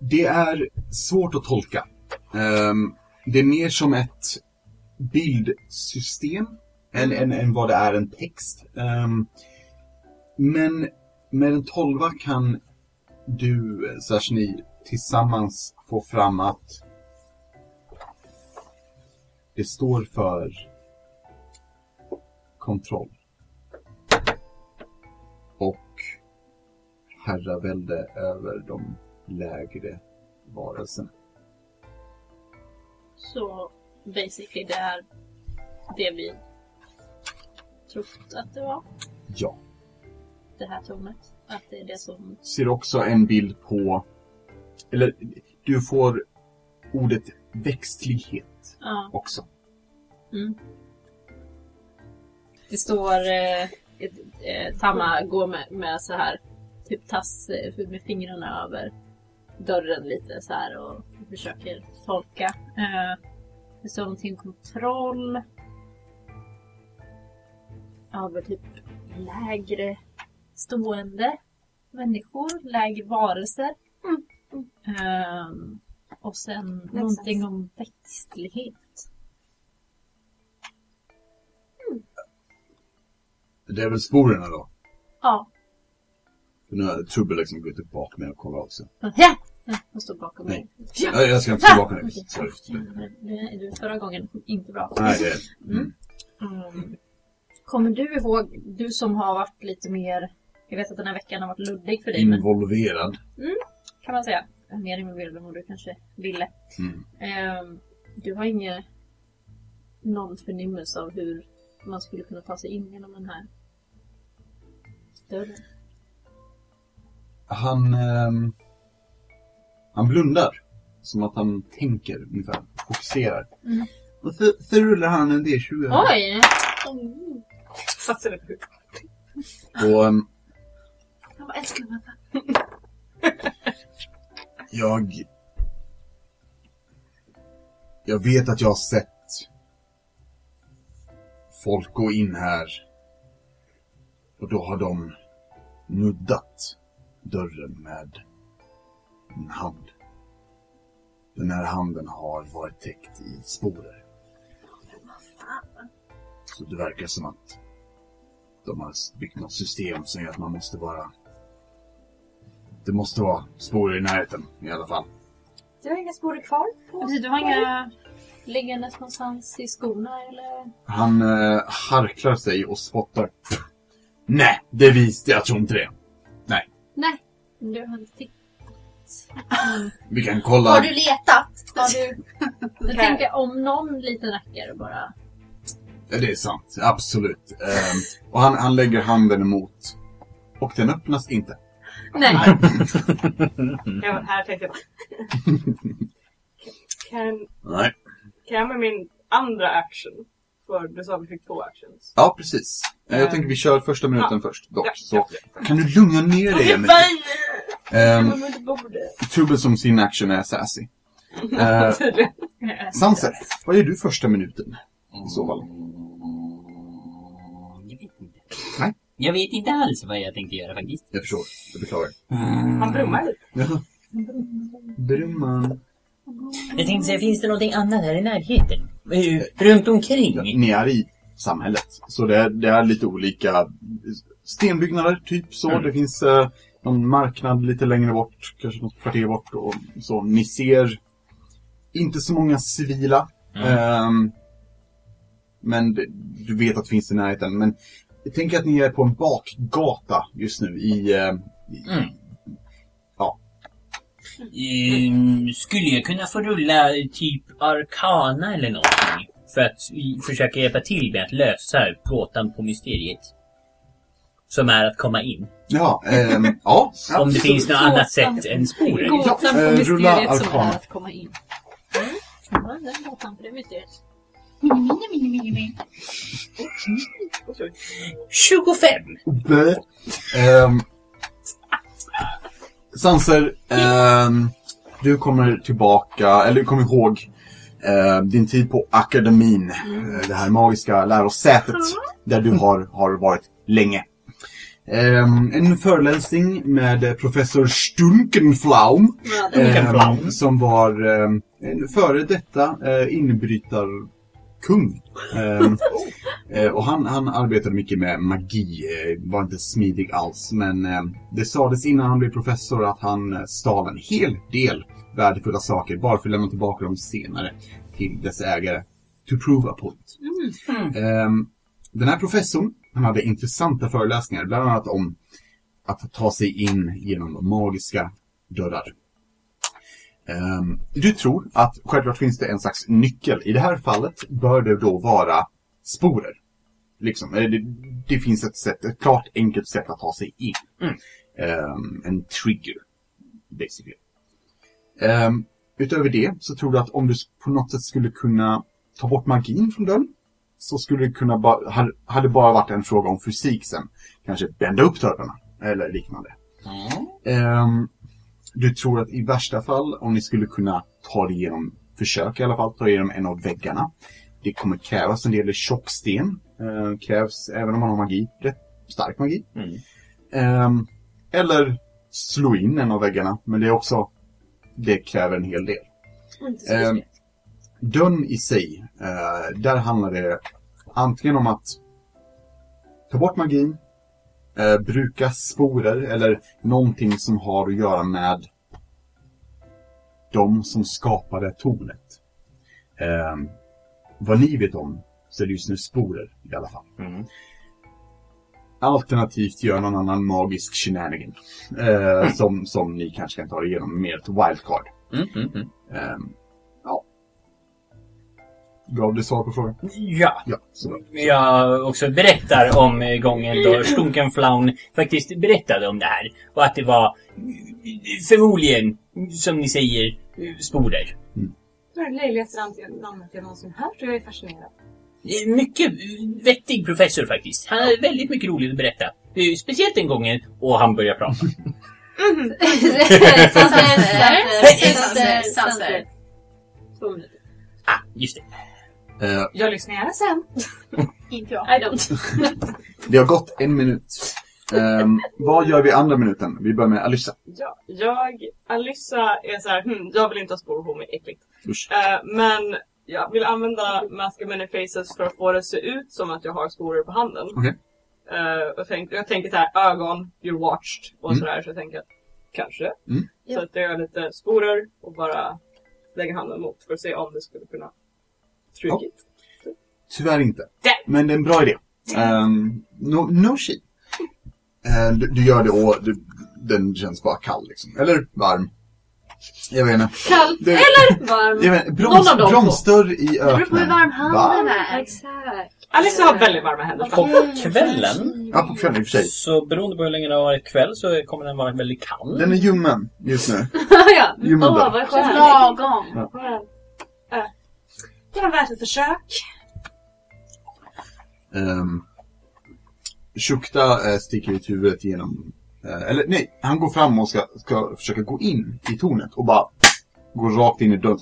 [SPEAKER 5] det är svårt att tolka. Ehm, det är mer som ett bildsystem än, än, än vad det är en text. Ehm, men med en tolva kan du, eh, slash ni, tillsammans få fram att det står för kontroll. Och herravälde över de lägre varelserna.
[SPEAKER 2] Så basically det är det vi trott att det var.
[SPEAKER 5] Ja.
[SPEAKER 2] Det här tornet. Att det är det som...
[SPEAKER 5] Ser också en bild på... Eller, du får ordet växtlighet
[SPEAKER 2] Ja.
[SPEAKER 5] också.
[SPEAKER 2] Det står... Eh, ett- eh, Tamma går med, med så här typ tass eh, med fingrarna över dörren lite så här och försöker tolka. Eh, det står någonting om kontroll. Över typ lägre stående människor, lägre varelser. Ehm, och sen någonting om växtlighet.
[SPEAKER 5] Det är väl sporerna då?
[SPEAKER 2] Ja.
[SPEAKER 5] För nu är Trubbel liksom gått tillbaka med och kollat också.
[SPEAKER 2] Ja! Hon står bakom mig.
[SPEAKER 5] Nej. Nej, jag ska inte tillbaka nu. Sorry.
[SPEAKER 2] Det- det- Förra gången kom inte bra.
[SPEAKER 5] Nej, det är... Mm.
[SPEAKER 2] Mm. Kommer du ihåg, du som har varit lite mer, jag vet att den här veckan har varit luddig för dig,
[SPEAKER 5] Mm.
[SPEAKER 2] men
[SPEAKER 5] Involverad.
[SPEAKER 2] kan man säga, mer involverad än vad du kanske ville.
[SPEAKER 5] Mm.
[SPEAKER 2] Ehm, du har ingen, någon förnimmelse av hur man skulle kunna ta sig in genom den här dörren?
[SPEAKER 5] Han... ehm, han blundar. Som att han tänker ungefär. Fokuserar.
[SPEAKER 2] Mm.
[SPEAKER 5] Och så, så rullar han en D20.
[SPEAKER 2] Oj!
[SPEAKER 1] Satsar det på huvudet.
[SPEAKER 5] Och ehm,
[SPEAKER 2] Jag bara älskar den här.
[SPEAKER 5] Jag... Jag vet att jag har sett folk gå in här. Och då har de nuddat dörren med en hand. Den här handen har varit täckt i sporer. Så det verkar som att de har byggt något system som gör att man måste vara Det måste vara spår i närheten i alla fall.
[SPEAKER 6] Du har inga sporer kvar?
[SPEAKER 2] Precis, du har inga liggandes någonstans i skorna eller?
[SPEAKER 5] Han eh, harklar sig och spottar. Nej, det visste jag tror inte det.
[SPEAKER 2] Nej, du har inte tittat.
[SPEAKER 5] Vi kan kolla.
[SPEAKER 3] Har du letat? Har du...
[SPEAKER 2] Jag tänker om någon liten rackare bara.
[SPEAKER 5] Ja, det är sant. Absolut. Ehm, och han, han lägger handen emot. Och den öppnas inte.
[SPEAKER 2] Nej.
[SPEAKER 5] Mm.
[SPEAKER 1] Jag var här tänkte jag bara... kan,
[SPEAKER 5] Nej.
[SPEAKER 1] kan jag med min andra action? För du sa vi fick två actions.
[SPEAKER 5] Ja, precis. Eh, Jag tänker vi kör första minuten först dock.
[SPEAKER 1] Ja,
[SPEAKER 5] så kan du lugna ner dig, Emily? Ehm,
[SPEAKER 1] Men det borde...
[SPEAKER 5] Trubbel som sin action är sassy. Eh,
[SPEAKER 1] Tydligen.
[SPEAKER 5] Sanser, vad gör du första minuten? I så fall.
[SPEAKER 7] Jag vet inte.
[SPEAKER 5] Nej.
[SPEAKER 7] Jag vet inte alls vad jag tänkte göra faktiskt.
[SPEAKER 5] Jag förstår. Jag beklagar.
[SPEAKER 1] Han brummar lite.
[SPEAKER 5] Brumman.
[SPEAKER 7] Jag tänkte säga, finns det någonting annat här i närheten? Eh, Runt omkring?
[SPEAKER 5] Ja, ni är i samhället. Så det är, det är lite olika stenbyggnader, typ så. Det finns eh, någon marknad lite längre bort, kanske något kvarter bort och så. Ni ser inte så många civila. Ehm, men det- du vet att det finns i närheten. Men jag tänker att ni är på en bakgata just nu i... eh, i
[SPEAKER 7] Mm.
[SPEAKER 5] Ja.
[SPEAKER 7] Ehm, skulle jag kunna få rulla typ arkana eller någonting? För att i- försöka hjälpa till med att lösa gåtan på mysteriet. Som är att komma in.
[SPEAKER 5] Ja, ehm, ja.
[SPEAKER 7] Om det
[SPEAKER 5] absolut.
[SPEAKER 7] finns något annat sätt än sporet.
[SPEAKER 2] Gåtan på
[SPEAKER 5] eh, rulla
[SPEAKER 2] mysteriet som
[SPEAKER 5] arkana.
[SPEAKER 2] är att komma in. Mm. Ja, den gåtan på det mysteriet.
[SPEAKER 7] 25!
[SPEAKER 5] Nej. Ehm, Sanser, ehm, du kommer tillbaka, eller du kommer ihåg eh, din tid på akademin. eh, Det här magiska lärosätet där du har, har varit länge. Ehm, en föreläsning med professor Stunkenflaum.
[SPEAKER 7] Stunkenflaum.
[SPEAKER 5] ehm, som var ehm, en före detta eh, inbrytarkung. Ehm, Eh, och han, han arbetade mycket med magi, eh, var inte smidig alls. Men eh, det sades innan han blev professor att han eh, stal en hel del värdefulla saker bara för att lämna tillbaka dem senare till dess ägare. To prove a point. Ehm, den här professorn, han hade intressanta föreläsningar, bland annat om att ta sig in genom magiska dörrar. Ehm, du tror att självklart finns det en slags nyckel. I det här fallet bör det då vara sporer. Liksom, eh, det, det finns ett sätt, ett klart enkelt sätt att ta sig in. Ehm, en trigger, basically. Ehm, utöver det så tror du att om du s- på något sätt skulle kunna ta bort magin från dörren så skulle det kunna bara, hade, hade bara varit en fråga om fysik sen. Kanske bända upp dörrarna eller liknande. Ehm, du tror att i värsta fall, om ni skulle kunna ta det igenom, försök i alla fall, ta igenom en av väggarna. Det kommer krävas en del tjock sten. Eh, krävs, även om man har magi, rätt stark magi.
[SPEAKER 4] Mm.
[SPEAKER 5] Ehm, eller slå in en av väggarna, men det är också, det kräver en hel del. Ehm, dörren i sig, eh, där handlar det antingen om att ta bort magin, eh, bruka sporer eller någonting som har att göra med de som skapade tornet. Eh, vad ni vet om så är det just nu sporer i alla fall.
[SPEAKER 4] Mm.
[SPEAKER 5] Alternativt gör någon annan magisk shenanigan. Eh, som, som ni kanske kan ta er igenom med ett wildcard.
[SPEAKER 4] Mm, mm, mm.
[SPEAKER 5] Eh, ja. Gav det svar på frågan?
[SPEAKER 4] Mm.
[SPEAKER 7] Ja.
[SPEAKER 5] Ja, så bra.
[SPEAKER 7] jag också berättar om eh, gången då Stunkenflaun faktiskt berättade om det här. Och att det var eh, förmodligen, som ni säger, eh, sporer.
[SPEAKER 6] Det var det löjligaste namn- namnet jag någonsin hört och jag är fascinerad.
[SPEAKER 7] Eh, Mycket eh, vettig professor faktiskt. Han hade väldigt mycket roligt att berätta. Eh, Speciellt den gången, och han börjar prata.
[SPEAKER 2] Sanser, sanser, sanser, sanser. Två minuter.
[SPEAKER 7] Ah, just det.
[SPEAKER 5] Eh,
[SPEAKER 6] Jag lyssnar gärna sen.
[SPEAKER 3] Inte jag.
[SPEAKER 2] I don't.
[SPEAKER 5] Det har gått en minut. Ehm, vad gör vi andra minuten? Vi börjar med Alyssa.
[SPEAKER 1] Ja, jag, Alyssa är så här, hm, jag vill inte ha spår på mig, äckligt.
[SPEAKER 5] Usch.
[SPEAKER 1] Eh, men jag vill använda Mask of Many Faces för att få det att se ut som att jag har sporer på handen.
[SPEAKER 5] Okej.
[SPEAKER 1] Eh, och tänk, jag tänker så här, ögon, you're watched och
[SPEAKER 5] Mm.
[SPEAKER 1] sådär. Så jag tänker att kanske.
[SPEAKER 5] Mm.
[SPEAKER 1] Så att jag gör lite sporer och bara lägger handen mot för att se om det skulle kunna trugit.
[SPEAKER 5] Tyvärr inte. Men det är en bra idé. Um, no, no shit. Eh, du, du gör det och du, den känns bara kall liksom. Eller varm. Jag vet inte.
[SPEAKER 3] Kall
[SPEAKER 5] Det,
[SPEAKER 3] eller varm.
[SPEAKER 5] jag vet, inte.
[SPEAKER 2] Någon av
[SPEAKER 5] brons,
[SPEAKER 2] dem
[SPEAKER 5] bronsdörr i öknen.
[SPEAKER 3] Det beror på hur varm handen
[SPEAKER 5] Va?
[SPEAKER 3] är.
[SPEAKER 9] Exakt.
[SPEAKER 1] Alice har väldigt varma händer.
[SPEAKER 4] På kvällen,
[SPEAKER 5] Ja, på kvällen i och för sig.
[SPEAKER 4] så beroende på hur länge det har varit kväll, så kommer den vara väldigt kall.
[SPEAKER 5] Den är ljummen just nu.
[SPEAKER 9] ja.
[SPEAKER 5] Ljummen
[SPEAKER 9] Åh,
[SPEAKER 5] dörr.
[SPEAKER 9] vad skönt.
[SPEAKER 3] Känns lagom.
[SPEAKER 6] Eh, Det var värt ett försök.
[SPEAKER 5] Um, Shukta eh, sticker ut huvudet genom... eh, eller nej, han går fram och ska, ska försöka gå in i tornet och bara går rakt in i dörren.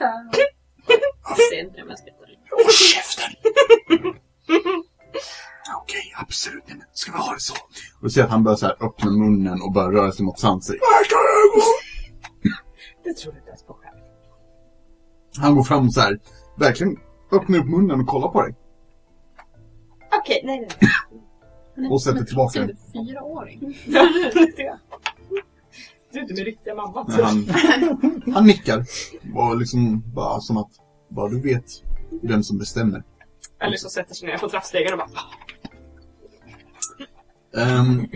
[SPEAKER 2] Jag ser inte om jag ska ta det.
[SPEAKER 5] Håll käften! Okej, absolut. Nej, men ska vi ha det så? Och du ser att han börjar så här öppna munnen och börjar röra sig mot Sansi.
[SPEAKER 1] Det tror jag inte ens på själv.
[SPEAKER 5] Han går fram och så här, verkligen öppnar upp munnen och kollar på dig.
[SPEAKER 6] Okej, nej, nej, nej.
[SPEAKER 5] Och sätter tillbaka
[SPEAKER 2] Som
[SPEAKER 5] den.
[SPEAKER 2] en fyraåring.
[SPEAKER 1] Du är inte min riktiga mamma.
[SPEAKER 5] Men han, han nickar. Och liksom bara som att, bara du vet vem som bestämmer.
[SPEAKER 1] Eller så sätter sig ner på trappstegen och bara "Ah,
[SPEAKER 5] Ehm,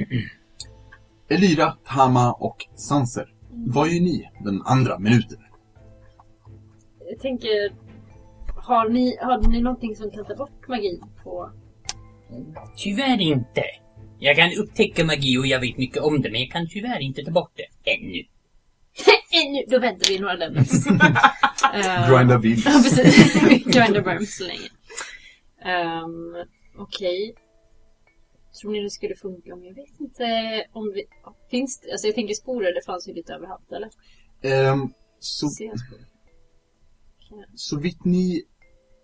[SPEAKER 5] Elira, Tama och Sanser. Vad gör ni den andra minuten?
[SPEAKER 2] Jag tänker, har ni, har ni någonting som kan ta bort magin på...
[SPEAKER 7] Tyvärr inte. Jag kan upptäcka magi och jag vet mycket om det, men jag kan tyvärr inte ta bort det. Ännu.
[SPEAKER 2] nu, då väntar vi några levels. Eh,
[SPEAKER 5] Grinda vid.
[SPEAKER 2] Ja, precis. Grinder Worm så länge. Ehm, Okej. Tror ni det skulle funka om jag vet inte om vi... Finns det... Alltså jag tänker sporer, det fanns ju lite överallt eller?
[SPEAKER 5] Ehm, så
[SPEAKER 2] Ser jag sporer?
[SPEAKER 5] så vitt ni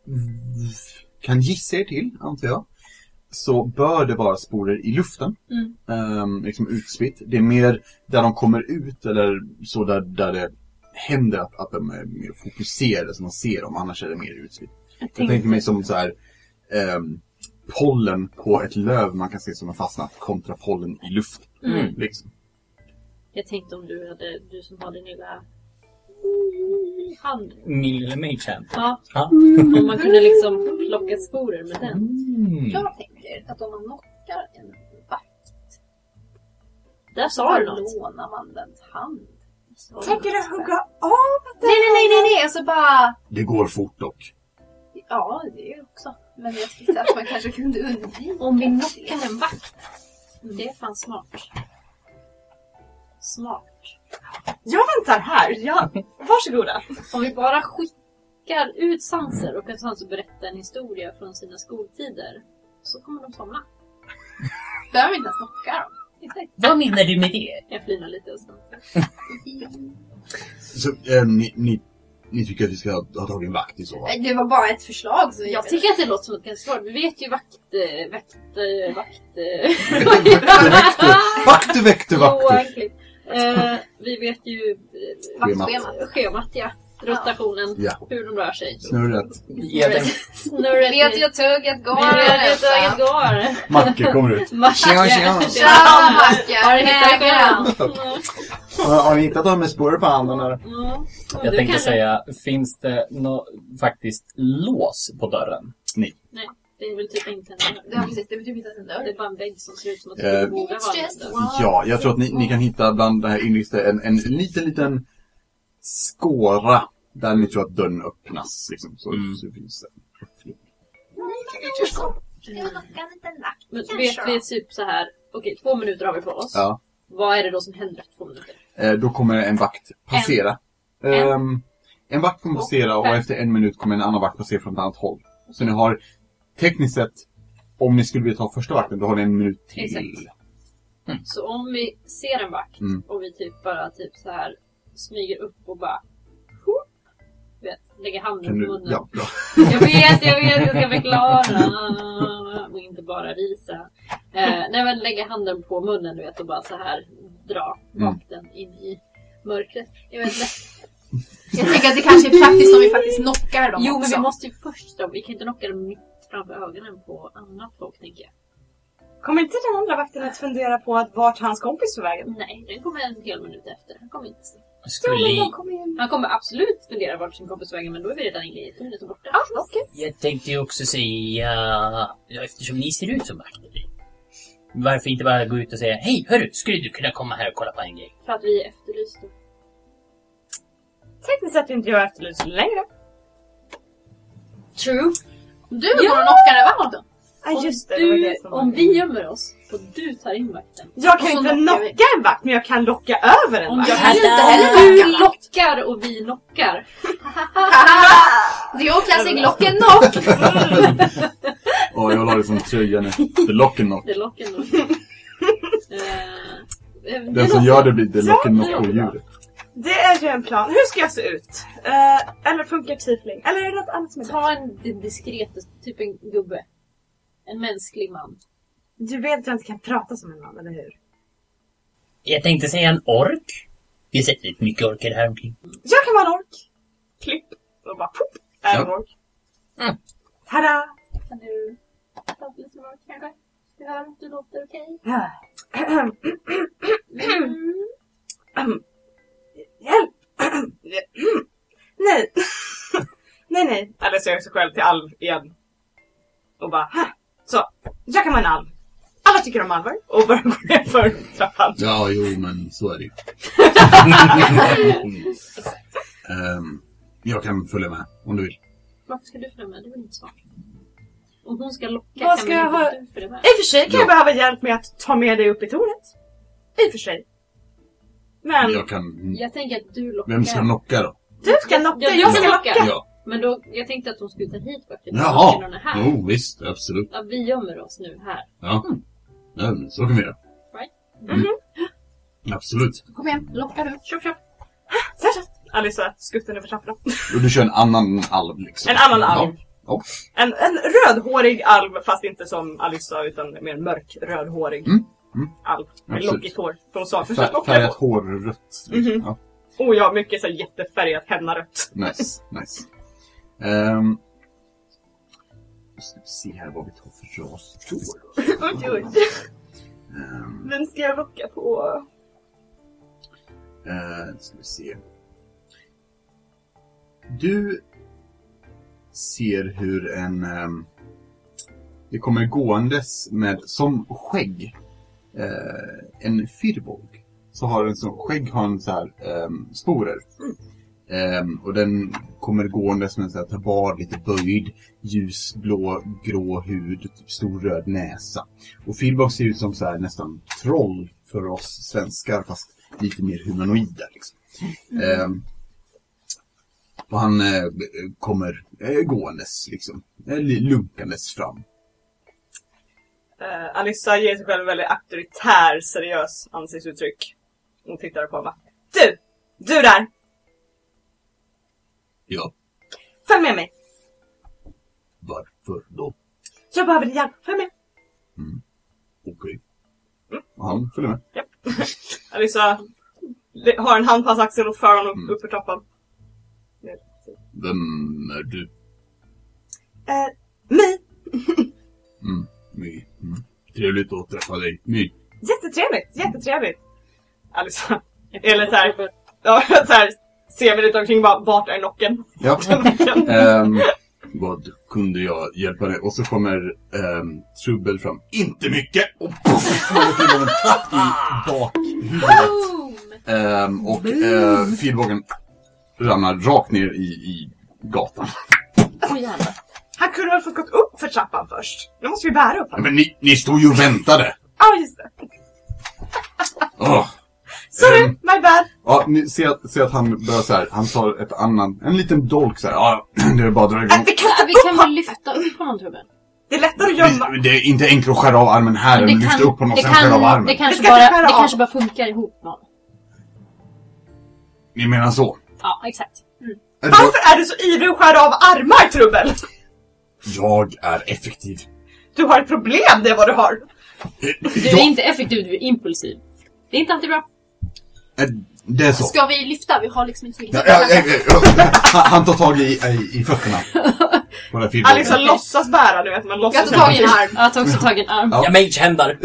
[SPEAKER 5] v- kan gissa er till, antar jag, så bör det vara sporer i luften.
[SPEAKER 2] Mm.
[SPEAKER 5] Ehm, liksom utspritt. Det är mer där de kommer ut eller så där, där det händer att, att de är mer fokuserade så man ser dem, annars är det mer utspritt. Jag tänker, mig som så här ehm, pollen på ett löv man kan se som har fastnat kontra pollen i luften.
[SPEAKER 2] Mm.
[SPEAKER 5] Liksom.
[SPEAKER 2] Jag tänkte om du hade... Du som har din lilla... Hand.
[SPEAKER 4] Min lilla mage
[SPEAKER 2] Ja.
[SPEAKER 4] Ja.
[SPEAKER 2] Om man kunde liksom plocka sporer med den.
[SPEAKER 4] mm.
[SPEAKER 3] Jag tänker att om man knockar en
[SPEAKER 2] Där sa
[SPEAKER 3] så
[SPEAKER 2] du något.
[SPEAKER 3] lånar man dens hand.
[SPEAKER 6] Tänker du hugga av?
[SPEAKER 3] Nej, nej, nej, nej, nej, alltså bara...
[SPEAKER 5] Det går fort dock.
[SPEAKER 3] Ja, det är också. Men jag tyckte att man kanske kunde undvika.
[SPEAKER 2] Om vi knockar en vakt. Det är fan smart. Smart.
[SPEAKER 6] Jag väntar här. Ja, varsågoda.
[SPEAKER 2] Om vi bara skickar ut Sanser och att Sanser berättar en historia från sina skoltider så kommer de somna.
[SPEAKER 3] Behöver inte ens knocka dem.
[SPEAKER 2] Exakt.
[SPEAKER 7] Vad menar du med det?
[SPEAKER 2] Jag flinar lite och Sanser.
[SPEAKER 5] Så ehm, ni, ni, ni tycker att vi ska ha, ha tagit en vakt i så fall?
[SPEAKER 3] Nej, Det var bara ett förslag. Så
[SPEAKER 2] Jag tycker att det låter som ett ganska svar. Vi vet ju vakt... eh, vakt... eh, vakt... eh,
[SPEAKER 5] Vaktu, väktu, vaktu!
[SPEAKER 2] Joakim. Eh, vi vet ju eh,
[SPEAKER 5] Schemat.
[SPEAKER 2] schemat, ja. Rotationen,
[SPEAKER 5] Ja.
[SPEAKER 2] hur de rör sig.
[SPEAKER 5] Snurret.
[SPEAKER 4] Ge den
[SPEAKER 2] Snurret
[SPEAKER 3] Vet
[SPEAKER 2] i-
[SPEAKER 3] jag tugget går.
[SPEAKER 2] Vet ju att ögat går.
[SPEAKER 5] Macke kommer ut.
[SPEAKER 8] Tjena, tjena.
[SPEAKER 2] Det
[SPEAKER 3] Tja,
[SPEAKER 2] var-
[SPEAKER 3] Mackan.
[SPEAKER 2] Har du hittat
[SPEAKER 3] Ägaren.
[SPEAKER 2] det?
[SPEAKER 5] Har, har ni hittat dem med spår på handen eller?
[SPEAKER 2] Mm.
[SPEAKER 4] Jag
[SPEAKER 2] Du
[SPEAKER 4] tänkte
[SPEAKER 2] kanske-
[SPEAKER 4] säga, finns det nå faktiskt lås på dörren?
[SPEAKER 2] Det är väl typ inte en dörr.
[SPEAKER 3] Ja, precis. Det betyder inte ens en
[SPEAKER 2] Det
[SPEAKER 3] dörr.
[SPEAKER 2] är bara en vägg som ser ut som att
[SPEAKER 5] Eh,
[SPEAKER 2] det borde vara en dörr.
[SPEAKER 5] Ja, jag tror att ni, ni kan hitta bland det här inrista en, en liten, liten skåra där ni tror att dörren öppnas. Liksom. Så,
[SPEAKER 4] Mm.
[SPEAKER 5] så finns det.
[SPEAKER 2] Men vet vi typ så här, okej två minuter har vi på oss.
[SPEAKER 5] Ja.
[SPEAKER 2] Vad är det då som händer efter två minuter?
[SPEAKER 5] Eh, då kommer en vakt passera. En,
[SPEAKER 2] En.
[SPEAKER 5] en vakt kommer passera och efter en minut kommer en annan vakt passera från ett annat håll. Så ni har tekniskt sett, om ni skulle vilja ta första vakten, då har ni en minut till.
[SPEAKER 2] Exakt. Så om vi ser en vakt
[SPEAKER 5] Mm.
[SPEAKER 2] och vi typ bara typ så här smyger upp och bara whoop, vet, lägger handen
[SPEAKER 5] Kan
[SPEAKER 2] på
[SPEAKER 5] du,
[SPEAKER 2] munnen.
[SPEAKER 5] ja, bra.
[SPEAKER 2] Jag vet, jag vet, jag ska förklara. Och inte bara visa. Eh, nej men lägga handen på munnen du vet och bara så här dra
[SPEAKER 5] Mm.
[SPEAKER 2] vakten in i mörkret. Jag vet inte.
[SPEAKER 3] Jag tänker att det kanske är praktiskt om vi faktiskt knockar dem
[SPEAKER 2] Jo men
[SPEAKER 3] också.
[SPEAKER 2] vi måste ju först då, vi kan ju inte knocka dem mitt framför ögonen på annat folk tänker jag.
[SPEAKER 1] Kommer inte den andra vakten att fundera på att vart hans kompis tog vägen?
[SPEAKER 2] Nej, den kommer en hel minut efter. Han kommer inte se.
[SPEAKER 1] Ja,
[SPEAKER 7] Skulle...
[SPEAKER 1] de kommer ju...
[SPEAKER 2] Han kommer absolut fundera vart sin kompis vägen men då är vi redan inne i ett minut och borta.
[SPEAKER 1] Ah, okej.
[SPEAKER 7] Jag tänkte ju också säga... Ja, eftersom ni ser ut som vakter. typ. Varför inte bara gå ut och säga Hej, hörru, skulle du kunna komma här och kolla på en grej?
[SPEAKER 2] För att vi är efterlysta.
[SPEAKER 1] Tekniskt sett är inte jag efterlyst längre.
[SPEAKER 2] True.
[SPEAKER 3] Du går och knockar över honom.
[SPEAKER 1] Ja,
[SPEAKER 2] Om,
[SPEAKER 1] Ah, just det. det var
[SPEAKER 2] du,
[SPEAKER 1] det som var
[SPEAKER 2] om
[SPEAKER 1] det.
[SPEAKER 2] vi gömmer oss och du tar in vakten.
[SPEAKER 1] Jag kan
[SPEAKER 3] Och så
[SPEAKER 1] inte
[SPEAKER 3] knockar vi.
[SPEAKER 1] knocka en vakt, men jag kan locka över en
[SPEAKER 2] Om
[SPEAKER 1] vakt. Alltså,
[SPEAKER 2] jag
[SPEAKER 7] Hallå!
[SPEAKER 2] inte heller du lockar och vi knockar.
[SPEAKER 3] Det är ju classic lock and knock.
[SPEAKER 5] Ja, jag la det som tröja nu. The lock and knock.
[SPEAKER 2] Det är locken då. Eh, det
[SPEAKER 5] Den som
[SPEAKER 2] låter-
[SPEAKER 5] gör det blir the lock and knock på djuret.
[SPEAKER 1] Det är ju en plan. Hur ska jag se ut? Eh, eller funkar tiefling? Eller är det något annat som är bra?
[SPEAKER 2] Ta en diskret, typ en gubbe. En mänsklig man.
[SPEAKER 1] Du vet att jag inte kan prata som en man, eller hur?
[SPEAKER 7] Jag tänkte säga en ork. Vi har sett rätt mycket orker här omkring.
[SPEAKER 1] Jag kan vara en ork. Klipp. Och bara pop, är en
[SPEAKER 10] Ja.
[SPEAKER 1] ork.
[SPEAKER 7] Mm.
[SPEAKER 1] Tada!
[SPEAKER 2] Kan du prata lite med oss kanske? Du hör att du låter okej.
[SPEAKER 1] Hjälp! nej. nej, nej. Eller så gör jag sig själv till alv igen. Och bara, "Hä." så. Jag kan vara en alv. Alla tycker om alvar. Och bara går ner för trappan.
[SPEAKER 5] Ja, jo, men så är det ju. Ehm, jag kan följa med om du vill.
[SPEAKER 2] Varför ska du följa med? Det var inte smart. Om hon ska Eh! locka
[SPEAKER 1] Vad
[SPEAKER 2] kan
[SPEAKER 1] ska
[SPEAKER 2] väl
[SPEAKER 1] jag
[SPEAKER 2] inte
[SPEAKER 1] ha-
[SPEAKER 2] du följa med?
[SPEAKER 1] I och för sig kan
[SPEAKER 5] Ja.
[SPEAKER 1] jag behöva hjälp med att ta med dig upp i tornet. I och för sig. Men
[SPEAKER 5] Jag kan...
[SPEAKER 2] Jag tänker att du lockar.
[SPEAKER 5] Vem ska knocka då?
[SPEAKER 1] du ska knocka,
[SPEAKER 2] Ja, du
[SPEAKER 1] jag
[SPEAKER 2] ska
[SPEAKER 1] ska
[SPEAKER 2] knocka.
[SPEAKER 1] knocka.
[SPEAKER 5] Ja.
[SPEAKER 2] Men då, jag tänkte att hon skulle ta hit vakten.
[SPEAKER 5] Jaha!
[SPEAKER 2] Hon är här.
[SPEAKER 5] Jo, visst. Absolut.
[SPEAKER 2] Ja, vi gömmer oss nu här.
[SPEAKER 5] Ja. ja men så kan vi göra.
[SPEAKER 2] Right.
[SPEAKER 5] Mm. Absolut.
[SPEAKER 3] Kom igen, locka nu. Tjoff tjoff.
[SPEAKER 1] Så, så. Alissa, skuttar över trappan.
[SPEAKER 5] Och du kör en annan alv liksom.
[SPEAKER 1] En annan alv.
[SPEAKER 5] Ja.
[SPEAKER 1] En, en rödhårig alv, fast inte som Alissa utan mer mörk rödhårig
[SPEAKER 5] Mm. Mm.
[SPEAKER 1] alv. Med
[SPEAKER 5] Absolut.
[SPEAKER 1] lockigt hår. För hon sa
[SPEAKER 5] Ja.
[SPEAKER 1] försök
[SPEAKER 5] Fär-
[SPEAKER 1] locka
[SPEAKER 5] Färgat
[SPEAKER 1] hår.
[SPEAKER 5] hår rött.
[SPEAKER 1] Mhm.
[SPEAKER 5] Ja.
[SPEAKER 1] Oh ja, mycket så här jättefärgat henna-rött.
[SPEAKER 5] Nice, nice. Um, ska vi se här vad vi tar för ras då.
[SPEAKER 1] Oj, oj.
[SPEAKER 5] Ehm,
[SPEAKER 1] Vem ska jag locka på?
[SPEAKER 5] eh, ska vi se. Du ser hur en... ehm, det kommer gåendes med, som skägg, eh, en firbolg. Så har en sån, skägg har en så här ehm, sporer. Ehm, och den kommer gåendes med en sån här tabard, lite böjd, ljusblå, grå hud, typ stor röd näsa. Och firbolg ser ut som så här nästan troll för oss svenskar, fast lite mer humanoida liksom. Ehm, och han eh, kommer eh, gåendes liksom, eh, lunkandes fram.
[SPEAKER 1] Eh, Alissa ger sig själv en väldigt auktoritär, seriös ansiktsuttryck. Hon tittar på honom och bara, Du! Du där!
[SPEAKER 5] Ja,
[SPEAKER 1] Följ med mig!
[SPEAKER 5] varför då?
[SPEAKER 1] Jag behöver din hjälp, följ med!
[SPEAKER 5] Okej. Och han följer med.
[SPEAKER 1] Alissa le- har en hand på hans axel och för honom
[SPEAKER 5] Mm.
[SPEAKER 1] upp för trappan.
[SPEAKER 5] Vem är du?
[SPEAKER 1] Eh, My!
[SPEAKER 5] My. Mm. Trevligt att träffa dig, My.
[SPEAKER 1] Jättetrevligt, jättetrevligt! Alissa,
[SPEAKER 2] Jag
[SPEAKER 1] Eller så här.
[SPEAKER 2] får-
[SPEAKER 1] ja så här, ser vi lite omkring bara, vart är nocken?
[SPEAKER 5] Ja. Ehm, vad kunde jag hjälpa dig? Och så kommer ehm, Trubbel fram. Inte mycket! Och poff! Slår till honom platt i bakhuvudet.
[SPEAKER 2] Boom!
[SPEAKER 5] Ehm, och uh, filbågen ramlar rakt ner i, i gatan.
[SPEAKER 1] Han kunde väl fått gått upp för trappan först? Nu måste vi bära upp
[SPEAKER 5] Ja,
[SPEAKER 1] honom.
[SPEAKER 5] Men ni, ni stod ju och väntade!
[SPEAKER 1] Ja, just det.
[SPEAKER 5] Åh.
[SPEAKER 1] Sorry,
[SPEAKER 5] Ehm.
[SPEAKER 1] my bad!
[SPEAKER 5] Ja, ni ser att, ser att han börjar så här. Han tar ett annan, en liten dolk så här. Ja, det är bara att dra igång.
[SPEAKER 1] Äh, vi kastar
[SPEAKER 2] Ja, vi
[SPEAKER 1] upp
[SPEAKER 2] kan
[SPEAKER 1] honom!
[SPEAKER 2] väl lyfta upp honom Tubben?
[SPEAKER 1] Det är lättare att gömma.
[SPEAKER 5] Det, det är inte enkelt att skära av armen här än att lyfta upp honom och
[SPEAKER 2] det,
[SPEAKER 5] sen skära av
[SPEAKER 2] kan,
[SPEAKER 5] armen.
[SPEAKER 2] det, kanske
[SPEAKER 1] Vi ska inte
[SPEAKER 2] bara,
[SPEAKER 1] skära
[SPEAKER 2] det
[SPEAKER 1] av.
[SPEAKER 2] kanske bara funkar ihop med honom.
[SPEAKER 5] Ni menar så?
[SPEAKER 2] Ja, exakt.
[SPEAKER 5] Då-
[SPEAKER 1] Varför är du så ivrig att skära av armar, Trubbel?
[SPEAKER 5] Jag är effektiv.
[SPEAKER 1] Du har ett problem, det är vad du har.
[SPEAKER 2] Du är inte effektiv, du är impulsiv. Det är inte alltid bra.
[SPEAKER 5] Eh, Det är så.
[SPEAKER 3] Ska vi lyfta? Vi har liksom inte så mycket
[SPEAKER 5] Ja,
[SPEAKER 3] tid.
[SPEAKER 5] ja, ja, ja, ja. Han han tar tag i, i, i fötterna. På det här filmen.
[SPEAKER 6] Alex har låtsas bära, du vet. Man
[SPEAKER 3] Jag
[SPEAKER 6] låtsas
[SPEAKER 3] tar tag i en arm.
[SPEAKER 2] Jag tar också tag i en arm.
[SPEAKER 5] Ja.
[SPEAKER 4] Jag mage-händar.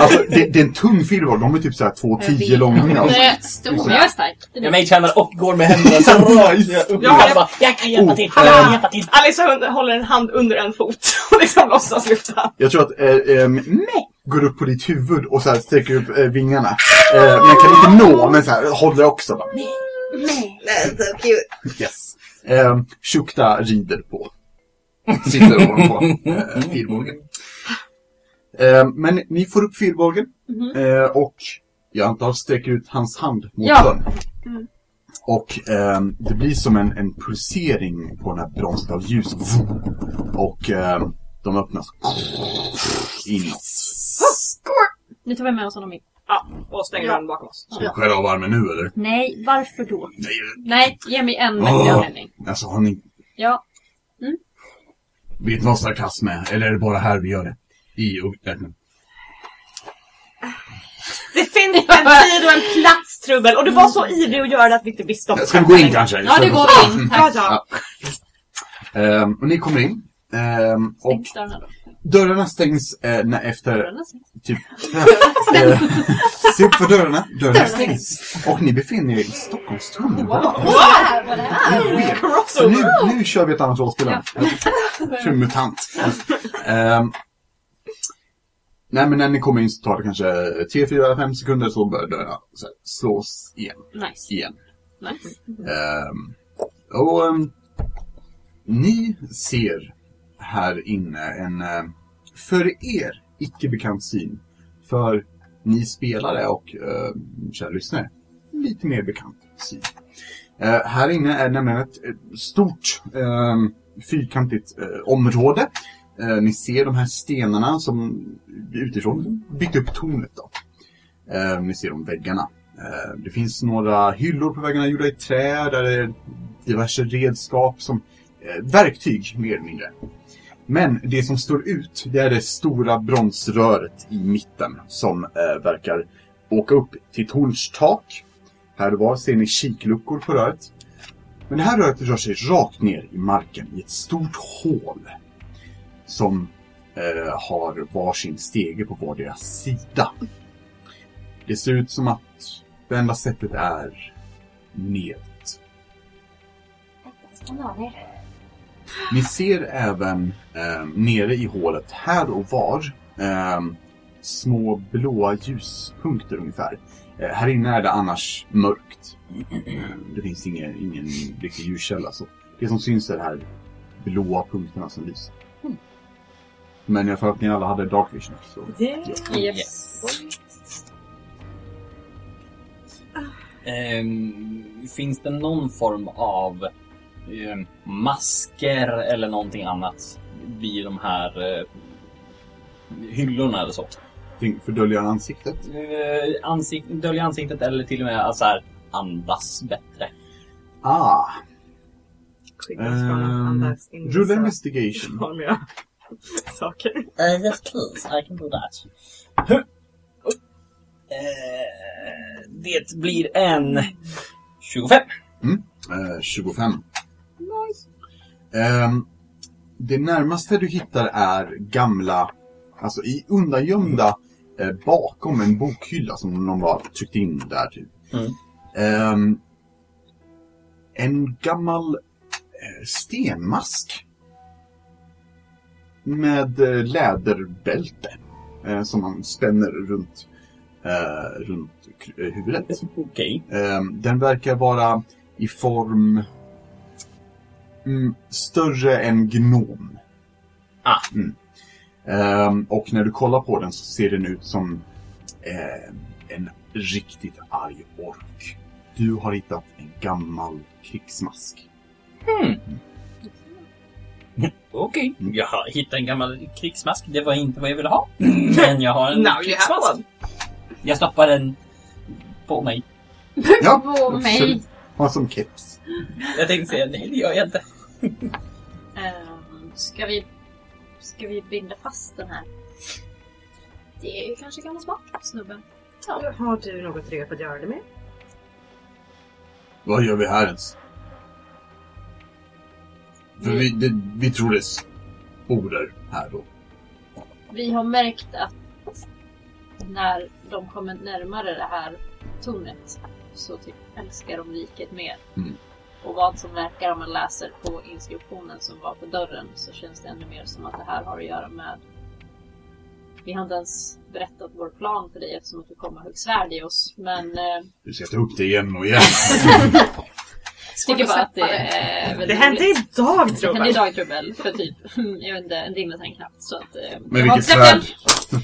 [SPEAKER 5] Alltså, det, det är en tung filboll. De är typ såhär
[SPEAKER 2] Jag
[SPEAKER 5] 2,10
[SPEAKER 2] vet.
[SPEAKER 5] långa.
[SPEAKER 2] Men jag-
[SPEAKER 3] Stor.
[SPEAKER 2] men Eh, jag är stark.
[SPEAKER 4] Jag mage-händar och går med händerna så rakt upp i
[SPEAKER 6] Ja,
[SPEAKER 4] jag, bara, jag kan hjälpa
[SPEAKER 5] Oh,
[SPEAKER 4] till, jag kan
[SPEAKER 6] eh,
[SPEAKER 4] hjälpa till.
[SPEAKER 6] Alice har- håller en hand under en fot och liksom låtsas lyfta.
[SPEAKER 5] Jag tror att eh, eh, meh går upp på ditt huvud och så här sträcker upp eh, vingarna. Eh, men jag kan inte nå, men så här, håller också. Bara, meh. Yes. Eh, Shukta rider på. Sitter ovanpå eh, fyrbågen. Eh, men ni får upp fyrbågen eh, och jag antar sträcker ut hans hand mot
[SPEAKER 2] Ja.
[SPEAKER 5] dörren. Och eh, det blir som en, en pulsering på den här bronset av ljus. Och eh, de öppnas inåt.
[SPEAKER 2] Nu tar vi med oss honom in.
[SPEAKER 6] Ja, och stänger dörren bakom oss.
[SPEAKER 5] Ska vi skära av armen nu eller?
[SPEAKER 2] Nej, varför då?
[SPEAKER 5] Nej,
[SPEAKER 2] Nej, ge mig en
[SPEAKER 5] Åh.
[SPEAKER 2] oh. anledning.
[SPEAKER 5] alltså har ni...
[SPEAKER 2] Ja,
[SPEAKER 5] Vet ni vad sarkasm är? Eller är det bara här vi gör det? I öknen.
[SPEAKER 6] Det finns en tid och en plats, Trubbel. Och du var så ivrig att göra det att vi inte visste om
[SPEAKER 5] Ska vi gå in kanske?
[SPEAKER 2] ja det går in.
[SPEAKER 6] Ja,
[SPEAKER 2] Tack.
[SPEAKER 6] ja.
[SPEAKER 5] Ehm, och ni kommer in. Ehm, och
[SPEAKER 2] Stängs dörrarna då?
[SPEAKER 5] dörrarna stängs eh, när efter...
[SPEAKER 2] Dörrarna stängs.
[SPEAKER 5] Typ, Eh, se upp för dörrarna. Dörrarna stängs. Och ni befinner er i Stockholms tunnelbana.
[SPEAKER 3] Vad är det här?
[SPEAKER 5] Weird. Så
[SPEAKER 6] Crossover.
[SPEAKER 5] nu, Eh, nu kör vi ett annat rollspel. Ja. Kör mutant. Ehm, nej men när ni kommer in så tar det kanske 3, 4, 5 sekunder så börjar dörrarna så här slås igen.
[SPEAKER 2] Nice.
[SPEAKER 5] igen.
[SPEAKER 2] nice.
[SPEAKER 5] Ehm, och ehm, ni ser här inne en ehm, för er icke bekant syn. För ni spelare och ehm, kära lyssnare, lite mer bekant syn. Eh, här inne är nämligen ett eh, stort ehm, fyrkantigt eh, område. Eh, ni ser de här stenarna som utifrån byggt upp tornet. Då. Eh, ni ser de väggarna. Eh, Det finns några hyllor på väggarna gjorda i trä där det är diverse redskap som eh, verktyg mer eller mindre. Men det som står ut det är det stora bronsröret i mitten som eh, verkar åka upp till torns tak. Här och var ser ni kikluckor på röret. Men det här röret rör sig rakt ner i marken i ett stort hål som eh, har varsin stege på vardera sida. Det ser ut som att det enda sättet är neråt. Ni ser även eh, nere i hålet, här och var, eh, små blåa ljuspunkter ungefär. Eh, här inne är det annars mörkt. Eh, Det finns ingen, ingen riktig ljuskälla. Så det som syns är de här blåa punkterna som lyser. Men jag för att ni alla hade dark vision. Så.
[SPEAKER 2] Yes.
[SPEAKER 4] Ehm, finns det någon form av ehm, masker eller någonting annat vid de här eh, hyllorna eller så?
[SPEAKER 5] Tänk fördölja ansiktet.
[SPEAKER 4] Eh, ansik- dölja ansiktet eller till och med alltså här, andas bättre.
[SPEAKER 5] Ah! Ehm, Rulla
[SPEAKER 6] Rulla
[SPEAKER 5] investigation.
[SPEAKER 6] Saker.
[SPEAKER 4] Uh, yes please, I can do that. Eh, det blir en 25.
[SPEAKER 5] Eh, 25. Ehm, det närmaste du hittar är gamla, alltså i undangömda eh, bakom en bokhylla som någon har tryckt in där typ.
[SPEAKER 4] Mm.
[SPEAKER 5] Ehm, en gammal eh, stenmask. Med eh, läderbälte. Eh, som man spänner runt, eh, runt k- eh, huvudet.
[SPEAKER 4] Okej.
[SPEAKER 5] Ehm, den verkar vara i form mm, större än gnom.
[SPEAKER 4] Ah.
[SPEAKER 5] Mm. Ehm, och när du kollar på den så ser den ut som eh, en riktigt arg ork. Du har hittat en gammal krigsmask.
[SPEAKER 4] Okej, jag har hittat en gammal krigsmask. Det var inte vad jag ville ha. Men jag har en
[SPEAKER 6] Now you have
[SPEAKER 4] krigsmask.
[SPEAKER 6] one.
[SPEAKER 4] Jag stoppar den på mig.
[SPEAKER 2] På mig.
[SPEAKER 5] absolut. Har som keps.
[SPEAKER 4] Jag tänkte säga nej, det gör jag inte.
[SPEAKER 2] Ehm, ska vi... Ska vi binda fast den här? Det är ju kanske gammal smart, snubben.
[SPEAKER 6] Har du något rep att göra det med?
[SPEAKER 5] Vad gör vi här ens? För vi, det, vi tror det är sporer här då.
[SPEAKER 2] Vi har märkt att när de kommer närmare det här tornet så typ älskar de riket mer.
[SPEAKER 5] Mm.
[SPEAKER 2] Och vad som verkar om man läser på inskriptionen som var på dörren så känns det ännu mer som att det här har att göra med... Vi har inte ens berättat vår plan för dig eftersom att du kommer ha högsvärd i oss men... Eh,
[SPEAKER 5] Du sätter upp det igen och igen.
[SPEAKER 2] tycker bara att det är väldigt
[SPEAKER 6] Det hände
[SPEAKER 2] roligt.
[SPEAKER 6] idag
[SPEAKER 2] Det hände
[SPEAKER 6] Trubbel!
[SPEAKER 2] idag Trubbel för typ, jag vet inte, en timme sedan knappt så att... Eh,
[SPEAKER 5] Med
[SPEAKER 2] jag har
[SPEAKER 5] vilket
[SPEAKER 2] släppt
[SPEAKER 5] svärd?
[SPEAKER 2] den.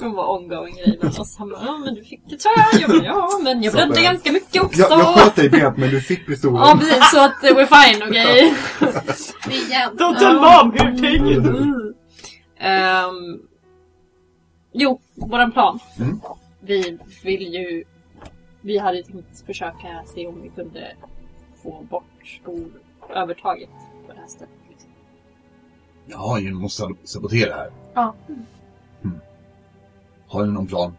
[SPEAKER 2] Hon var ongoing grej med oss. Han bara, ja men du fick ett svärd. Jag bara, ja men jag
[SPEAKER 5] Så
[SPEAKER 2] blödde
[SPEAKER 5] bara-
[SPEAKER 2] ganska mycket också.
[SPEAKER 5] jag, jag sköt dig i benet men du fick pistolen.
[SPEAKER 2] Ja precis, så att eh, we're fine, okej?
[SPEAKER 3] Det är jävligt.
[SPEAKER 6] Don't tell mom hur tänker du?
[SPEAKER 2] Ehm, jo, våran plan.
[SPEAKER 5] Mm.
[SPEAKER 2] Vi vill ju... Vi hade ju tänkt försöka se om vi kunde få bort skolövertaget på det här stället. Liksom.
[SPEAKER 5] Jaha, ni måste sabotera här.
[SPEAKER 2] Ja.
[SPEAKER 5] Mm. Har ni någon plan?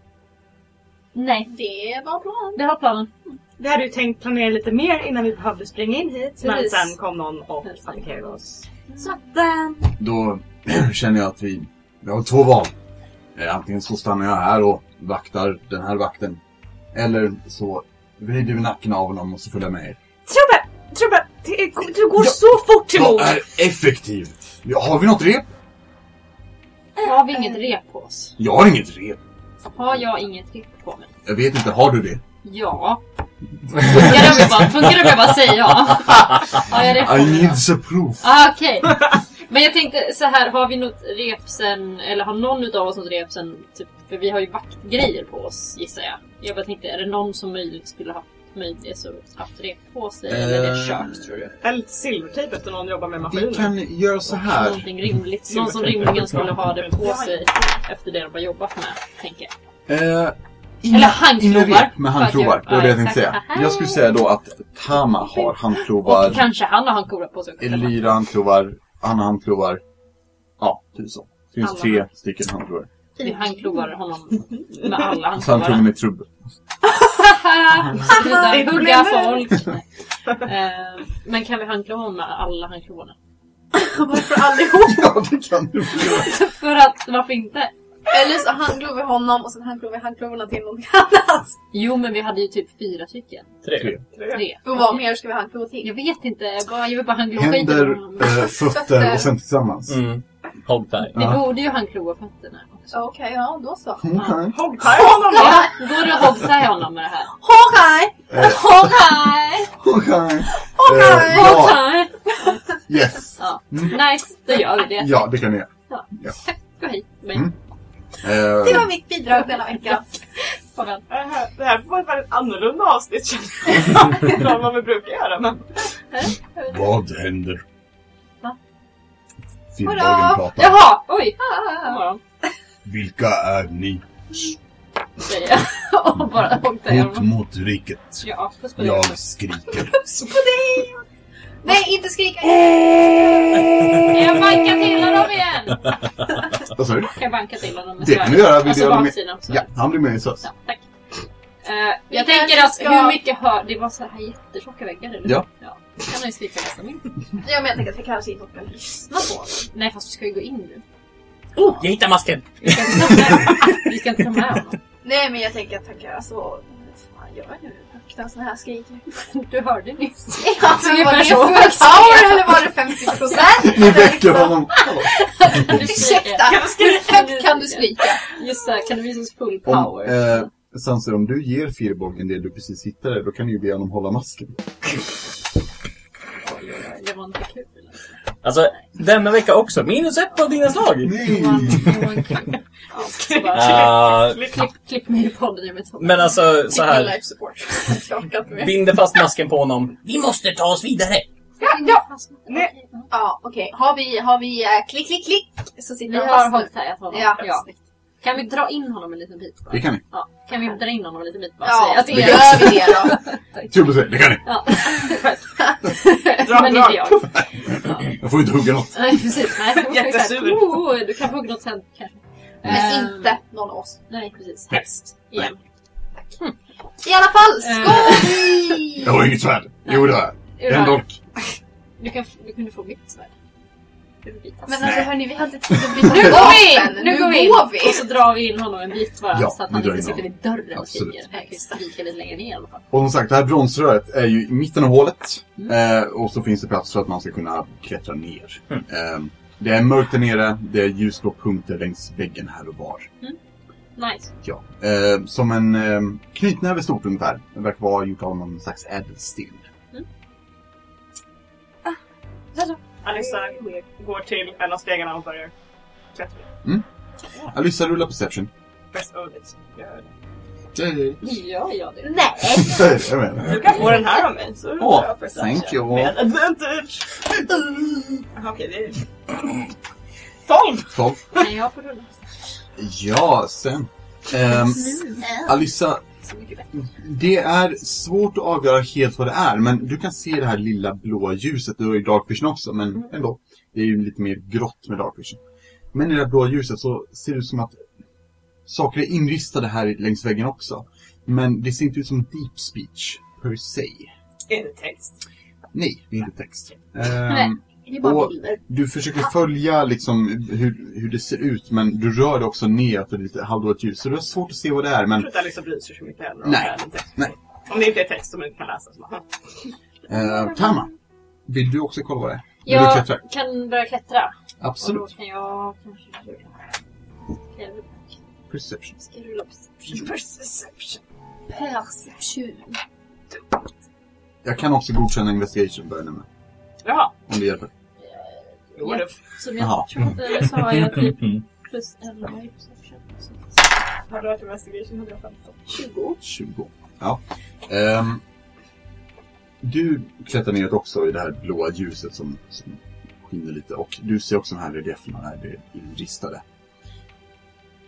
[SPEAKER 2] Nej,
[SPEAKER 3] Det var bra.
[SPEAKER 2] det har planen.
[SPEAKER 6] Vi hade ju tänkt planera lite mer innan vi behövde springa in hit. Men
[SPEAKER 2] Precis.
[SPEAKER 6] sen kom någon och
[SPEAKER 2] Precis.
[SPEAKER 6] attackerade oss.
[SPEAKER 3] Så att, eh,
[SPEAKER 5] Då känner jag att vi, vi har två val. Eh, Antingen så stannar jag här och vaktar den här vakten. Eller så vrider vi nacken av honom och så följer jag med er.
[SPEAKER 6] Trubbel! Trubbel! det är- Du går
[SPEAKER 5] Ja.
[SPEAKER 6] så fort emot!
[SPEAKER 5] Jag är effektiv! Ja, har vi något rep?
[SPEAKER 2] Har vi inget rep på oss?
[SPEAKER 5] Jag har inget rep.
[SPEAKER 2] Har jag inget rep på mig?
[SPEAKER 5] Jag vet inte, har du det?
[SPEAKER 2] Ja. Funkar det om jag bara, funkar det om jag bara säger ja? Har jag rep på
[SPEAKER 5] I
[SPEAKER 2] mig?
[SPEAKER 5] need the proof.
[SPEAKER 2] Ah, okej. Men jag tänkte så här, har vi något rep sen, eller har någon utav oss något rep sen, typ, för vi har ju vaktgrejer på oss gissar jag. Jag bara tänkte, är det någon som möjligt skulle ha möjlighet så haft rep på sig eller är det
[SPEAKER 5] Eh,
[SPEAKER 2] kört tror du?
[SPEAKER 6] Eller lite silvertejp efter någon jobbar med
[SPEAKER 5] Vi
[SPEAKER 6] maskiner.
[SPEAKER 5] kan göra så här.
[SPEAKER 2] Någonting rimligt, någon som rimligen skulle ha det på sig efter det de har jobbat med, tänker jag.
[SPEAKER 5] Eh,
[SPEAKER 2] Eller handklovar.
[SPEAKER 5] Med handklovar, det var det jag tänkte
[SPEAKER 2] Ja,
[SPEAKER 5] säga.
[SPEAKER 2] exakt.
[SPEAKER 5] Jag skulle säga då att Tama har
[SPEAKER 2] Och
[SPEAKER 5] handklovar,
[SPEAKER 2] kanske han har handklovar på sig också.
[SPEAKER 5] Elira har handklovar, Anna har handklovar. Ja, typ så. Det finns
[SPEAKER 2] Alla.
[SPEAKER 5] tre stycken handklovar.
[SPEAKER 2] Vi handklovar honom med alla
[SPEAKER 5] Så han tror
[SPEAKER 2] handklovarna.
[SPEAKER 5] de är trubbel.
[SPEAKER 2] Sluta hugga
[SPEAKER 6] problemet.
[SPEAKER 2] folk. Eh, men kan vi handklova honom med alla handklovarna?
[SPEAKER 6] Varför allihop?
[SPEAKER 5] Ja, det kan du väl göra.
[SPEAKER 2] För att, varför inte?
[SPEAKER 3] Eller så handglov vi honom och sen handglov vi handklovarna till någonting annat.
[SPEAKER 2] Jo, men vi hade ju typ fyra stycken.
[SPEAKER 4] Tre.
[SPEAKER 2] Tre.
[SPEAKER 3] Och vad mer ska vi handklova
[SPEAKER 2] Jag
[SPEAKER 3] till?
[SPEAKER 2] vet inte, jag bara, jag vill bara handkloa
[SPEAKER 5] Händer,
[SPEAKER 2] skiten ur honom.
[SPEAKER 5] eh, fötter och sen tillsammans.
[SPEAKER 4] Mm. Hold tight.
[SPEAKER 2] Vi
[SPEAKER 5] ja.
[SPEAKER 2] borde ju handkloa fötterna också.
[SPEAKER 3] Okej, ja då så.
[SPEAKER 5] Okej.
[SPEAKER 6] Hoppar honom då!
[SPEAKER 2] Ja, går det att hoggta i honom med det här?
[SPEAKER 3] Hawkeye!
[SPEAKER 5] Eh,
[SPEAKER 2] Hawkeye!
[SPEAKER 5] Okej. Eh, Ja,
[SPEAKER 2] Hawkeye!
[SPEAKER 5] yes.
[SPEAKER 2] Ja. Nice, då gör vi det.
[SPEAKER 5] Ja, det kan ni göra.
[SPEAKER 2] Gå hit. Men,
[SPEAKER 5] Mm.
[SPEAKER 3] Det var
[SPEAKER 5] Eh,
[SPEAKER 3] mitt bidrag denna vecka.
[SPEAKER 2] farväl.
[SPEAKER 6] Det här- Det här var ett väldigt annorlunda avsnitt känner jag. Inte vad vi brukar göra men...
[SPEAKER 5] Vad händer?
[SPEAKER 2] Va?
[SPEAKER 5] Finndagen
[SPEAKER 3] Hurra!
[SPEAKER 5] pratar.
[SPEAKER 2] Jaha! Oj! God
[SPEAKER 3] Ah.
[SPEAKER 2] morgon,
[SPEAKER 5] Vilka är ni?
[SPEAKER 2] säger jag. Och bara hoggta i
[SPEAKER 5] Hot
[SPEAKER 2] honom.
[SPEAKER 5] mot riket.
[SPEAKER 2] Ja, puss på dig.
[SPEAKER 5] Jag skriker.
[SPEAKER 3] Nej, inte skrika!
[SPEAKER 2] Jag bankar till honom igen!
[SPEAKER 5] Vad sa du?
[SPEAKER 2] Kan jag banka till honom med
[SPEAKER 5] Det kan du göra. Vill du
[SPEAKER 2] alltså
[SPEAKER 5] göra med-
[SPEAKER 2] baksidan också.
[SPEAKER 5] Ja, han blir med i SÖS.
[SPEAKER 2] Ja, tack. Eh, jag
[SPEAKER 3] Vi kanske
[SPEAKER 2] tänker att
[SPEAKER 3] ska-
[SPEAKER 2] hur mycket hör... Det var så här jättetjocka väggar eller?
[SPEAKER 5] Ja.
[SPEAKER 2] ja. Då kan han ju skrika nästa min.
[SPEAKER 3] Ja, men jag tänker att vi kanske inte orkar lyssna på honom.
[SPEAKER 2] Nej fast vi ska ju gå in nu.
[SPEAKER 7] Oh, jag hittar masken!
[SPEAKER 2] Vi ska inte ta med, vi ska inte ta med honom.
[SPEAKER 3] Nej, men jag tänker att han kan... Alltså, vad fan gör jag nu? Öppna såna här skrik.
[SPEAKER 2] Du hörde nyss.
[SPEAKER 3] Alltså,
[SPEAKER 2] Ungefär
[SPEAKER 3] var det
[SPEAKER 2] så.
[SPEAKER 3] full power eller var det 50 procent?
[SPEAKER 5] Ni väcker honom.
[SPEAKER 2] Kan du skrika?
[SPEAKER 3] Ursäkta! Hur högt kan du skrika?
[SPEAKER 2] Just det, kan du visa oss full
[SPEAKER 5] Om,
[SPEAKER 2] power?
[SPEAKER 5] eh, Sanser, om du ger Firbolgen det du precis hittade, då kan du ju be honom hålla masken.
[SPEAKER 2] Det var inte kul. alltså.
[SPEAKER 4] Alltså, denna vecka också. Minus ett på dina slag!
[SPEAKER 2] Det var- det var inte kul. Ja, så bara,
[SPEAKER 4] Ah,
[SPEAKER 2] klipp, klipp mig i podden, jag vet inte.
[SPEAKER 4] men alltså, så
[SPEAKER 3] Min
[SPEAKER 4] här.
[SPEAKER 3] Typ Life support. Jag orkar inte mer.
[SPEAKER 4] Binder fast masken på honom. Vi måste ta oss vidare!
[SPEAKER 6] ja.
[SPEAKER 2] Okej, ja.
[SPEAKER 3] Ja, okej. Har vi, har vi eh, klick, klick, klick så sitter
[SPEAKER 2] Vi
[SPEAKER 3] han
[SPEAKER 2] har
[SPEAKER 3] fast nu.
[SPEAKER 2] hållit här, jag tar honom.
[SPEAKER 3] Ja,
[SPEAKER 2] Ja.
[SPEAKER 3] snyggt.
[SPEAKER 2] Kan vi dra in honom en liten bit? Bara?
[SPEAKER 5] Det kan ni.
[SPEAKER 2] Ja, kan vi dra in honom en liten bit bara?
[SPEAKER 3] Ja,
[SPEAKER 2] säga
[SPEAKER 3] det
[SPEAKER 2] till er?
[SPEAKER 3] gör vi det då.
[SPEAKER 5] Trubbel säger, det kan ni.
[SPEAKER 2] Ja.
[SPEAKER 6] Dra,
[SPEAKER 2] Men
[SPEAKER 6] dra.
[SPEAKER 2] inte jag.
[SPEAKER 5] Jag får ju inte hugga något.
[SPEAKER 2] Nej, precis. Nej.
[SPEAKER 6] Jättesur.
[SPEAKER 2] Oh, du kan få något sen kanske.
[SPEAKER 3] Men
[SPEAKER 2] Ehm,
[SPEAKER 3] inte någon av oss.
[SPEAKER 2] Nej, precis. Helst. Igen.
[SPEAKER 3] I alla fall, skål!
[SPEAKER 5] Jag har inget svärd. Jo, det har jag.
[SPEAKER 8] En dolk.
[SPEAKER 2] Du, kan, du kunde få mitt svärd.
[SPEAKER 3] Men alltså hörni, vi har inte tid att byta
[SPEAKER 2] Nu går vi
[SPEAKER 3] vapen.
[SPEAKER 2] in! Nu går vi in! Och så drar vi in honom en bit bara
[SPEAKER 5] Ja,
[SPEAKER 2] så att
[SPEAKER 5] vi
[SPEAKER 2] han
[SPEAKER 5] drar
[SPEAKER 2] inte
[SPEAKER 5] in
[SPEAKER 2] sitter vid dörren och
[SPEAKER 5] Absolut.
[SPEAKER 2] skriker. Han kan ju skrika lite längre ner i alla fall.
[SPEAKER 5] Och som sagt, det här bronsröret är ju i mitten av hålet. Eh, och så finns det plats för att man ska kunna klättra ner. Eh, det är mörkt där nere, det är ljusblå punkter längs väggen här och var.
[SPEAKER 2] Nice.
[SPEAKER 5] Ja. Eh, som en eh, knytnäve stort ungefär. Den verkar vara gjort av någon slags ädelsten.
[SPEAKER 1] Alissa går till en av stegarna och börjar klättra.
[SPEAKER 5] Alyssa, rulla perception.
[SPEAKER 1] Best of it. Jag gör det.
[SPEAKER 2] Ja, ja det.
[SPEAKER 3] Nej!
[SPEAKER 5] Jag menar.
[SPEAKER 1] Du kan få den här av mig. Så
[SPEAKER 5] Åh,
[SPEAKER 1] kör jag perception
[SPEAKER 5] thank you.
[SPEAKER 1] Med advantage. Jaha, Okej, det är... Tolv!
[SPEAKER 5] Tolv.
[SPEAKER 2] Nej, jag får rulla.
[SPEAKER 5] Ja, sen. Ehm, Alyssa,
[SPEAKER 2] Så mycket bättre.
[SPEAKER 5] det är svårt att avgöra helt vad det är, men du kan se det här lilla blåa ljuset. Du har ju dark vision också, men ändå. Det är ju lite mer grått med dark vision. Men i det här blåa ljuset så ser det ut som att saker är inristade här längs väggen också. Men det ser inte ut som deep speech, per se.
[SPEAKER 1] Är det text?
[SPEAKER 5] Nej, det är inte text.
[SPEAKER 2] Nej.
[SPEAKER 5] Ehm,
[SPEAKER 2] Det är bara
[SPEAKER 5] Och-
[SPEAKER 2] bilder.
[SPEAKER 5] du försöker följa liksom hur, hur det ser ut, men du rör dig också ner för det är lite halvdåligt ljus. Så det är svårt att se vad det är,
[SPEAKER 1] Jag
[SPEAKER 5] men
[SPEAKER 1] tror inte Alissa bryr sig så mycket heller om
[SPEAKER 5] Nej.
[SPEAKER 1] det är en text.
[SPEAKER 5] Nej.
[SPEAKER 1] Om det inte är text som man inte kan läsa. Så bara, "Hm."
[SPEAKER 5] Eh, Tama, vill du också kolla vad det är? När du
[SPEAKER 2] Jag
[SPEAKER 5] klättrar?
[SPEAKER 2] kan börja klättra. Och då
[SPEAKER 5] Absolut.
[SPEAKER 2] kan jag kanske rulla. Kan jag rulla?
[SPEAKER 5] Perception.
[SPEAKER 2] Ska jag rulla perception? Perception. Perception.
[SPEAKER 5] Jag kan också godkänna investigation börjar jag med.
[SPEAKER 1] Jaha,
[SPEAKER 5] Om det hjälper.
[SPEAKER 1] jo, det
[SPEAKER 2] Som
[SPEAKER 5] Jaha. Mm.
[SPEAKER 2] jag tror att eller så har jag typ plus 11 i perception. Så-
[SPEAKER 1] har du varit investigation 115.
[SPEAKER 5] 20. Ja. Ehm, du klättrar neråt också i det här blåa ljuset som, som skiner lite och du ser också de här relieferna där det är inristade.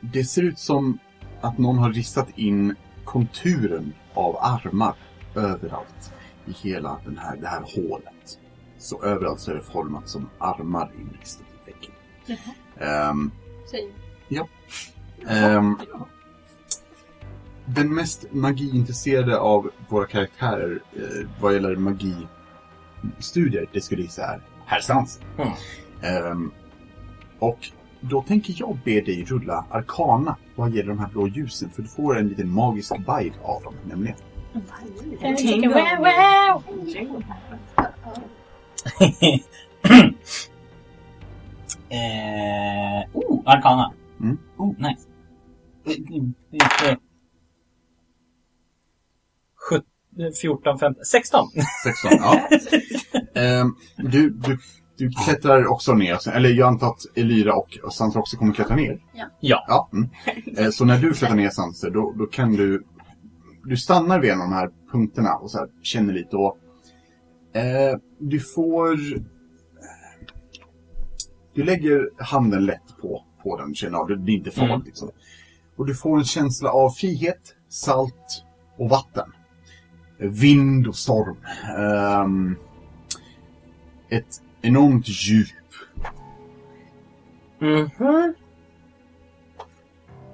[SPEAKER 5] Det ser ut som att någon har ristat in konturen av armar överallt i hela den här, det här hålet. Så överallt så är det format som armar inristat i väggen. Ehm,
[SPEAKER 2] Säg.
[SPEAKER 5] Ehm, den mest magiintresserade av våra karaktärer eh, vad gäller magistudier, det skulle jag gissa är herr Svans.
[SPEAKER 4] Mm.
[SPEAKER 5] Ehm, och då tänker jag be dig rulla Arkana vad gäller de här blå ljusen, för du får en liten magisk vibe av dem nämligen.
[SPEAKER 6] Tänk om-
[SPEAKER 4] eh, oh, Arkana.
[SPEAKER 5] Mm.
[SPEAKER 4] Oh, nice. Lite... eh, 14, 15, 16!
[SPEAKER 5] 16, ja. Ehm, du, du, du klättrar också ner, Alltså, eller jag antar att Elira och Sansa också kommer klättra ner.
[SPEAKER 2] Ja.
[SPEAKER 4] Ja.
[SPEAKER 5] mm. Eh, Så när du klättrar ner Sansa, då, då kan du... Du stannar vid en av de här punkterna och så här, känner lite och... Eh, du får... eh, Du lägger handen lätt på, på den, känner av det. Det är inte farligt
[SPEAKER 4] Mm.
[SPEAKER 5] liksom. Och du får en känsla av frihet, salt och vatten. Vind och storm. Ehm, ett enormt djup.
[SPEAKER 4] Mhm.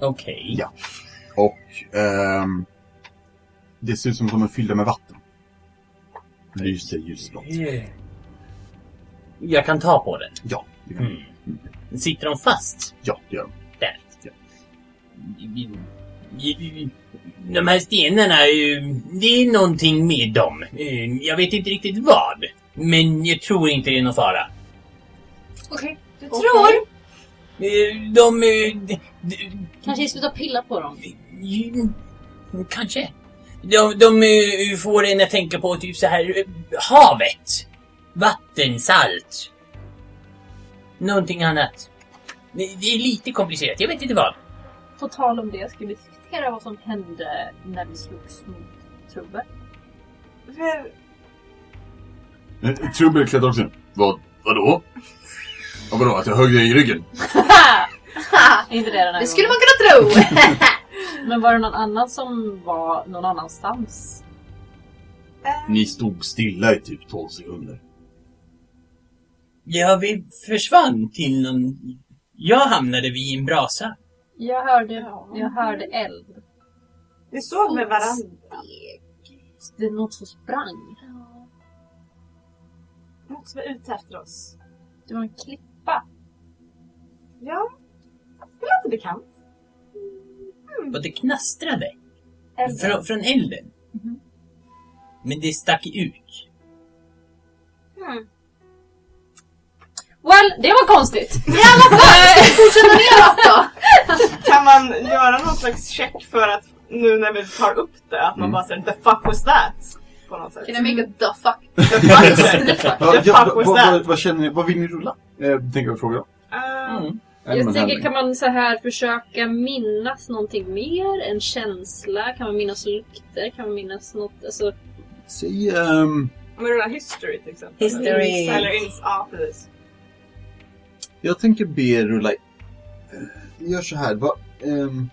[SPEAKER 4] Okej.
[SPEAKER 5] Ja. Och ehm, det ser ut som att de är fyllda med vatten. Lyser ljusblått.
[SPEAKER 4] Jag kan ta på den.
[SPEAKER 5] Ja, det kan
[SPEAKER 4] Sitter de fast?
[SPEAKER 5] ja, det gör de.
[SPEAKER 4] Där. De här stenarna, eh, det är någonting med dem. Eh, Jag vet inte riktigt vad. Men jag tror inte det är någon fara.
[SPEAKER 3] Okej. Du tror?
[SPEAKER 4] Eh, De... eh, d- d-
[SPEAKER 2] Kanske sluta pilla på dem.
[SPEAKER 4] Mm, Kanske. De, de eh, får en att tänka på typ så här eh, havet. Vattensalt. Någonting annat. Det det är lite komplicerat, jag vet inte vad.
[SPEAKER 2] På tal om det, ska vi diskutera vad som hände när vi slogs mot Trubbel?
[SPEAKER 5] Eh, Trubbel klättrar också in. Vad, vadå? Ja, vadå, att jag högg dig i ryggen?
[SPEAKER 2] Inte det den här
[SPEAKER 3] Det skulle man kunna tro!
[SPEAKER 2] gången. Men var det någon annan som var någon annanstans?
[SPEAKER 5] Ni stod stilla i typ 12 sekunder.
[SPEAKER 7] Ja, vi försvann till någon... Jag hamnade vid en brasa.
[SPEAKER 2] Jag hörde, jag hörde eld.
[SPEAKER 6] Vi såg med varandra.
[SPEAKER 2] Det är något som sprang.
[SPEAKER 6] något som är ute efter oss.
[SPEAKER 2] Det var en klippa.
[SPEAKER 6] Ja, det låter bekant.
[SPEAKER 4] Och det knastrade. Frå, från elden. Men det stack ut.
[SPEAKER 2] Well, det var konstigt.
[SPEAKER 1] Kan man göra någon slags check för att nu när vi tar upp det, att man
[SPEAKER 5] Mm.
[SPEAKER 1] bara säger the fuck was that? På något sätt.
[SPEAKER 3] Can I make a the fuck?
[SPEAKER 1] The fuck was that?
[SPEAKER 5] Ja,
[SPEAKER 1] The
[SPEAKER 5] ja,
[SPEAKER 1] fuck
[SPEAKER 5] vad,
[SPEAKER 1] was
[SPEAKER 5] vad,
[SPEAKER 1] that?
[SPEAKER 5] vad känner ni? Vad vill ni rulla? Eh, tänker jag fråga. Ehm,
[SPEAKER 1] Eh,
[SPEAKER 5] Element
[SPEAKER 2] Jag tänker,
[SPEAKER 5] handling.
[SPEAKER 2] kan man så här försöka minnas någonting mer? En känsla? Kan man minnas lukter? Kan man minnas något? Alltså,
[SPEAKER 5] Säg... ehm,
[SPEAKER 1] Men det där history till exempel.
[SPEAKER 4] History.
[SPEAKER 1] Eller ins, ja precis.
[SPEAKER 5] jag tänker be er rulla... Eh, Vi gör så här. Vad, ehm,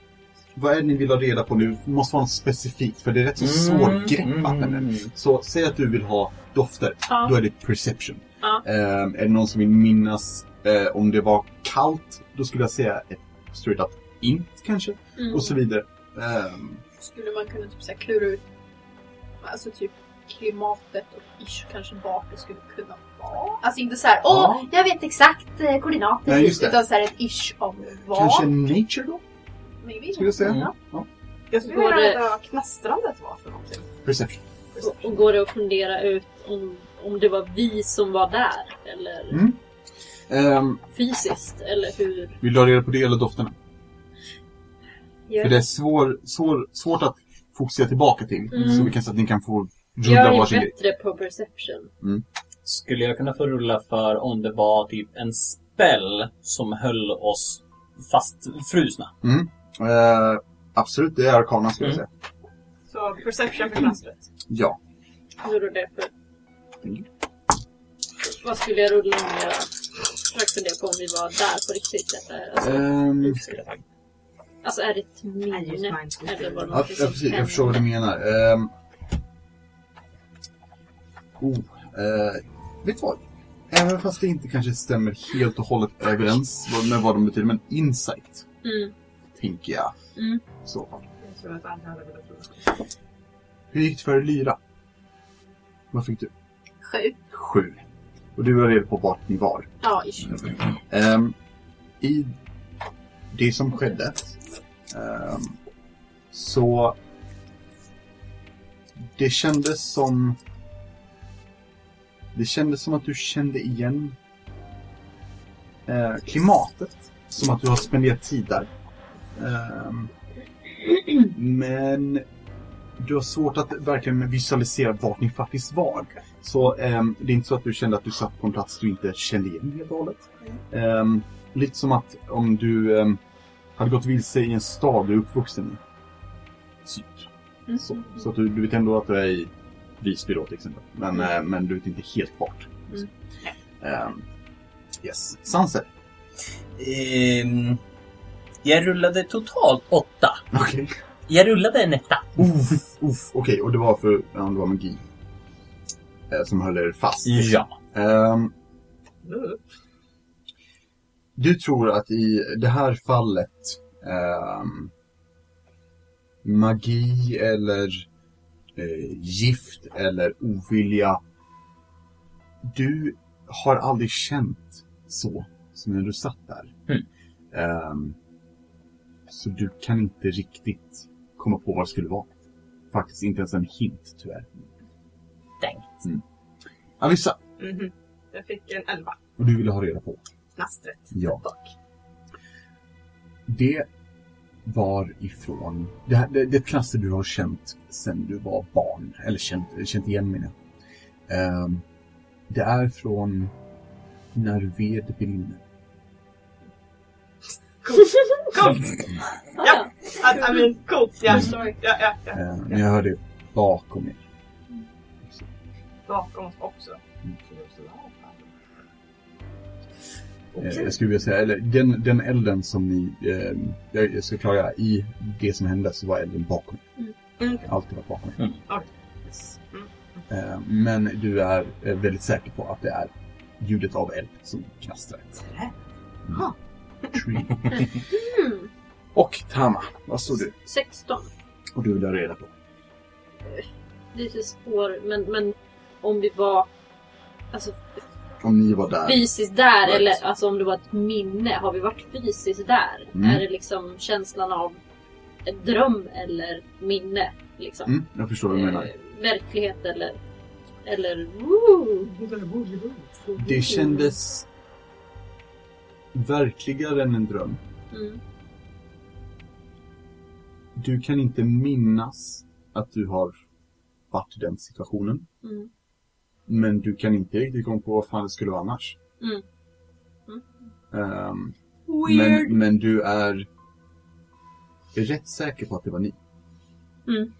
[SPEAKER 5] vad är det ni vill ha reda på nu? Det måste vara något specifikt, för det är rätt så svårgreppat.
[SPEAKER 4] mm,
[SPEAKER 5] nämligen.
[SPEAKER 4] mm.
[SPEAKER 5] Så säg att du vill ha dofter.
[SPEAKER 2] Ja.
[SPEAKER 5] Då är det perception.
[SPEAKER 2] Ja.
[SPEAKER 5] Ehm, är det någon som vill minnas eh, om det var kallt? Då skulle jag säga ett straight up int kanske.
[SPEAKER 2] mm.
[SPEAKER 5] Och så vidare. Ehm,
[SPEAKER 3] Skulle man kunna typ så här klura ut alltså typ klimatet och ish, kanske vart det skulle kunna vara? Alltså inte så här, åh,
[SPEAKER 5] Ja.
[SPEAKER 3] jag vet exakt eh, koordinater
[SPEAKER 5] Nej, just det.
[SPEAKER 3] utan så här ett ish om vad.
[SPEAKER 5] kanske nature då?
[SPEAKER 3] Maybe.
[SPEAKER 5] Skulle jag säga.
[SPEAKER 4] Mm.
[SPEAKER 5] Ja.
[SPEAKER 1] Jag skulle
[SPEAKER 2] Går
[SPEAKER 1] vilja
[SPEAKER 2] det-
[SPEAKER 1] veta vad knastrandet var för någonting.
[SPEAKER 5] Perception.
[SPEAKER 2] Och- Och går det att fundera ut om, om det var vi som var där? Eller
[SPEAKER 5] Mm. Ehm,
[SPEAKER 2] fysiskt? Eller hur?
[SPEAKER 5] vill du ha reda på det eller dofterna?
[SPEAKER 2] Gör-
[SPEAKER 5] För det är svår, svår, svårt att fokusera tillbaka till.
[SPEAKER 2] Mm.
[SPEAKER 5] Så vi kan så att ni kan få rulla
[SPEAKER 2] Jag
[SPEAKER 5] varsin
[SPEAKER 2] är
[SPEAKER 5] grej.
[SPEAKER 2] bättre på perception.
[SPEAKER 9] Skulle jag kunna få rulla för om det var typ en spell som höll oss fastfrusna?
[SPEAKER 5] Eh, absolut, det är arkana skulle jag säga.
[SPEAKER 1] Så perception för knastret.
[SPEAKER 5] Ja.
[SPEAKER 2] Nu rullar jag för... Vad skulle jag rulla om jag försökte fundera på om vi var där på riktigt? Eller? Alltså,
[SPEAKER 5] Ehm,
[SPEAKER 2] alltså är det ett minne? Eller var det
[SPEAKER 5] ja,
[SPEAKER 2] något
[SPEAKER 5] ja,
[SPEAKER 2] som
[SPEAKER 5] precis.
[SPEAKER 2] hände?
[SPEAKER 5] Jag förstår vad du menar. Ehm, oh, eh, vet du vad? Även fast det inte kanske stämmer helt och hållet överens vad- med vad de betyder, men insight,
[SPEAKER 2] Mm.
[SPEAKER 5] tänker jag.
[SPEAKER 2] Mm.
[SPEAKER 5] I så fall.
[SPEAKER 1] Jag tror att alla hade velat tro.
[SPEAKER 5] Hur gick det för Lyra? Vad fick du?
[SPEAKER 3] Sju.
[SPEAKER 5] Sju. Och du var reda på vart ni var.
[SPEAKER 3] Ja, ish.
[SPEAKER 5] Ehm, I det som skedde ehm, så det kändes som det kändes som att du kände igen eh, klimatet. Som att du har spenderat tid där. Ehm, men du har svårt att verkligen visualisera vart ni faktiskt var. Så ehm, det är inte så att du kände att du satt på en plats du inte kände igen helt och hållet. Ehm, lite som att om du ehm, hade gått vilse i en stad du är uppvuxen i. Typ. Så, så att du, du vet ändå att du är i Visby då till exempel. Men, eh, men du vet inte helt vart.
[SPEAKER 2] Mm.
[SPEAKER 5] Ehm, yes. Sunset.
[SPEAKER 4] Ehm, jag rullade totalt åtta.
[SPEAKER 5] Okej.
[SPEAKER 4] Jag rullade en etta.
[SPEAKER 5] Uff, uff. Okej, och det var för ja, det var magi. Eh, som höll er fast.
[SPEAKER 4] Ja.
[SPEAKER 5] Ehm, du tror att i det här fallet ehm, magi eller eh, gift eller ovilja. Du har aldrig känt så som när du satt där.
[SPEAKER 4] Mm.
[SPEAKER 5] Ehm, så du kan inte riktigt komma på vad det skulle vara. Faktiskt inte ens en hint tyvärr.
[SPEAKER 4] Tänkt.
[SPEAKER 5] Mm. Alissa,
[SPEAKER 1] Mhm. Jag fick en elva.
[SPEAKER 5] och du ville ha reda på?
[SPEAKER 1] Knastret.
[SPEAKER 5] Ja. Det var ifrån... Det, här, det, det är ett knaster du har känt sedan du var barn. Eller känt, känt igen menar jag. Ehm, det är från när ved brinner.
[SPEAKER 1] Coolt! ja, I, I mean coolt. Ja, ja, ja, ja.
[SPEAKER 5] Ehm, när jag hör det bakom er.
[SPEAKER 1] Bakom oss också.
[SPEAKER 5] Eh, Jag skulle vilja säga, eller den, den elden som ni, eh, jag jag ska klara i det som hände så var elden bakom er.
[SPEAKER 1] Mm. Mm.
[SPEAKER 5] Alltid varit bakom er.
[SPEAKER 4] Mm.
[SPEAKER 1] Okej.
[SPEAKER 5] Yes.
[SPEAKER 1] Mm.
[SPEAKER 5] Eh, men du är eh, väldigt säker på att det är ljudet av eld som knastrar. Mm.
[SPEAKER 6] Ha.
[SPEAKER 5] Tree.
[SPEAKER 2] Mm.
[SPEAKER 5] Och Tama, vad står du?
[SPEAKER 2] 16.
[SPEAKER 5] Och du vill ha reda på?
[SPEAKER 2] lite spår, men, men om vi var alltså,
[SPEAKER 11] Om ni var där.
[SPEAKER 2] Fysiskt där
[SPEAKER 11] Right.
[SPEAKER 2] eller alltså om det var ett minne, har vi varit fysiskt där?
[SPEAKER 11] Mm.
[SPEAKER 2] Är det liksom känslan av en dröm eller minne? Liksom?
[SPEAKER 11] Mm, jag förstår vad du menar.
[SPEAKER 2] Eh, verklighet eller... Eller... Woo! Mm.
[SPEAKER 5] Det kändes verkligare än en dröm.
[SPEAKER 2] Mm.
[SPEAKER 5] Du kan inte minnas att du har varit i den situationen.
[SPEAKER 2] Mm.
[SPEAKER 5] Men du kan inte riktigt komma på vad fan det skulle vara annars.
[SPEAKER 2] Mm. Mm.
[SPEAKER 5] Ehm,
[SPEAKER 3] Weird.
[SPEAKER 5] men, men du är rätt säker på att det var ni.
[SPEAKER 2] Mm.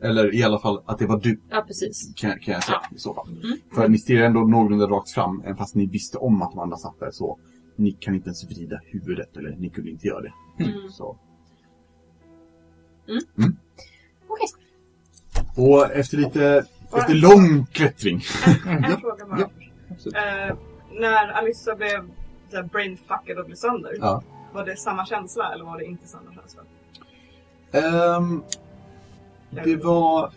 [SPEAKER 5] Eller i alla fall att det var du,
[SPEAKER 2] Ja, precis. Mm.
[SPEAKER 5] kan, kan jag säga i så fall. För ni stirrar ändå någorlunda rakt fram, även fast ni visste om att de andra satt där så. Ni kan inte ens vrida huvudet, eller ni kunde inte göra det.
[SPEAKER 2] Mm.
[SPEAKER 5] Så.
[SPEAKER 2] Mm. Okej.
[SPEAKER 5] Och efter lite,
[SPEAKER 1] Bara-
[SPEAKER 5] efter lång klättring.
[SPEAKER 1] En, en fråga bara.
[SPEAKER 11] ja, absolut.
[SPEAKER 1] Eh, när Alissa blev så här brainfuckad och blev sönder.
[SPEAKER 5] Ja.
[SPEAKER 1] Var det samma känsla eller var det inte samma känsla?
[SPEAKER 5] Ehm, det var...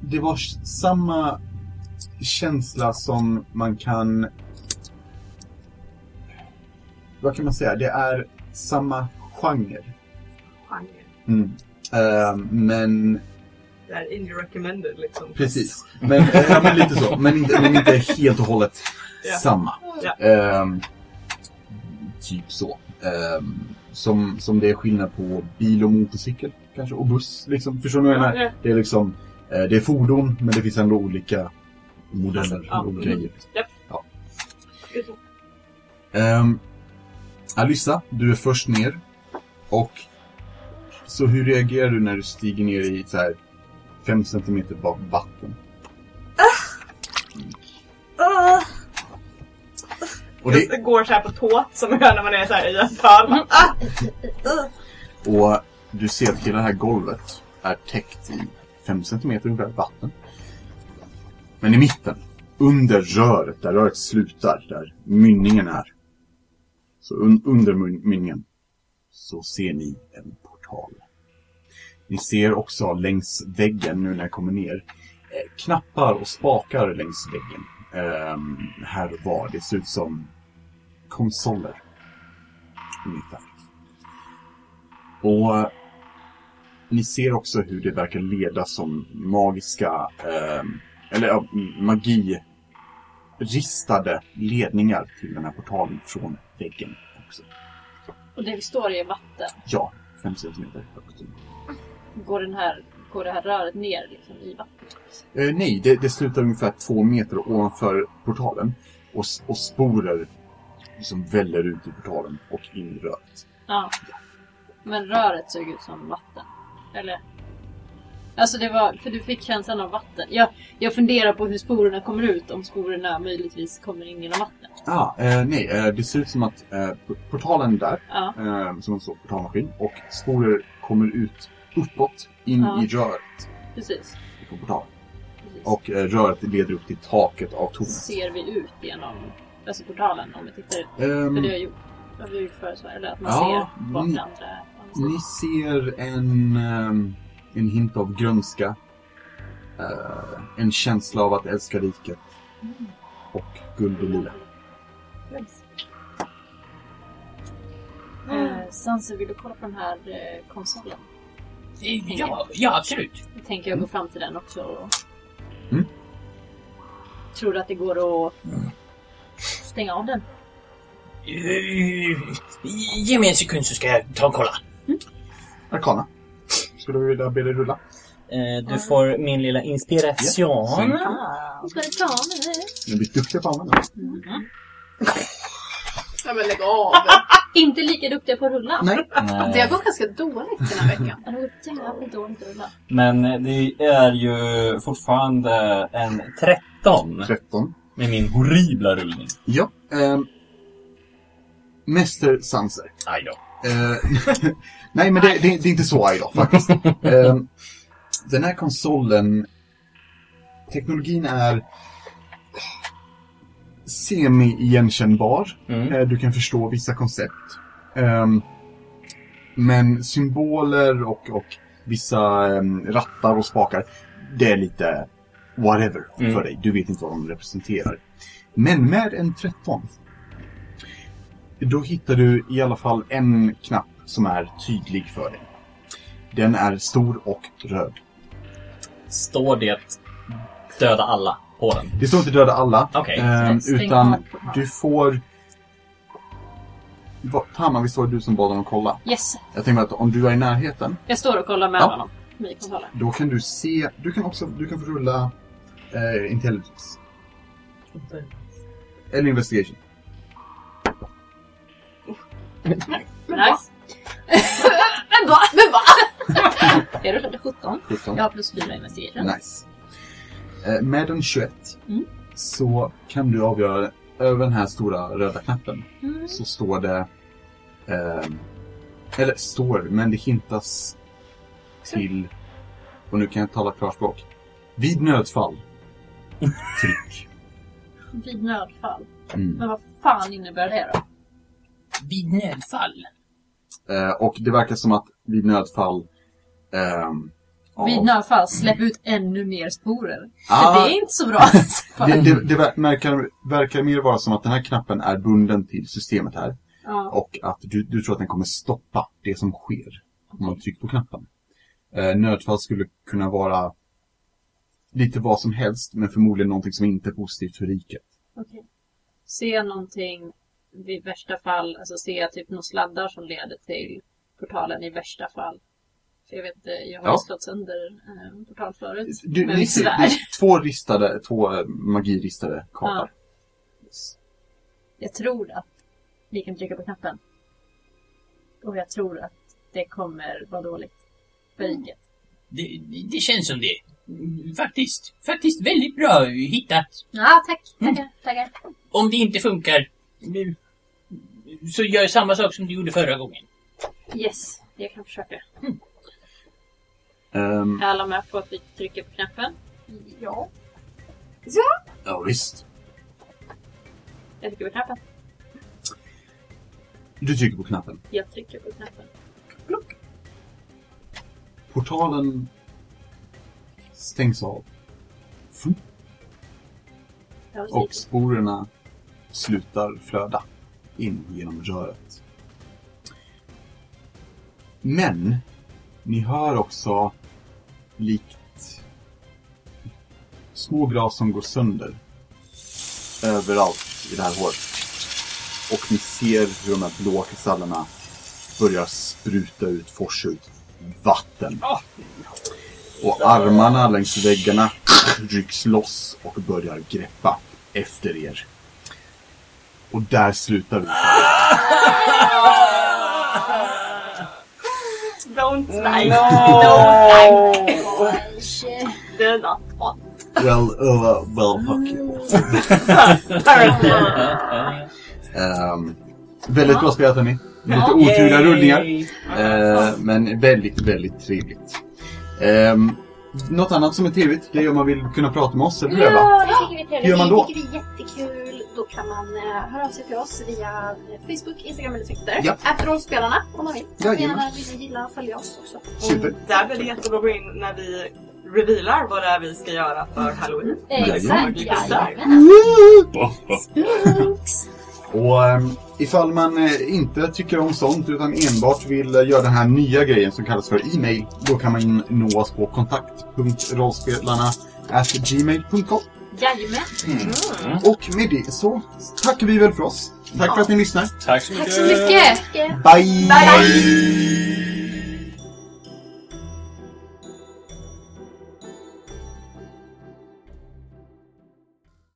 [SPEAKER 5] Det var s- samma känsla som man kan... Vad kan man säga? Det är samma genre.
[SPEAKER 1] Genre.
[SPEAKER 5] Mm. Ehm, men
[SPEAKER 1] Det är indie recommended liksom.
[SPEAKER 5] Precis. Men, eh, ja, men lite så. Men inte, men inte helt och hållet
[SPEAKER 1] Ja.
[SPEAKER 5] samma.
[SPEAKER 1] Ja.
[SPEAKER 5] Ehm, typ så. Ehm, som, som det är skillnad på bil och motorcykel kanske. Och buss. Liksom. Förstår ni vad jag menar?
[SPEAKER 1] Ja.
[SPEAKER 5] Det är liksom, eh, det är fordon men det finns ändå olika modeller
[SPEAKER 1] Ja.
[SPEAKER 5] och grejer.
[SPEAKER 1] Japp.
[SPEAKER 5] Ja. Ehm, Alyssa, du är först ner. Och så hur reagerar du när du stiger ner i så här fem centimeter bak vatten?
[SPEAKER 6] Åh,
[SPEAKER 5] Och
[SPEAKER 1] Just
[SPEAKER 5] det,
[SPEAKER 1] det går så här på tå som man gör när man är så här i en Ah! pöl.
[SPEAKER 6] åh.
[SPEAKER 5] och du ser att hela det här golvet är täckt i fem centimeter ungefär vatten. Men i mitten, under röret, där röret slutar, där mynningen är. Så un under myn- mynningen så ser ni en portal. Ni ser också längs väggen, nu när jag kommer ner, eh, knappar och spakar längs väggen. Ehm, här och var. Det ser ut som konsoler. Ungefär. Och eh, ni ser också hur det verkar leda som magiska, ehm, eller ja, magi ristade ledningar till den här portalen från väggen också.
[SPEAKER 2] Och det vi står i är vatten.
[SPEAKER 5] Ja, fem centimeter högt.
[SPEAKER 2] Går, den här, går det här röret ner liksom, i vattnet?
[SPEAKER 5] Eh, nej, det, det slutar ungefär två meter ovanför portalen. Och, s- och sporer liksom väller ut i portalen och in i röret.
[SPEAKER 2] Ja. Men röret såg ut som vatten. Eller? Alltså det var, för du fick känslan av vatten. Jag, jag funderar på hur sporerna kommer ut, om sporerna möjligtvis kommer in genom vatten.
[SPEAKER 5] Ah, eh, nej, eh, det ser ut som att eh, p- portalen där,
[SPEAKER 2] Ja.
[SPEAKER 5] eh, som en stor portalmaskin, och sporer kommer ut uppåt, in
[SPEAKER 2] Ja.
[SPEAKER 5] i röret
[SPEAKER 2] Precis.
[SPEAKER 5] på portalen.
[SPEAKER 2] precis.
[SPEAKER 5] Och eh, röret leder upp till taket av tornet.
[SPEAKER 2] Ser vi ut genom alltså portalen om vi tittar ut?
[SPEAKER 5] Ehm,
[SPEAKER 2] För det har jag gjort. Det har vi gjort förut så. Eller att man
[SPEAKER 5] Ja, mm.
[SPEAKER 2] ser vart
[SPEAKER 5] ni-
[SPEAKER 2] det andra är.
[SPEAKER 5] Ni ser en, ehm, en hint av grönska. Eh, en känsla av att älska riket. Och guld och lila. Mm.
[SPEAKER 2] Eh, Sanser, vill du kolla på den här eh, konsolen?
[SPEAKER 4] Ja, ja absolut.
[SPEAKER 2] Då tänker jag gå fram till den också och...
[SPEAKER 5] Mm.
[SPEAKER 2] Tror du att det går att stänga av den?
[SPEAKER 4] Eh, Ge mig en sekund så ska jag ta och kolla.
[SPEAKER 5] Arkana. Skulle du vilja be dig rulla?
[SPEAKER 9] Eh, du får min lilla inspiration.
[SPEAKER 2] Ah.
[SPEAKER 5] Ni blir duktiga på att använda den.
[SPEAKER 3] Nej men lägg av.
[SPEAKER 2] Inte lika duktiga på att rulla. Nej.
[SPEAKER 9] Eh,
[SPEAKER 3] Det har gått ganska dåligt den här veckan.
[SPEAKER 2] Det går jävligt dåligt att rulla.
[SPEAKER 9] Men det är ju fortfarande en 13
[SPEAKER 5] 13.
[SPEAKER 9] med min horribla rullning.
[SPEAKER 5] Ja. ehm, Mäster Sanser.
[SPEAKER 9] Aj då.
[SPEAKER 5] Eh, nej, men det, det, det är inte så idag faktiskt. Ehm, den här konsolen, teknologin är semi-igenkännbar.
[SPEAKER 9] Mm.
[SPEAKER 5] Eh, du kan förstå vissa koncept. Ehm, men symboler och, och vissa ehm, rattar och spakar, det är lite whatever
[SPEAKER 9] Mm.
[SPEAKER 5] för dig. Du vet inte vad de representerar. Men med en 13. Då hittar du i alla fall en knapp som är tydlig för dig. Den är stor och röd.
[SPEAKER 9] Står det döda alla på den?
[SPEAKER 5] Det står inte döda alla.
[SPEAKER 9] Okej.
[SPEAKER 5] ehm,
[SPEAKER 2] Stäng av
[SPEAKER 5] utan
[SPEAKER 2] på hand.
[SPEAKER 5] du får... Va- Hanna, visst var det du som bad honom kolla?
[SPEAKER 2] Yes,
[SPEAKER 5] Jag tänker att om du är i närheten,
[SPEAKER 2] jag står och kollar med
[SPEAKER 5] Ja.
[SPEAKER 2] honom. Vi kollar.
[SPEAKER 5] då kan du se... Du kan också... Du kan få rulla... Eh, intelligence. Eller investigation.
[SPEAKER 2] Nice.
[SPEAKER 3] Men va? Men va?
[SPEAKER 2] Jag rullade 17.
[SPEAKER 5] 17.
[SPEAKER 2] Jag har plus 4 i investigation.
[SPEAKER 5] Nice. Eh, Med en 21
[SPEAKER 2] Mm.
[SPEAKER 5] så kan du avgöra över den här stora röda knappen
[SPEAKER 2] Mm.
[SPEAKER 5] så står det ehm, eller står, men det hintas till och nu kan jag tala klarspråk. Vid nödfall. Tryck.
[SPEAKER 2] Vid nödfall.
[SPEAKER 5] Mm.
[SPEAKER 2] Men vad fan innebär det då?
[SPEAKER 7] Vid nödfall.
[SPEAKER 5] Eh, och det verkar som att vid nödfall... ehm, ja.
[SPEAKER 2] Vid nödfall, släpp ut ännu mer sporer. För
[SPEAKER 5] Ah,
[SPEAKER 2] det är inte så bra.
[SPEAKER 5] det, det, det ver- verkar, verkar mer vara som att den här knappen är bunden till systemet här.
[SPEAKER 2] ja.
[SPEAKER 5] Och att du, du tror att den kommer stoppa det som sker om man trycker på knappen. Eh, nödfall skulle kunna vara lite vad som helst, men förmodligen någonting som inte är positivt för riket.
[SPEAKER 2] Okej. Se någonting, i värsta fall, alltså se typ några sladdar som leder till portalen i värsta fall. För jag vet inte, jag har ju
[SPEAKER 5] Ja.
[SPEAKER 2] slått sönder eh, en portal förut.
[SPEAKER 5] Du,
[SPEAKER 2] Men
[SPEAKER 5] ni
[SPEAKER 2] vi
[SPEAKER 5] ser,
[SPEAKER 2] svär.
[SPEAKER 5] det är två ristade, två eh, magiristade kartor.
[SPEAKER 2] Jag tror att vi kan trycka på knappen. Och jag tror att det kommer vara dåligt för riket.
[SPEAKER 7] Det, det känns som det. Faktiskt, faktiskt väldigt bra hittat.
[SPEAKER 2] Ja, tack. Tackar, tackar.
[SPEAKER 7] Mm. Om det inte funkar nu, så gör samma sak som du gjorde förra gången.
[SPEAKER 2] Yes, jag kan försöka.
[SPEAKER 5] Ehm,
[SPEAKER 2] Är alla med på att vi trycker på knappen?
[SPEAKER 3] Ja.
[SPEAKER 5] ja, visst.
[SPEAKER 2] Jag trycker på knappen.
[SPEAKER 5] Du trycker på knappen.
[SPEAKER 2] Jag trycker på knappen.
[SPEAKER 5] Portalen stängs av
[SPEAKER 2] Jag har
[SPEAKER 5] och
[SPEAKER 2] skrivit.
[SPEAKER 5] sporerna slutar flöda in genom röret. Men ni hör också likt små glas som går sönder överallt i det här hålet. Och ni ser hur de här blå kristallerna börjar spruta ut, forsa ut vatten. Och armarna längs väggarna rycks loss och börjar greppa efter er. Och där slutar vi.
[SPEAKER 1] Don't snipe. No. Don't snipe. Det är not on.
[SPEAKER 5] Well, uh, well, fuck you. Ehm, väldigt bra spelat hörni. Lite oturliga rullningar. Eh, men väldigt, väldigt trevligt. Ehm, något annat som är trevligt, det är om man vill kunna prata med oss, eller hur Eva?
[SPEAKER 3] Ja, det tycker vi är trevligt.
[SPEAKER 5] Hur gör man då?
[SPEAKER 3] Det tycker vi är jättekul. Då kan man eh, höra av sig till oss via Facebook, Instagram eller Twitter.
[SPEAKER 5] Ja.
[SPEAKER 3] Att rollspelarna om man vill. Man får
[SPEAKER 5] Jajamän.
[SPEAKER 3] gärna vill gilla och följa oss också.
[SPEAKER 5] Super.
[SPEAKER 6] Där blir det jättebra att gå in när vi revealar vad det är vi ska göra för halloween.
[SPEAKER 5] Jajamän.
[SPEAKER 3] Exakt, jajamän.
[SPEAKER 5] Och ehm, ifall man eh, inte tycker om sånt utan enbart vill eh, göra den här nya grejen som kallas för e-mail, då kan man nå oss på kontakt.rollspelarna gmail.com.
[SPEAKER 2] Jajamän.
[SPEAKER 5] Och med det så tackar vi väl för oss. Tack för att ni lyssnar.
[SPEAKER 9] Tack så
[SPEAKER 3] Tack så mycket!
[SPEAKER 5] Bye!